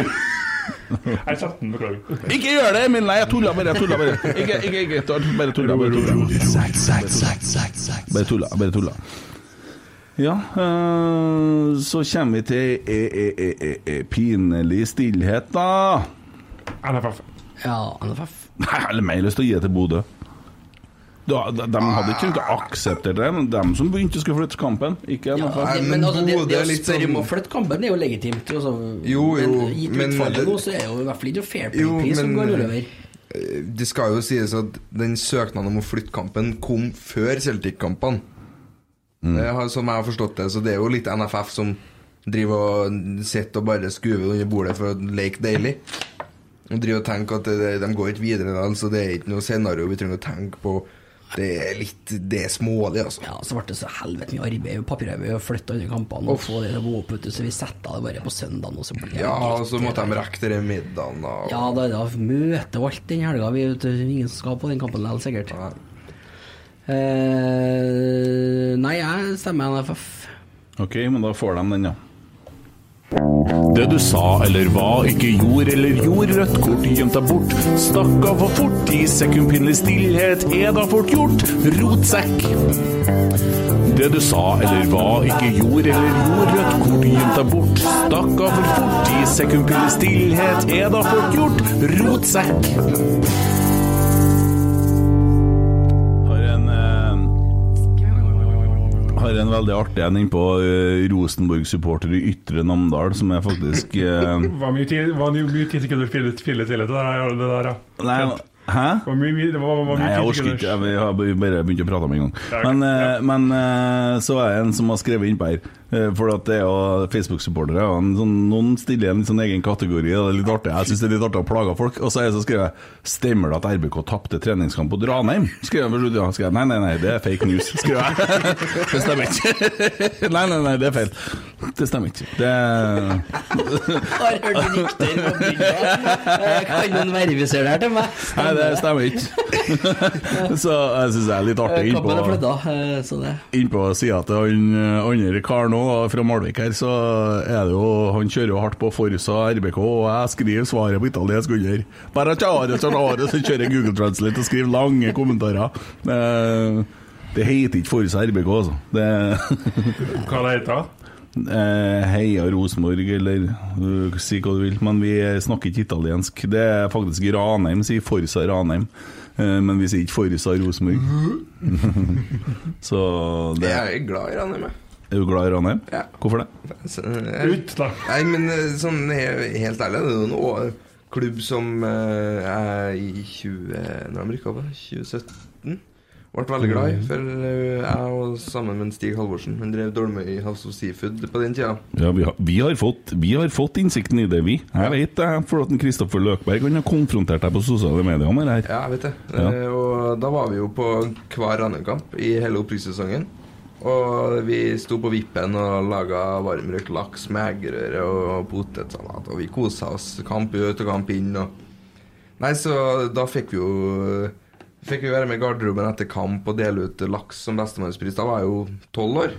Nei, 17, beklager.
Ikke gjør det, Emil! Nei, jeg tulla bare. jeg tulla Bare Ikke, ikke, ikke, bare tulla. Bare tulla. Bare tulla. Bare tulla. Ja, eh, så kommer vi til e e e e e pinlig stillhet, da.
NFF.
Ja, NFF.
Nei, eller mer lyst til å gi det til Bodø. Da, de, de hadde ikke kunnet akseptert det, men de som begynte skulle flytte kampen, ikke
Ja,
NFF.
det, men altså, det, det å spørre om å flytte kampen er jo legitimt. Altså,
sånn Jo, jo,
men gitt
men-
utfallet nå, så er jo i hvert fall ikke noe fair
Jo,
play-pris som
men-
går nordover.
Eh, Det skal jo sies at den søknaden om å flytte kampen kom før Celtic-kampene. Det har- Som jeg har forstått det, så det er jo litt NFF som driver og sitter og bare skuver under bordet for å leke deilig. Og driver og tenker at det, de går ikke videre, da, så det er ikke noe scenario vi trenger å tenke på. Det er litt Det er smålig, altså.
Ja, så ble det så helvete mye arbeid og papirarbeid og flytte alle kampene og få det til å gå opp, vet du, så vi setter det bare på søndagen. Og så blir det
Ja, og så
litt-
måtte de rekke denne middagen, da. og-
Ja, da er det møte og alt den helga. Vi vet, du, ingen som skal på den kampen likevel, sikkert. Eh, nei, jeg stemmer NFF.
Ok, men da får de den, ja.
Det du sa eller hva, ikke gjorde eller gjorde, rødt kort gjemt deg bort. Stakk av for fort, ti sekund pinlig stillhet er da fort gjort. Rotsekk. Det du sa eller hva, ikke gjorde eller gjorde, rødt kort gjemt deg bort. Stakk av for fort, ti sekund pinlig stillhet er da fort gjort. Rotsekk.
Har en eh, Har en veldig artig en innpå
eh,
uh, Rosenborg-supporter i Ytre Namdal, som er faktisk eh,
Var mye tid, var mye, mye tid sekunder fille, fille til det der, det der ja.
Nei, Hæ?
Det var mye, mye, det var, var mye
Nei, jeg orker
kritikk
ikke.
ellers.
Jeg, jeg har bare begynt å prate om en gang.
Ja, ok.
Men, eh, men eh, så er det en som har skrevet innpå her. eh, For at det er jo Facebook-supportere. og en Sånn, noen stiller en litt sånn egen kategori. Og det er litt artig. Jeg syns det er litt artig å plage folk. Og så er det så skriver jeg Stemmer det at RBK tapte treningskamp på Dranheim? Skrev jeg på slutt, ja. Skrev jeg, nei, nei, nei, det er fake news. Skrev jeg. Det stemmer ikke. Nei, nei, nei, det er feil. Det stemmer ikke. Det
Har hørt rykter på bygda. Eh, Kan noen verifisere det her til meg?
Nei, det stemmer ikke. så jeg syns jeg er litt artig
Eh,
innpå
Kampen er flytta, eh, så det
inn på sida til han eh, andre karen nå, da, fra Malvik her, så er det jo Han kjører jo hardt på Forsa RBK, og jeg skriver svaret på italiensk under. Bare tjare, tjare, så kjører jeg Google Translate og skriver lange kommentarer. Eh, det heter ikke Forsa RBK, altså. Det
Hva det heter det?
Eh, Heia Rosenborg, eller eh, si hva du vil. Men vi snakker ikke italiensk. Det er faktisk Ranheim sier Forsa Ranheim. Eh, men vi sier ikke Forsa Rosenborg. Så det
Jeg er glad i Ranheim. jeg.
Er du glad i Ranheim?
Ja.
Hvorfor det?
Så, jeg-
Ut, da.
Eh, Nei, men eh, sånn he- helt ærlig, det er jo en å- klubb som eh, jeg i 20... Når de rykka opp, da, 2017 ble veldig glad
Mm.
i. For eh, jeg og sammen med Stig Halvorsen Han drev Dolmøy House of Seafood på den tida.
Ja, vi har, vi, har fått, vi har fått innsikten i det, vi. Jeg vet det, for at en Kristoffer Løkberg han har konfrontert deg på sosiale medier med det her.
Ja, jeg vet det.
Ja.
Eh, Og da var vi jo på hver Ranheim-kamp i hele opprykkssesongen. Og vi sto på vippen og laga varmrøkt laks med eggerøre og potetsalat. Og vi kosa oss kamp ut og kamp inn. Og Nei, så da fikk vi jo Fikk vi være med i garderoben etter kamp og dele ut laks som bestemannspris. Da var jeg jo tolv år.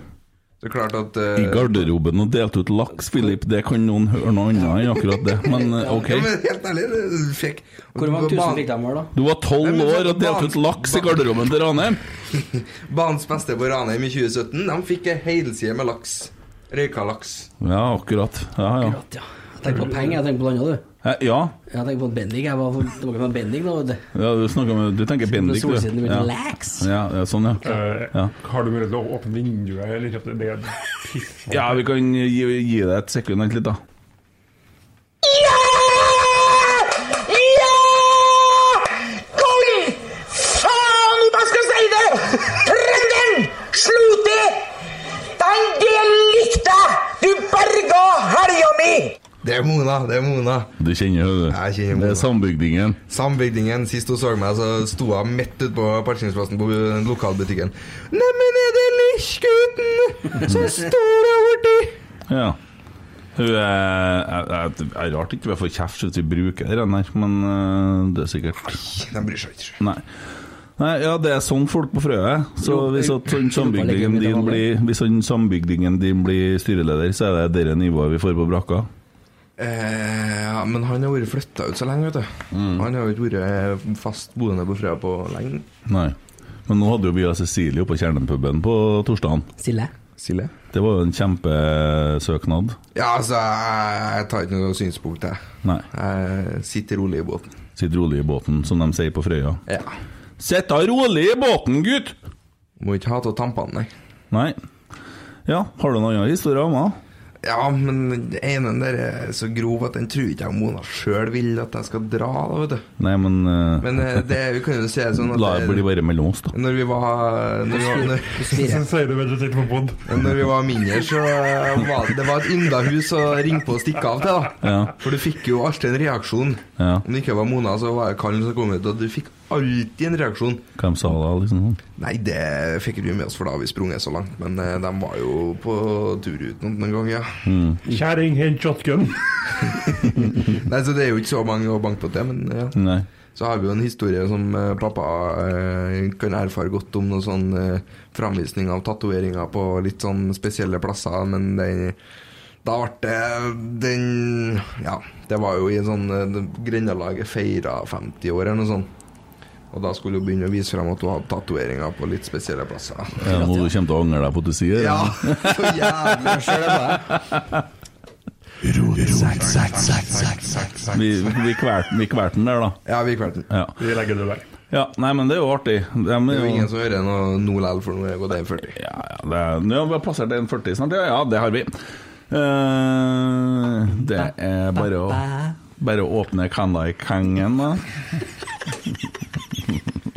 Så det er klart at eh,
I garderoben og delte ut laks, Philip. Det kan noen høre noe annet enn akkurat det, men eh, OK.
Ja, men helt ærlig, det fikk
Hvor mange tusen fikk de her, da?
Du var tolv år og delte ut laks i garderoben til Ranheim?
Banens beste på Ranheim i 2017. De fikk ei helside med laks. Røyka laks.
Ja, akkurat. Ja, ja.
Jeg tenker på penger, jeg tenker på noe annet, du.
Eh, Ja,
Jeg tenker på Bendik. Jeg var for, det var ikke Bendik nå, vet du.
ja du snakker med Du tenker Bendik, du.
Solsiden begynte
Ja.
å relax.
Ja, ja, sånn, ja.
Eh,
ja.
Har du mulighet til å åpne vinduet? Eller, kjøpe det? det er piss.
Ja, vi kan gi, gi deg et sekund vent litt, da.
Koli! Ah, Faen i Baskesteide! Trønderen slo til! Den del likte jeg! Du berga helga mi!
Det er Mona, det er Mona.
Du kjenner jo det. Det er sambygdingen.
Sambygdingen. Sist hun så meg, så sto hun midt ute på parkeringsplassen på lokalbutikken. Neimen, er det Lillesgutten som står der borti?
Ja. eh, Hun er, er, er, er rart ikke vi får kjeft hvis vi bruker den her, men eh, det er sikkert
De bryr seg ikke.
Nei. Nei, ja, det er sånn folk på Frøya er. Så
Jo,
hvis,
jeg-
at sånn sambygdingen din blir, hvis sånn sambygdingen din blir styreleder, så er det det nivået vi får på brakka.
Eh, ja, men han har vært flytta ut så lenge, vet du.
Mm.
Han har jo ikke vært fast boende på Frøya på lenge.
Nei. Men nå hadde jo vi og Cecilie oppe på Kjernepuben på torsdagen.
Silje.
Silje.
Det var jo en kjempesøknad.
Ja, altså, jeg, jeg tar ikke noe synspunkt, jeg.
Nei.
Jeg sitter rolig i båten.
Sitt rolig i båten, som de sier på Frøya.
Ja.
Sitt da rolig i båten, gutt!
Må ikke ha av tampene, nei.
Nei. Ja, har du noen annen historie om henne?
Ja, men den ene der er så grov at den tror ikke jeg Mona sjøl vil at jeg skal dra, da, vet du.
Nei, men, eh,
Men eh, det, vi kan jo se det sånn at
La det
det-
bli bare mellom oss, da.
Når vi var Når vi var, når,
Så sier du vel du sitter på pod.
når vi var mindre, så var det- det var et yndahus å ringe på og stikke av til, da.
Ja.
For du fikk jo alltid en reaksjon.
Ja.
Om det ikke var Mona, så var det Kallen som kom ut, og du fikk alltid en reaksjon.
Hvem sa det, liksom? sånn?
Nei, det fikk vi med oss, for da har vi sprunget så langt. Men eh, de var jo på tur ut noen ganger, ja.
Mm.
Kjerring, hent shotgun.
Nei, så det er jo ikke så mange å banke på til, men ja.
Nei.
Så har vi jo en historie som eh, pappa eh, kan erfare godt om noen sånn eh, framvisning av tatoveringer på litt sånn spesielle plasser, men den da ble det den Ja, det var jo i en sånn eh, det- Grendalaget feira 50 år eller noe sånt. Og da skulle hun begynne å vise frem at hun hadde tatoveringer på litt spesielle plasser.
Ja, nå du kommer til å angre deg på at du sier
Ja, så jævlig sjøl jeg var.
Vi, vi kvelte vi kvelte den der, da.
Ja, vi kvelte den.
Ja.
Vi legger det der.
ja. Nei, men det er jo artig. Det er,
Det er jo ingen
jo,
som hører noe nå likevel, for nå er det 40.
Ja, ja, det er, ja, vi har plassert 1,40 snart. Ja, ja, det har vi. Eh, det er bare å Bare å åpne Candy Kangen, da.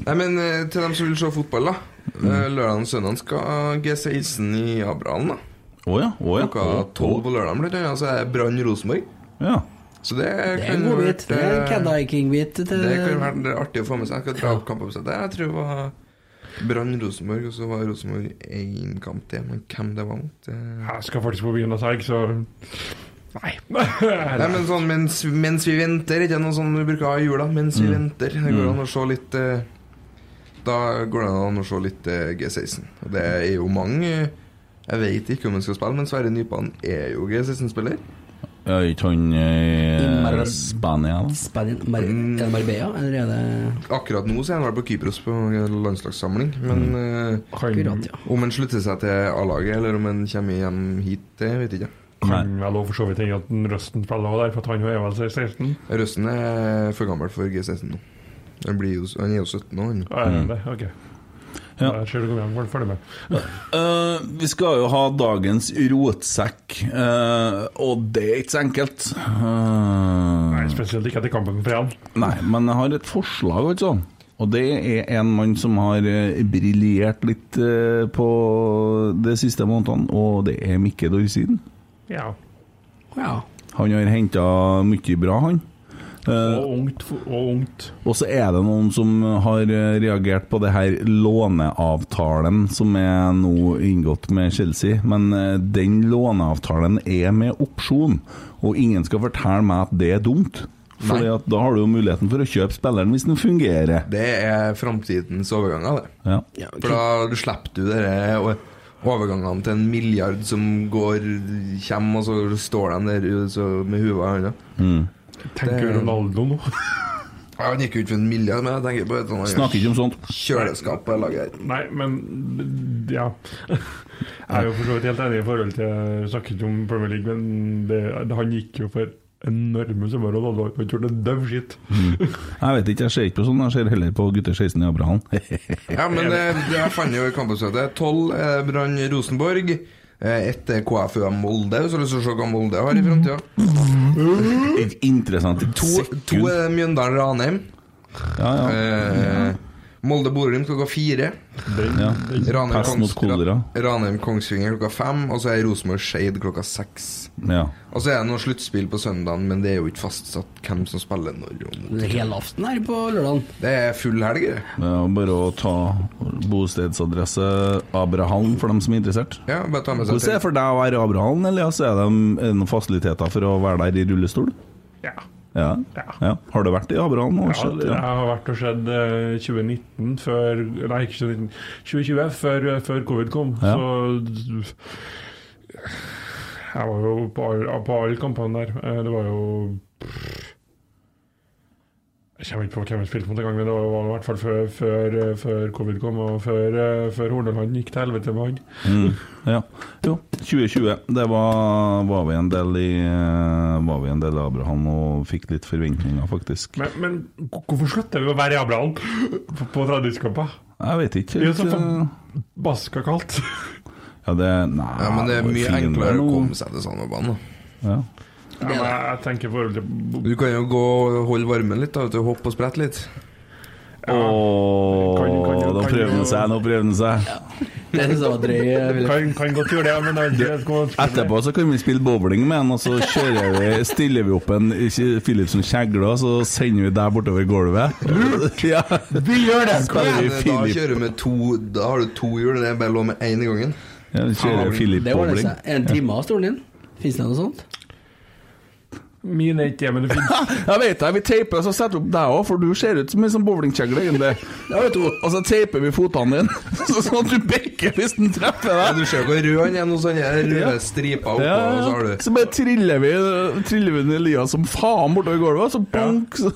Nei, men eh, til dem som vil se fotball, da.
Mm.
Eh, Lørdag og søndag skal G16 i Abrahallen. da
Å ja, å ja.
Klokka tolv på lørdag blir det. Altså er Brann Rosenborg.
Ja.
Så det,
Det er en
kan
god
vært,
bit. Det er en
eh,
Kedai King-bit. til-
Det kan
eh,
være artig å få med seg. Jeg skal dra opp kampoppsettet. Jeg tror det var Brann Rosenborg, og så var Rosenborg én kamp til. Men hvem det var mot det...
Jeg skal faktisk på byen og selge, så Nei.
Nei, men sånn mens, mens vi venter, ikke noe sånn vi bruker å ha i jula. Mens vi
Mm.
venter. Det går
Mm.
an å se litt eh, Da går det an å se litt eh, G16. Og det er jo mange Jeg vet ikke om han skal spille, men Sverre Nypan er jo G16-spiller.
Er ikke han eh,
I
i
Mar-
Spania, da?
Spania? Mar
Mm.
er det Marbella, eller er det
Akkurat nå så er han vel på Kypros på landslagssamling, men
Mm.
eh,
Mm. Akkurat, ja.
om han slutter seg til A-laget, eller om han kommer hjem hit, det vet jeg ikke.
Kan vel også for så vidt hende at den Røsten spiller også der, for at han er vel 16?
Røsten er for gammel for G16 nå. Han, blir jo, han er jo 17 nå. Han.
Ja, er det? Ok. Jeg ser du kommer hjem, følg med.
Eh, vi skal jo ha dagens rotsekk, eh, og det er ikke så enkelt. Nei,
spesielt ikke etter kampen på fredag.
Nei, men jeg har et forslag, altså. Og det er en mann som har eh, briljert litt eh, på de siste månedene, og det er Mikke Dorsiden.
Ja.
Han har henta mye bra, han. Eh,
Og ungt. fo- Og ungt.
og så er det noen som har eh, reagert på det her låneavtalen som er nå inngått med Chelsea, men eh, den låneavtalen er med opsjon, og ingen skal fortelle meg at det er dumt. Fordi
Nei.
at da har du jo muligheten for å kjøpe spilleren hvis den fungerer.
Det er framtidens overganger, det.
Ja.
For da slipper du dere o- overgangene til en milliard som går kommer, og så står de der u- så med huet i hånda.
Mm.
Tenker
Det-
Ronaldo nå?
Ja, Han gikk jo ikke for en milliard, men jeg tenker på et eller annet
Snakker ikke om
sånt.
Kjøleskap på det laget her.
Nei, men d- ja. Jeg er jo for så vidt helt enig i forhold til Jeg snakket ikke om Premier League, men det, det, han gikk jo for enorme summer, og Ronaldo har ikke gjort en dau skitt.
Mm. Jeg vet ikke, jeg ser ikke på sånn, jeg ser heller på gutter 16 i Abrahallen.
Ja, men det, det jeg fant jo i kampbesøket. Tolv er Brann Rosenborg. eh, Ett er KFUM Molde, så har du lyst til å se hva Molde har i framtida.
Et interessant
Mm. To, to
sekund.
er Mjøndalen Ranheim. Eh, Molde Borum klokka fire.
Ja.
Ranheim,
Pest mot
Kongs,
kolera.
Ranheim Kongsvinger klokka fem. Og så er Rosenborg Skeid klokka seks.
Ja.
Og så er det noe sluttspill på søndagen, men det er jo ikke fastsatt hvem som spiller når. og mot.
Det er Helaften her på lørdagen.
Det er full helg, det.
Det er bare å ta bostedsadresse Abrahallen for dem som er interessert.
Ja, bare ta med seg
Hvordan er det for deg å være i Abrahallen, Elias? Er det er det noen fasiliteter for å være der i rullestol?
Ja.
Ja. ja. Har du vært i Abrahallen? og
Ja,
sett,
det
ja.
har vært og skjedd eh, 2019 før Nei, ikke 2019. 2020, før, eh, før covid kom.
Ja.
Så Jeg var jo på alle på alle kampene der. Eh, Det var jo Jeg kommer ikke på hvem jeg spilte mot engang, men det var var i hvert fall før, før, eh, før covid kom, og før, eh, før Hordaland gikk til helvete med han.
Mm. ja. Jo, 2020. Det var, var vi en del i eh, Var vi en del i Abrahallen og fikk litt forventninger, faktisk.
Men, men hvorfor slutter vi å være i Abrahallen på- på treningskamper?
Jeg vet ikke.
Det er jo så
helt, eh,
forbaska kaldt.
Ja, det Nei.
Ja, men det er
var
mye
fin
enklere å
nå.
komme seg til Sandvabanen.
Ja.
Ja, men jeg, jeg tenker i forhold til
Du kan jo gå og holde varmen litt, da, vet du, hoppe og sprette litt.
Ååå, nå prøver han seg, nå prøver han seg.
Det synes jeg var drøy. eh, Wilhelm.
Kan, kan godt gjøre det, men det er ikke- jeg skal-
Etterpå så kan vi spille bowling med han, og så kjører vi, stiller vi opp en Philipsen kjegle, og så sender vi deg bortover gulvet. Ja.
Vi gjør
det. Spiller vi
da,
Philip-
kjører vi med to, da har du to hjul, det er bare lov med én i gangen.
Ja, vi kjører Philip
Det ordner
bowling.
seg. Er den trimma av stolen din? Fins det noe sånt?
Min er ikke det, men det fins.
Jeg vet det, vi teiper og så setter vi opp deg òg, for du ser ut som en sånn bowlingkjegle, egentlig. Ja, vet du, og så teiper vi fotene dine, så- sånn at du bekker hvis den treffer deg.
Du ser hvor rød han er nå, sånn her
Ja.
røde striper oppå,
Ja,
og så har
ja.
du
Så bare triller vi Triller vi ned Elias som faen bortover gulvet, og så bank, så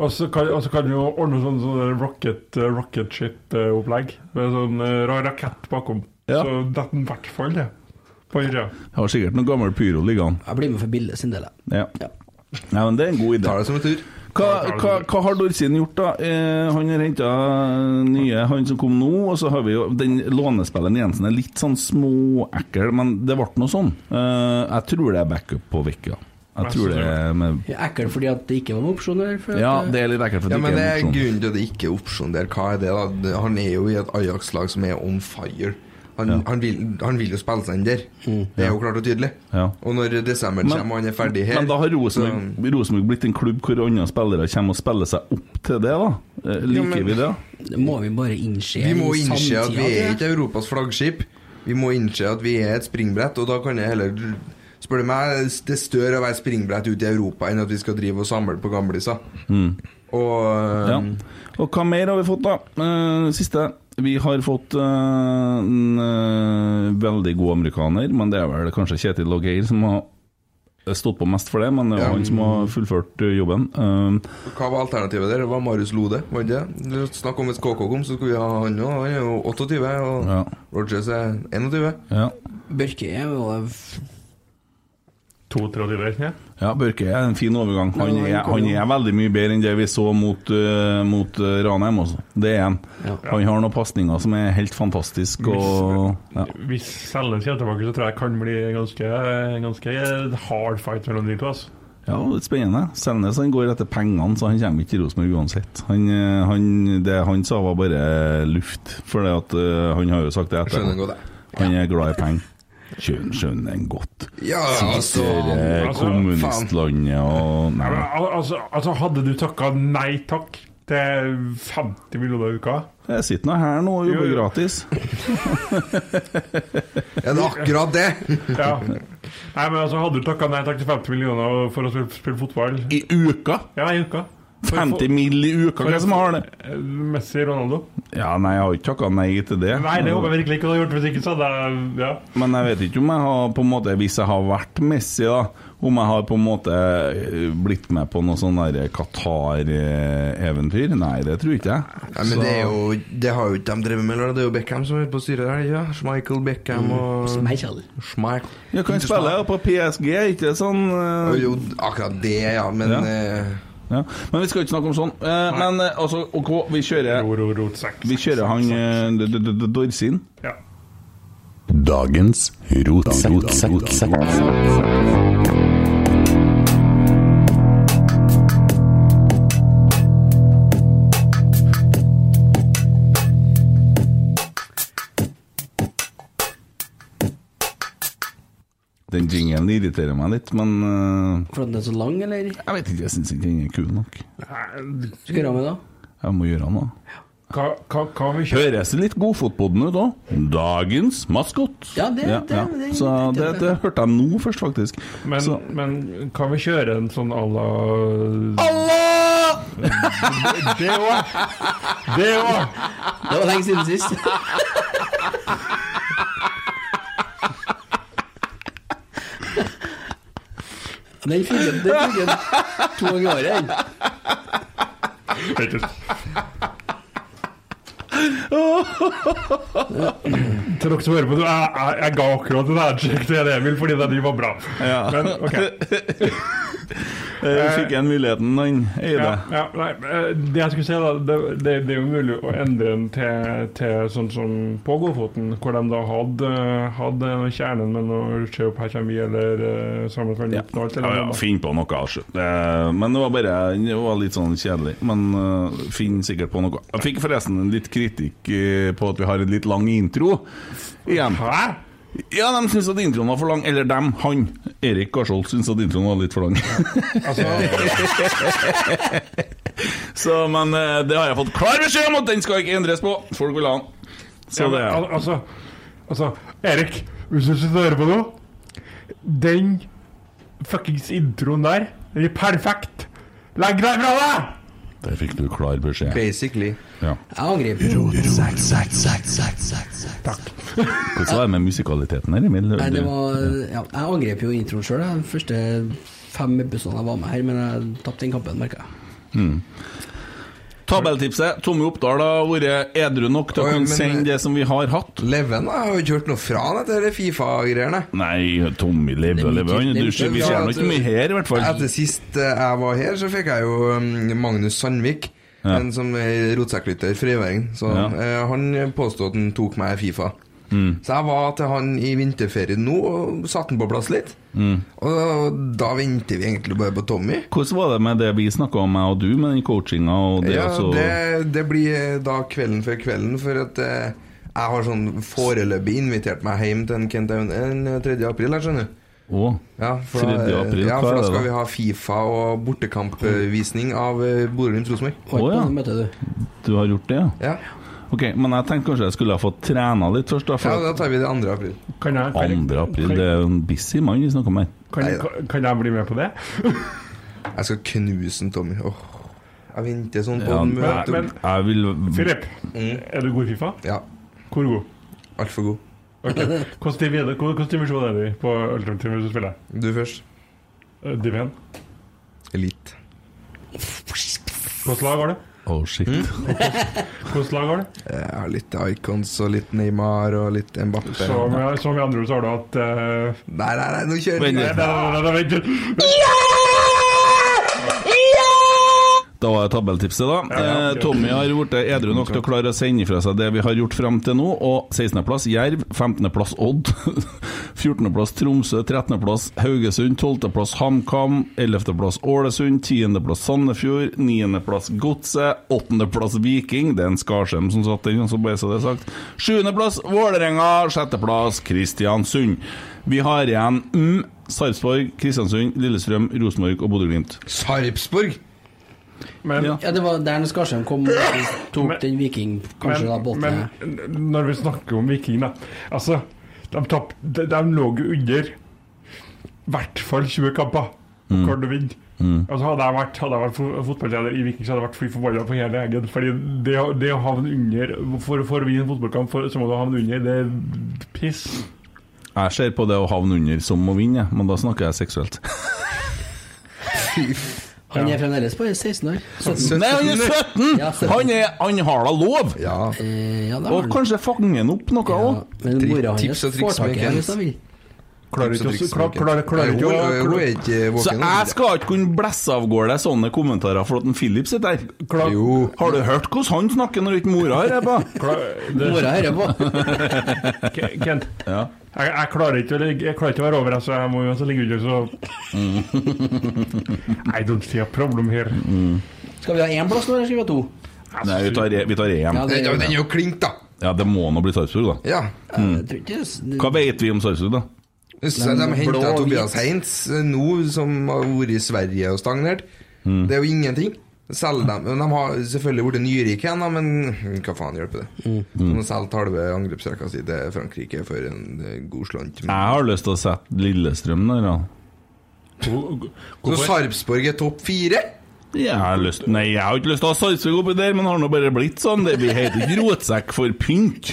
Og så kan, og så kan vi jo ordne sånn, sånn rocket, eh, rocket shit-opplegg. Med sånn eh, rar rakett bakom. Så detter den i hvert fall ned. På høyre.
Jeg har sikkert noe gammel pyro liggende.
Jeg blir med for bildet sin del. jeg.
Ja. Nei, men det er en god idé.
Tar det som en tur.
Hva, hva, hva har Dorsin gjort, da? Eh, han har henta nye, han som kom nå. Og så har vi jo den lånespilleren Jensen er litt sånn småekkel, men det ble nå sånn. Eh, jeg tror det er backup på Vekka. Jeg tror det er med
Ekkelt fordi at det ikke var noen opsjon der. for at, eh,
ja, men det er grunnen til at det ikke er opsjon der. Hva er det, da? Han er jo i et Ajax-lag som er on fire. Han, han, vil, han vil jo spille seg inn der.
Mm.
Det er jo klart og tydelig.
Ja.
Og når desemberen
Men-
kommer og han er ferdig her
Men da har Rosenborg Rosenborg blitt en klubb hvor andre spillere kommer og spiller seg opp til det, da. Eh, Liker
men-
vi det?
Det må vi bare innse.
Vi må
i
innse at
samtida, tror
vi er
jeg.
ikke Europas flaggskip. Vi må innse at vi er et springbrett, og da kan jeg heller Spør du meg, det stør å være springbrett ute i Europa enn at vi skal drive og samle på gamliser.
Mm.
Og um,
Ja. Og hva mer har vi fått, da? Eh, siste. Vi har fått eh, en eh, veldig god amerikaner, men det er vel kanskje Kjetil Logeir som har stått på mest for det. Men det er jo han som har fullført eh, jobben. Eh,
Hva var alternativet der? Det var Marius Lode, var det ikke det? Du Snakk om hvis KK kom, så skulle vi ha han òg. Han er jo 28, og Rogers er 21.
Børke er jo
32, ikke Ja, Børke er en fin overgang. Han er, han er veldig mye bedre enn det vi så mot, eh, mot eh, Ranheim. Også. Det er han. Han har noen pasninger som er helt fantastisk og ja.
Hvis Selnes kommer tilbake, så tror jeg det kan bli en ganske, en ganske eh, hard fight mellom de to. Altså.
Ja, og litt spennende. Selnes han går etter pengene, så han kommer ikke til Rosenborg uansett. Han, eh, han, det han sa var bare luft, for det at, eh, han har jo sagt det etter.
Skjønner godt det.
Han er glad i penger. Skjønner, skjønner han godt.
Ja, altså,
Sitter eh,
altså,
kommunistlandet og Nei, men
Al altså, altså, hadde du takka nei takk til 50 millioner i uka
jeg sitter nå her nå og
Jo,
jobber
jo.
gratis.
Er det akkurat det?
ja. Nei, men altså, hadde du takka nei takk til 50 millioner for å spille, spille fotball
I uka?
Ja, i uka.
50 mill. i uka, hva er det som har det?
Eh, Messi Ronaldo.
Ja, nei, jeg har ikke takka nei til det.
Nei, det håper jeg virkelig ikke du hadde gjort hvis ikke, så hadde jeg ja.
Men jeg vet ikke om jeg har på en måte Hvis jeg har vært Messi, da om jeg har på en måte eh, blitt med på noe sånn der Qatar-eventyr? Nei, det tror ikke jeg.
Nei, men det, er jo, det har jo ikke de drevet med, eller? det er jo Beckham som er på styret der, ikke sant? Michael
Mm.
Beckham og
Schmeichel.
Schmeich.
Ja, kan
Ikke
spille på PSG, ikke sånn eh,
Jo, akkurat det, ja, men
Ja.
eh,
ja. Men vi skal ikke snakke om sånn. Eh, men eh, altså, OK, vi kjører Vi kjører han eh, d- d- d- d- Dorsin.
Ja.
Dagens rotsekk.
Den jingelen irriterer meg litt, men eh,
For at den er så lang, eller?
jeg vet ikke, jeg syns ikke den er kul nok.
Skal gjøre med da?
Jeg må gjøre noe.
Hva, hva, hva vi kjører?
Høres det litt godfotpodden ut òg? Dagens maskot.
Ja, det- det- det-
Så det, det hørte jeg nå først, faktisk.
Men,
Så-
men kan vi kjøre en sånn à la
Allah!
Det òg! Det òg!
Det var lenge siden sist. Den funker den funker to ganger i året, den.
Til dere som hører på, du, jeg, jeg, jeg ga akkurat en handshake til Emil fordi den var bra.
Ja.
Men ok.
Eh, fikk jeg muligheten, han Eide?
Ja, ja, nei, eh, det jeg skulle si da det, det, det er jo mulig å endre den til, til sånn som på Godfoten, hvor de da hadde, hadde kjernen med noe Se opp, her kommer vi, eller eh, Sammen for en liten alt.
Ja,
Eller,
ja, finn på noe, altså. Eh, Men det var bare det var litt sånn kjedelig. Men eh, finn sikkert på noe. Jeg fikk forresten en litt kritikk eh, på at vi har en litt lang intro igjen.
Hæ?
Ja, de syns at introen var for lang. Eller dem, han. Erik Garsholt syns at introen var litt for lang.
Altså-
Så, men eh, det har jeg fått klar beskjed om at den skal ikke endres på. Folk vil ha den. Så
Ja,
det
men al- altså, altså, Erik, hvis du sitter og hører på nå Den fuckings introen der, den er perfekt! Legg deg fra deg!
Der fikk du klar beskjed.
Basically.
Ja.
Jeg angriper. Takk.
Hvordan var det med musikaliteten her? Emil?
Nei, det var, ja, jeg angrep jo introen sjøl, de første fem episodene jeg var med her, men jeg tapte den kampen, merka jeg.
Mm. Tabelltipset. Tommy Oppdal har vært edru nok til å
Oi, men-
kunne sende det som vi har hatt.
Even har jo ikke hørt noe fra han etter det Fifa-greiene.
Nei, Tommy lever og lever. Han- Du, ser- vi ser nå ikke mye her, i hvert fall.
altså, Etter sist eh, jeg var her, så fikk jeg jo um, Magnus Sandvik.
Ja.
En som er rotsekklytter fra Øyværing. Så
Ja. Mm.
eh, han påstod at han tok meg i Fifa. Så jeg var til han i vinterferien nå og satte han på plass litt.
Mm.
Og da venter vi egentlig bare på Tommy.
Hvordan var det med det vi snakka om, jeg og du, med den coachinga og det
ja,
altså-
det, det blir eh, da kvelden før kvelden, for at eh, jeg har sånn foreløpig invitert meg hjem til en Kent Aune den 3. april, jeg skjønner.
Å,
Ja, for, da-
3. april,
ja,
hva
for
er
da
det
skal
da?
vi ha Fifa og bortekampvisning av eh, Bodø-Glimt Rosenborg.
Du har gjort det, ja?
Ja.
Ok, men jeg tenkte kanskje jeg skulle ha fått trena litt først, da. For
Ja, da tar vi det 2. april.
Kan jeg, kan, jeg-
2. april, det er jo en busy mann vi snakker om her.
kan, jeg- kan jeg bli med på det?
Jeg skal knuse en Tommy. Åh, jeg venter sånn på
Ja,
en
men-
møte.
men-
Jeg vil Mm.
Filip, er du god i Fifa?
Ja.
Hvor god?
Altfor god.
Ok. Hvilken div- hvilken divisjon er du i på Ultimate Team hvis du spiller? Eh,
Du først.
Div 1.
Elite.
Hvilket lag har du?
Oh shit.
Hvilket lag har du?
Mm. Eh, Jeg har litt Icons og litt Neymar og litt Mbappé.
Som, som i andre ord så har du hatt eh,
Nei, nei, nei, nå kjører
Nei, nei, nei, nei, vent litt.
Da var det tabelltipset, da.
ja,
Eh, Tommy har blitt edru nok til å klare å sende ifra seg det vi har gjort frem til nå. Og 16.-plass Jerv, 15.-plass Odd, 14.-plass Tromsø, 13.-plass Haugesund, 12.-plass HamKam, 11.-plass Ålesund, 10.-plass Sandefjord, 9.-plass Godset, 8.-plass Viking Det er en Skarsheim som satt den, så bare så det er sagt. 7.-plass Vålerenga, 6.-plass Kristiansund. Vi har igjen mm, Sarpsborg, Kristiansund, Lillestrøm, Rosenborg og Bodø-Glimt.
Sarpsborg?
Men,
ja, det var der når Skarsheim kom og tok den viking, kanskje da, båten
men,
her.
men når vi snakker om Viking, da Altså, de, tapp, de, de lå jo under i hvert fall 20 kamper.
Mm.
Mm. Klarte å vinne.
Mm.
Altså, hadde jeg vært, hadde jeg vært fo- fotballtrener i Viking, så hadde jeg vært fly forbanna på hele egen. Fordi det, å- det å havne under For, for å vinne en fotballkamp, for, så må du havne under. Det er piss.
Jeg ser på det å havne under som å vinne, men da snakker jeg seksuelt.
Han er fremdeles bare 16 år.
Nei, han er 17!
Ja,
Han, er, han har da lov!
Eh, det har
og
han.
kanskje fange han opp noe òg.
Men mora hans får tak i ham hvis han vil.
Klarer
Tips
ikke
og
å klar-
triks med
klar-
Kent.
klarer ikke å
Så jeg skal ikke kunne blæsse av gårde sånne kommentarer for at en Philip sitter her. Har du hørt hvordan han snakker når ikke mora hører på?
Mora hører
på.
Ke- Kent,
Ja.
jeg, jeg, klarer ikke å, ligge- jeg klarer ikke å være over, så jeg må uansett ligge under,
Mm.
så I don't see a problem here.
Skal vi ha én plass nå, eller skal vi ha to?
Nei, vi tar, vi tar EM.
Ja, det- Ja, den er jo
klink, da.
Ja, det må nå bli Sarpsborg, da. Mm.
Jeg tror ikke det-
Hva vet vi om Sarpsborg, da?
Så de henta Tobias Heinz eh, nå, som har vært i Sverige og stagnert. Det er jo ingenting. Selger dem. Men De har selvfølgelig blitt nyrike igjen, da, men hva faen hjelper det? De har solgt halve angrepsrekka si til Frankrike for en eh, god slant.
Jeg har lyst til å sette Lillestrøm der, da.
Så Sarpsborg er topp fire?
Jeg har lyst Nei, jeg har ikke lyst til å ha Sarpsborg oppi der, men har nå bare blitt sånn. Det blir helt rotsekk for pynt.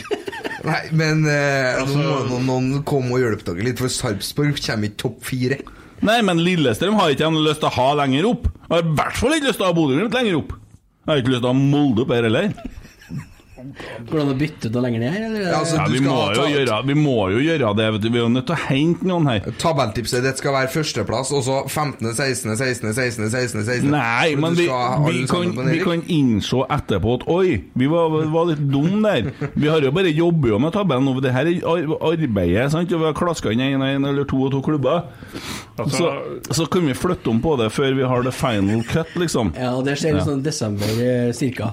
Nei, men eh, nå må noen, noen komme og hjelpe dere litt, for Sarpsborg kommer ikke topp fire.
Nei, men Lillestrøm har ikke jeg lyst til å ha lenger opp. Jeg har i hvert fall ikke lyst til å ha Bodø-Glimt lenger opp. Jeg har ikke lyst til å ha Molde opp her heller.
Går det an å bytte ut noe lenger ned, eller?
Ja, vi, må jo gjøre, vi må jo gjøre det, vet du. Vi er jo nødt til å hente noen her.
Tabelltipset ditt skal være førsteplass, og så 15., 16., 16., 16., 16. 16.
Nei,
For at
men
du
vi,
skal ha alle
vi,
sammen på
kan, vi
nedrykk.
kan innse etterpå at oi, vi var, var litt dum der. Vi har jo bare jobber jo med tabellen, og det her er ar- arbeidet, sant? og vi har klaska inn en, en eller to og to klubber. Så, så kan vi flytte om på det før vi har the final cut, liksom.
Ja, og det skjer i
Ja.
sånn desember eh, cirka.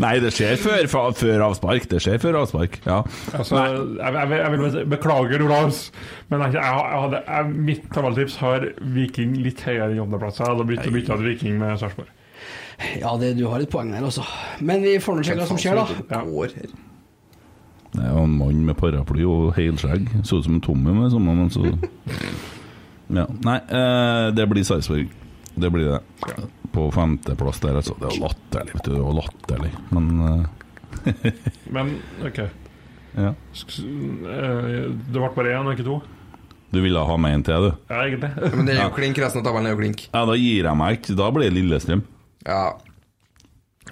Nei, det skjer før, fa- før avspark. Det skjer før avspark, ja.
Altså, jeg, jeg, jeg vil bare si- beklager, Olavs, men jeg, jeg, jeg hadde, jeg, mitt tabelltips har Viking litt høyere enn åttendeplass. Jeg hadde begynt å bytte ut Viking med Sarpsborg.
Ja, det, du har et poeng der, altså. Men vi får nå sjekke hva som skjer, da.
Det er jo en mann med paraply og helskjegg. Så ut som en Tommy med samme, men så ja. Nei, eh, det blir Sarpsborg. Det blir det. På femteplass der, altså. Det er jo latterlig, vet du. Det er jo latterlig. Men eh,
Men OK.
ja.
Sk- eh, Det ble bare én, og ikke to?
Du ville ha meg en til, du?
Ja, egentlig.
Men det er jo klink, resten av tabellen er jo klink.
Ja, da gir jeg meg ikke. Da blir det Lillestrøm.
Ja.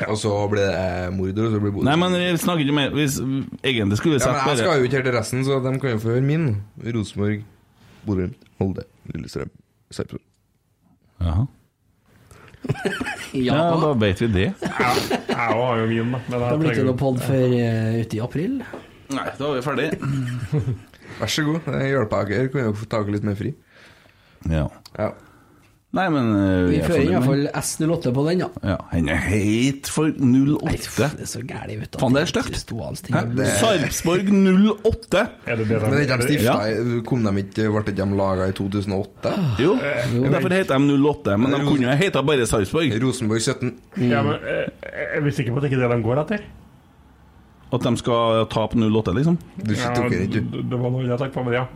Og så blir det eh, Mordor, og så blir Bodø.
Nei, men vi snakker ikke mer Hvis egentlig skulle vi
Ja,
sett
men jeg skal jo ikke helt til resten, så de kan jo få høre min. Rosenborg, Bodø, Molde, Lillestrøm, Sarpsborg.
Jaha.
Ja.
da vet vi det.
Jeg jeg har jo min, da. men jeg
Da blir det
trenger-
ikke noe pod før eh, ute i april.
Nei, da er vi ferdig.
Vær så god, det hjelper dere. Kunne dere få tak i litt mer fri?
Ja. Nei, men eh,
Vi
er
fører i
fornøyd
hvert
med-
fall S08 på den, da.
Ja, han er heit for 08.
Det er så gærlig ut.
Faen, det er stygt.
Hæ?
Sarpsborg 08.
Men ikke de stifta,
Eh,
kom de ikke, ble ikke de laga i 2008?
Jo,
Ah,
derfor heter de 08, men de kunne jo heta bare Sarpsborg.
Rosenborg 17.
Mm.
Ja, men eh, Jeg er sikker på at det ikke er det de går etter.
At de skal tape 08, liksom?
Ja, d- Det var noe jeg tenkte på, men ja.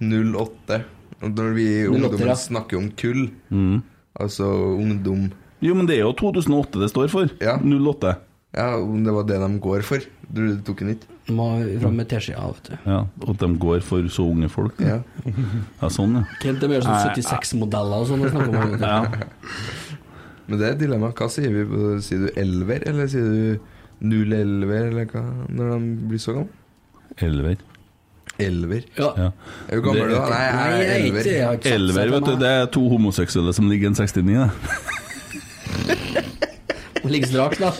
08. Og Når vi i
08, ja.
ungdommen snakker om kull,
Mm.
altså ungdom
Jo, men det er jo 2008 det står for. 08.
Ja, om det var det de går for. Du tok den ikke?
Må fram med teskjea, vet du.
Ja, At de går for så unge folk. da.
Ja.
ja sånn, ja.
Kent er mer sånn
Nei,
76-modeller og sånn å snakke om.
Men det er et dilemma. Hva sier vi? på- Sier du elver, eller sier du 011, eller hva, når de blir så gamle?
Elver.
Elver.
Ja.
Er du gammel,
Det-
da? Nei, jeg er elver. sånn,
Elver, vet du. Det er to homoseksuelle som ligger en 69, det.
Ligger sånn- strakt, da.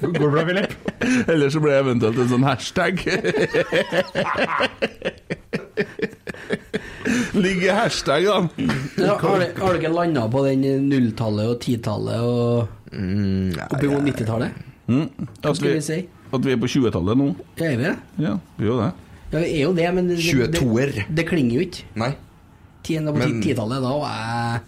Går det bra, Philip?
Eller så blir det eventuelt en sånn hashtag. Ligger hashtag, da.
Ja, har du- har du ikke landa på den nulltallet og titallet og Mm, oppimot 90-tallet?
Mm.
Hva
At,
skal vi
vi,
si?
at vi er på 20-tallet nå.
Er vi det?
Ja, vi er jo det.
Ja, vi er jo det, men det, det,
22-er.
det klinger jo ikke.
Nei.
Tiende på
Men-
ti- titallet da, og jeg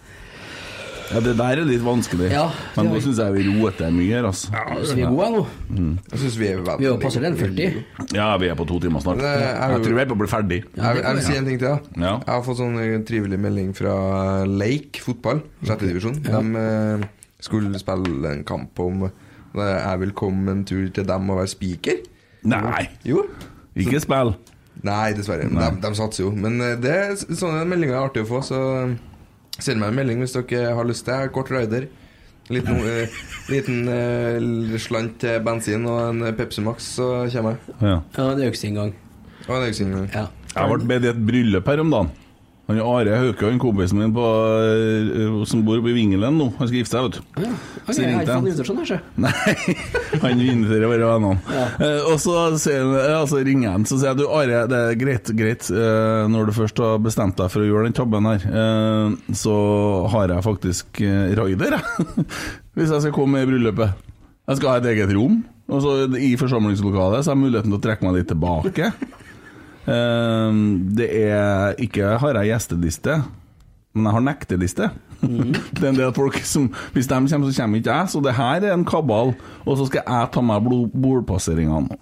Ja, Det der er litt vanskelig.
Ja,
Men
det
nå
er-
syns jeg vi roter mye her, altså.
Så vi er gode nå.
Mm.
Jeg syns vi er veldig
Vi er jo passer den 40.
Ja, vi er på to timer snart.
Det eh, er jo-
Jeg tror vi er på å bli ferdig.
Jeg, jeg vil si en ting til. da
Ja.
Jeg har fått sånn eh, trivelig melding fra eh, Lake fotball, sjette divisjon. De eh, skulle spille en kamp om eh, jeg vil komme en tur til dem og være speaker.
Nei!
Jo.
Ikke spill.
Nei, dessverre. De, de satser jo. Men eh, det er s- sånne meldinger er artig å få, så eh, send meg en melding hvis dere har lyst til. Jeg er kort rider. Liten, eh, liten eh, l- slant til bensin og en eh, Pepsi Max, så kommer jeg.
Ja.
Ja, det er jo ikke sin gang.
Og en øksinngang.
Ja.
Jeg ble bedt i et bryllup her om dagen. Han Are Hauke, han kompisen min på, eh, som bor oppe i Vingelen nå, han skal gifte seg, vet du.
Ok, jeg har ikke fått invitasjon, her, sjø.
Han inviterer bare vennene. Eh, og så, sier han, eh, altså ringer han så sier jeg du Are, det er greit, greit. eh, når du først har bestemt deg for å gjøre den tabben her, eh, så har jeg faktisk eh, raider, jeg. Hvis jeg skal komme i bryllupet. Jeg skal ha et eget rom. Og så i forsamlingslokalet så har jeg muligheten til å trekke meg litt tilbake. Eh, det er ikke har jeg gjesteliste, men jeg har nekteliste.
Mm.
det er en del folk som Hvis de kommer, så kommer ikke jeg. Så det her er en kabal, og så skal jeg ta meg blod- bordpasseringene.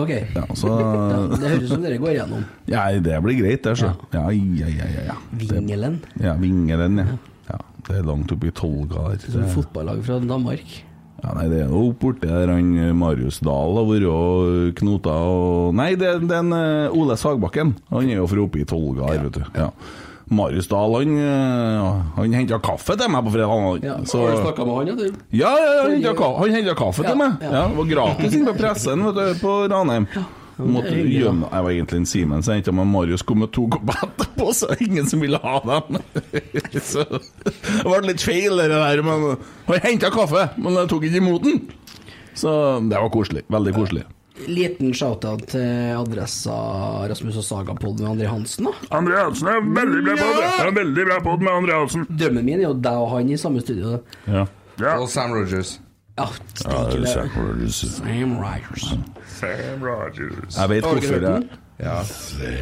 Ok.
Ja, så
Ja, Det høres ut som dere går igjennom.
Ja, det blir greit, det, sjø. Ja, ja, ja, ja, ja. Det,
Vingelen.
ja, Vingelen, ja. ja. Det er langt oppi Tolga der.
Som fotballag fra Danmark.
Ja, nei, det er noe opp borti der han eh, Marius Dahl har vært og knota og Nei, det er den eh, Ole Sagbakken. Han er jo fra oppe i Tolga her, vet du. Ja. Marius Dahl, han, eh, han henta kaffe til meg på fredag. Han,
Ja,
så-
Har du snakka med han, ja, du?
ja, ja, ja, han henta ka han hentet kaffe til meg. Ja, det var gratis inne på pressen vet du, på Ranheim. Måtte
hyggelig, da.
gjemme Jeg var egentlig en Simen, så jeg henta meg Marius kom med to kopper etterpå, så det var ingen som ville ha dem. så det ble litt feil, det der. Men han henta kaffe, men jeg tok ikke imot den. Så det var koselig. Veldig koselig.
Liten shout-out til adressa Rasmus og Sagapod med André Hansen, da.
André Hansen er veldig bra på det. Han er veldig bra på det med André Hansen.
Drømmen min er jo deg og han i samme studio. da.
Ja.
Og Sam Rogers.
Ja,
det er
steike
Sam Rogers.
Sam Rogers.
Sam Rogers.
Jeg vet
Har dere
hvorfor jeg
hørt den? Ja.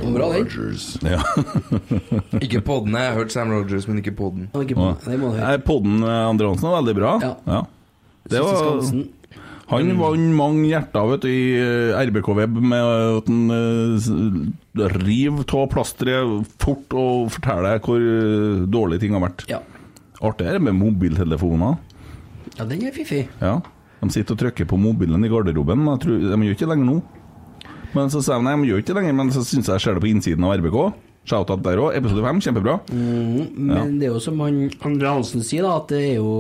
var bra, den.
ja.
Ikke podden. Jeg har hørt Sam Rogers, men ikke podden.
Han er ikke på- Det må du høre.
Nei, Podden eh, Andre Hansen var veldig bra. Ja. Det
Siste
var,
skansen.
han vant mange hjerter vet du, i eh, RBK Web med at han eh, s- river av plasteret fort og forteller hvor eh, dårlig ting har vært.
Ja.
Artig er det med mobiltelefoner.
Ja, den er fiffig.
Ja. De sitter og trykker på mobilen i garderoben, men jeg tror, de gjør ikke det lenger nå. Men så sa jeg nei, de gjør ikke det lenger, men så syns jeg jeg ser det på innsiden av RBK. Shout-out der òg. Episode fem, kjempebra.
Mm, men det er jo som han André Hansen sier, da, at det er jo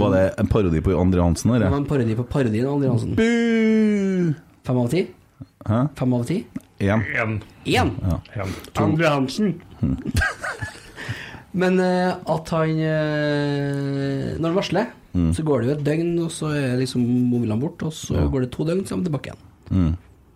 Var det en parodi på Andre Hansen?
Det
Eller?
var en parodi på parodien av André Hansen. Fem av ti?
Hæ?
Fem av ti?
Én.
En.
Én!
Ja.
En. Andre Hansen.
Men eh, at han eh, Når han varsler,
Mm.
så går det jo et døgn, og så er liksom mobilen borte, og så går det to døgn, så er han tilbake igjen.
Mm.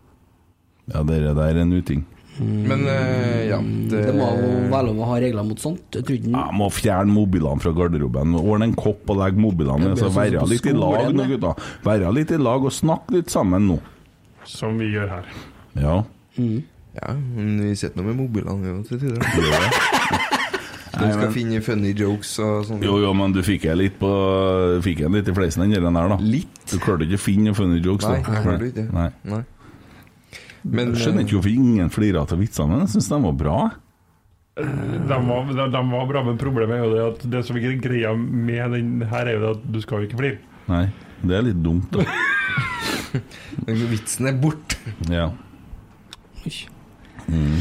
Ja, det der er en uting.
Men eh, ja
Mm, Det må jo være lov å ha regler mot sånt. Jeg tror ikke den-
Ja, må fjerne mobilene fra garderoben. Ordne en kopp og legge mobilene
Det
ned.
blir
Så
sånn
altså, være
som på
litt i lag
skolen,
nå,
det.
gutta. Være litt i lag og snakke litt sammen nå.
Som vi gjør her.
Ja.
Mm.
Ja, men vi sitter nå med mobilene jo til tider. De
Nei,
skal
men-
finne funny jokes og sånn.
Jo, jo, men du fikk jeg litt på Fikk jeg litt i fleisen den der, da. Litt? Du klarte ikke å finne noen funny jokes?
Nei,
da.
jeg klarte ikke.
Nei.
Nei.
jeg
Men,
eh,
skjønner ikke hvorfor ingen flirer av vitsene, men jeg syns de var bra.
De var, de, de var bra, men problemet er jo det at det som er greia med den her, er jo det at du skal jo ikke flire.
Nei, det er litt dumt, da.
Vitsen er borte.
Ja. Mm.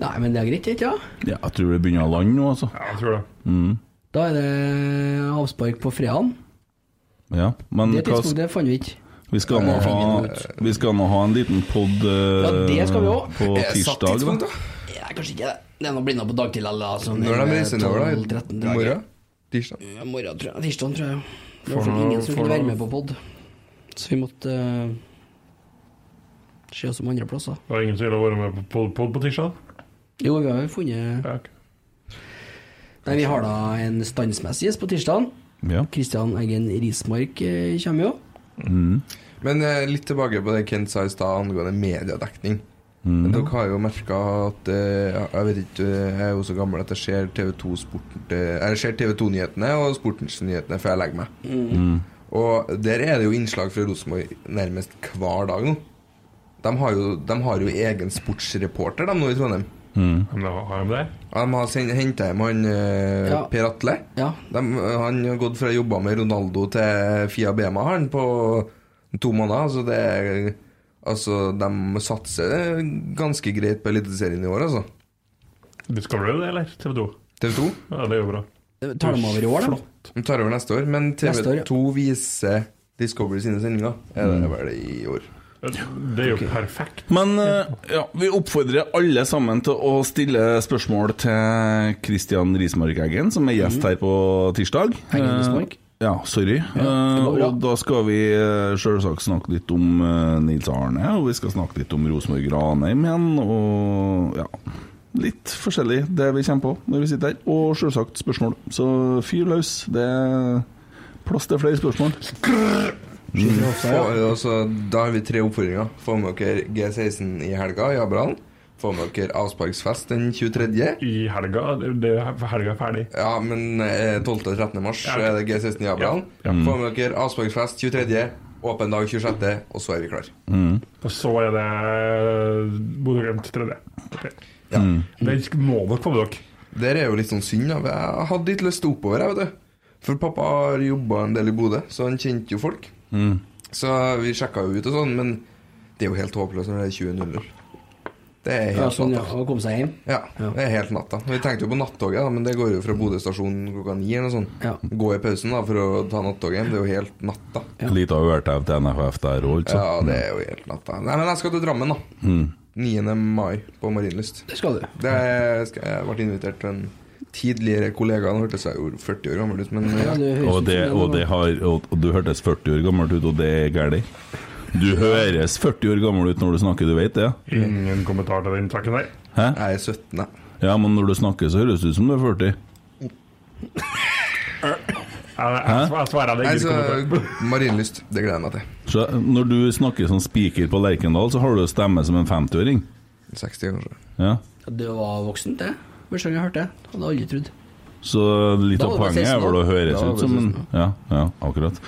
Nei, men det er greit, ikke sant?
ja. Jeg tror det begynner å lande nå, altså.
Ja, jeg tror det.
Mm.
Da er det avspark på fredagen.
Ja, men
det
hva sk-
tidspunktet fant vi ikke.
vi skal, nå
Eh,
ha, vi skal nå ha en liten pod eh,
Ja, det skal vi Eh, òg.
på
Eh,
tirsdag. da.
Ja, kanskje ikke det. Det er noe blinda på dagtid eller da, sånn
Når de
med
reiser nedover,
12-13
da? I
dager.
morgen? Tirsdag?
Ja, morgen, tror jeg. Tirsdag, tror jeg. Det var
Får
faktisk
nå-
ingen som
får
kunne være
nå-
med på pod, så vi måtte eh, se oss om andre plasser.
Det var ingen som ville være med på pod, pod på tirsdag?
Jo, vi har jo funnet Nei, vi har da en standsmessig gjest på tirsdag.
Ja.
Kristian Eggen Rismark eh, kommer jo.
Men eh, litt tilbake på det Kent sa i stad angående mediedekning.
Mm.
Dere har jo merka at eh, Jeg vet ikke, jeg er jo så gammel at jeg ser TV2 Sporten eh, Jeg ser TV2-nyhetene og Sportens-nyhetene før jeg legger meg.
Mm.
Og der er det jo innslag fra Rosenborg nærmest hver dag nå. De har jo, de har jo egen sportsreporter, de nå i Trondheim.
Mm.
Men da har de det?
Ja, De har henta hjem han eh,
Ja.
Per Atle. De, han har gått fra å jobbe med Ronaldo til Fia Bema han på to måneder. Altså, det er, altså de satser ganske greit på Eliteserien i år, altså.
Du skal vel det, eller? TV 2?
TV 2?
Ja, det er jo bra.
Tar de over i år, da?
Flott.
De tar over neste år, men TV
Neste år, ja.
2 viser Discovery sine sendinger. Er
Mm.
det vel i år?
Det er jo perfekt.
Men eh, ja, vi oppfordrer alle sammen til å stille spørsmål til Kristian Rismark Eggen, som er gjest her på tirsdag.
Eggen
Eh,
Rismark.
Ja, sorry. Eh, og da skal vi eh, selvsagt snakke litt om eh, Nils Arne, og vi skal snakke litt om Rosenborg Ranheim igjen, og ja Litt forskjellig det vi kommer på når vi sitter her, og selvsagt spørsmål. Så fyr løs. Det er plass til flere spørsmål.
Mm. Få- og så- da har vi tre oppfordringer. Få med dere G16 i helga i Abrahallen. Få med dere avsparksfest den 23.
I helga? Det er helga er ferdig.
Ja, men eh, 12. og 13. mars så er det G16 i Abrahallen.
Ja. Ja.
Få med dere avsparksfest 23. Åpen dag 26., og så er vi klare.
Og så er det Bodø-Glimt tredje.
Ja.
Det må dere få med dere.
Der er jo litt sånn synd. da. Jeg hadde litt lyst til å oppover, jeg, vet du. For pappa har jobba en del i Bodø, så han kjente jo folk.
Mm.
Så vi sjekka jo ut og sånn, men det er jo helt håpløst når det er 20.00. Det er
Ja,
helt
sånn, ja,
natta.
og komme seg hjem.
Ja, det er helt natta. Vi tenkte jo på nattoget, da, men det går jo fra Bodø stasjon klokka ni eller noe sånt. Gå i pausen da for å ta nattoget hjem. Det er jo helt natta.
Litt av ørtev til NFF der òg, altså.
Ja, det er jo helt natta. Nei, men jeg skal til Drammen, da.
Mm.
9. mai på Marienlyst.
Det skal du.
Det skal, jeg ble invitert til en tidligere kollega. Han hørtes jeg jo 40 år gammel ut, men
Og, det, og, det har, og, og du hørtes 40 år gammelt ut, og det er galt. Du høres 40 år gammel ut når du snakker, du vet det?
Ingen kommentar til den saken der.
Hæ?
Jeg er 17, jeg.
Ja, men når du snakker, så høres det ut som du er 40.
Jeg,
Hæ?
jeg, jeg svarer deg
Nei,
ingen
så
kommentar.
Marienlyst, det gleder jeg meg til.
Så eh, når du snakker som spiker på Lerkendal, så har du stemme som en 50-åring.
60, kanskje.
Ja.
Ja, Det var voksent, det. Første gang jeg hørte det. Hadde aldri trodd.
Så litt
Da
av
var det
poenget er
16
vel å
år.
høres
Da var
ut
det
som en
16
Ja, ja akkurat.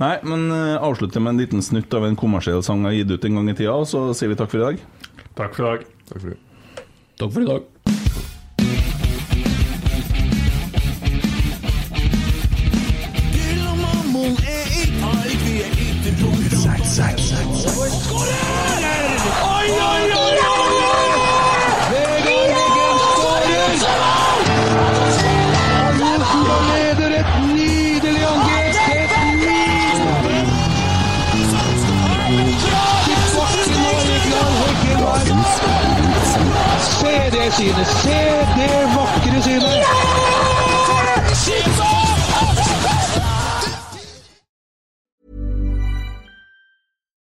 Nei, men eh, avslutter med en liten snutt av en kommersiell sang jeg har gitt ut en gang i tida, og så sier vi takk for i dag.
Takk for i dag.
Takk for det.
Takk for i dag.
leder et nydelig angrep. Et nydelig Tilbake nå, Rødland, Heggemark. Se det synet, se det vakre synet.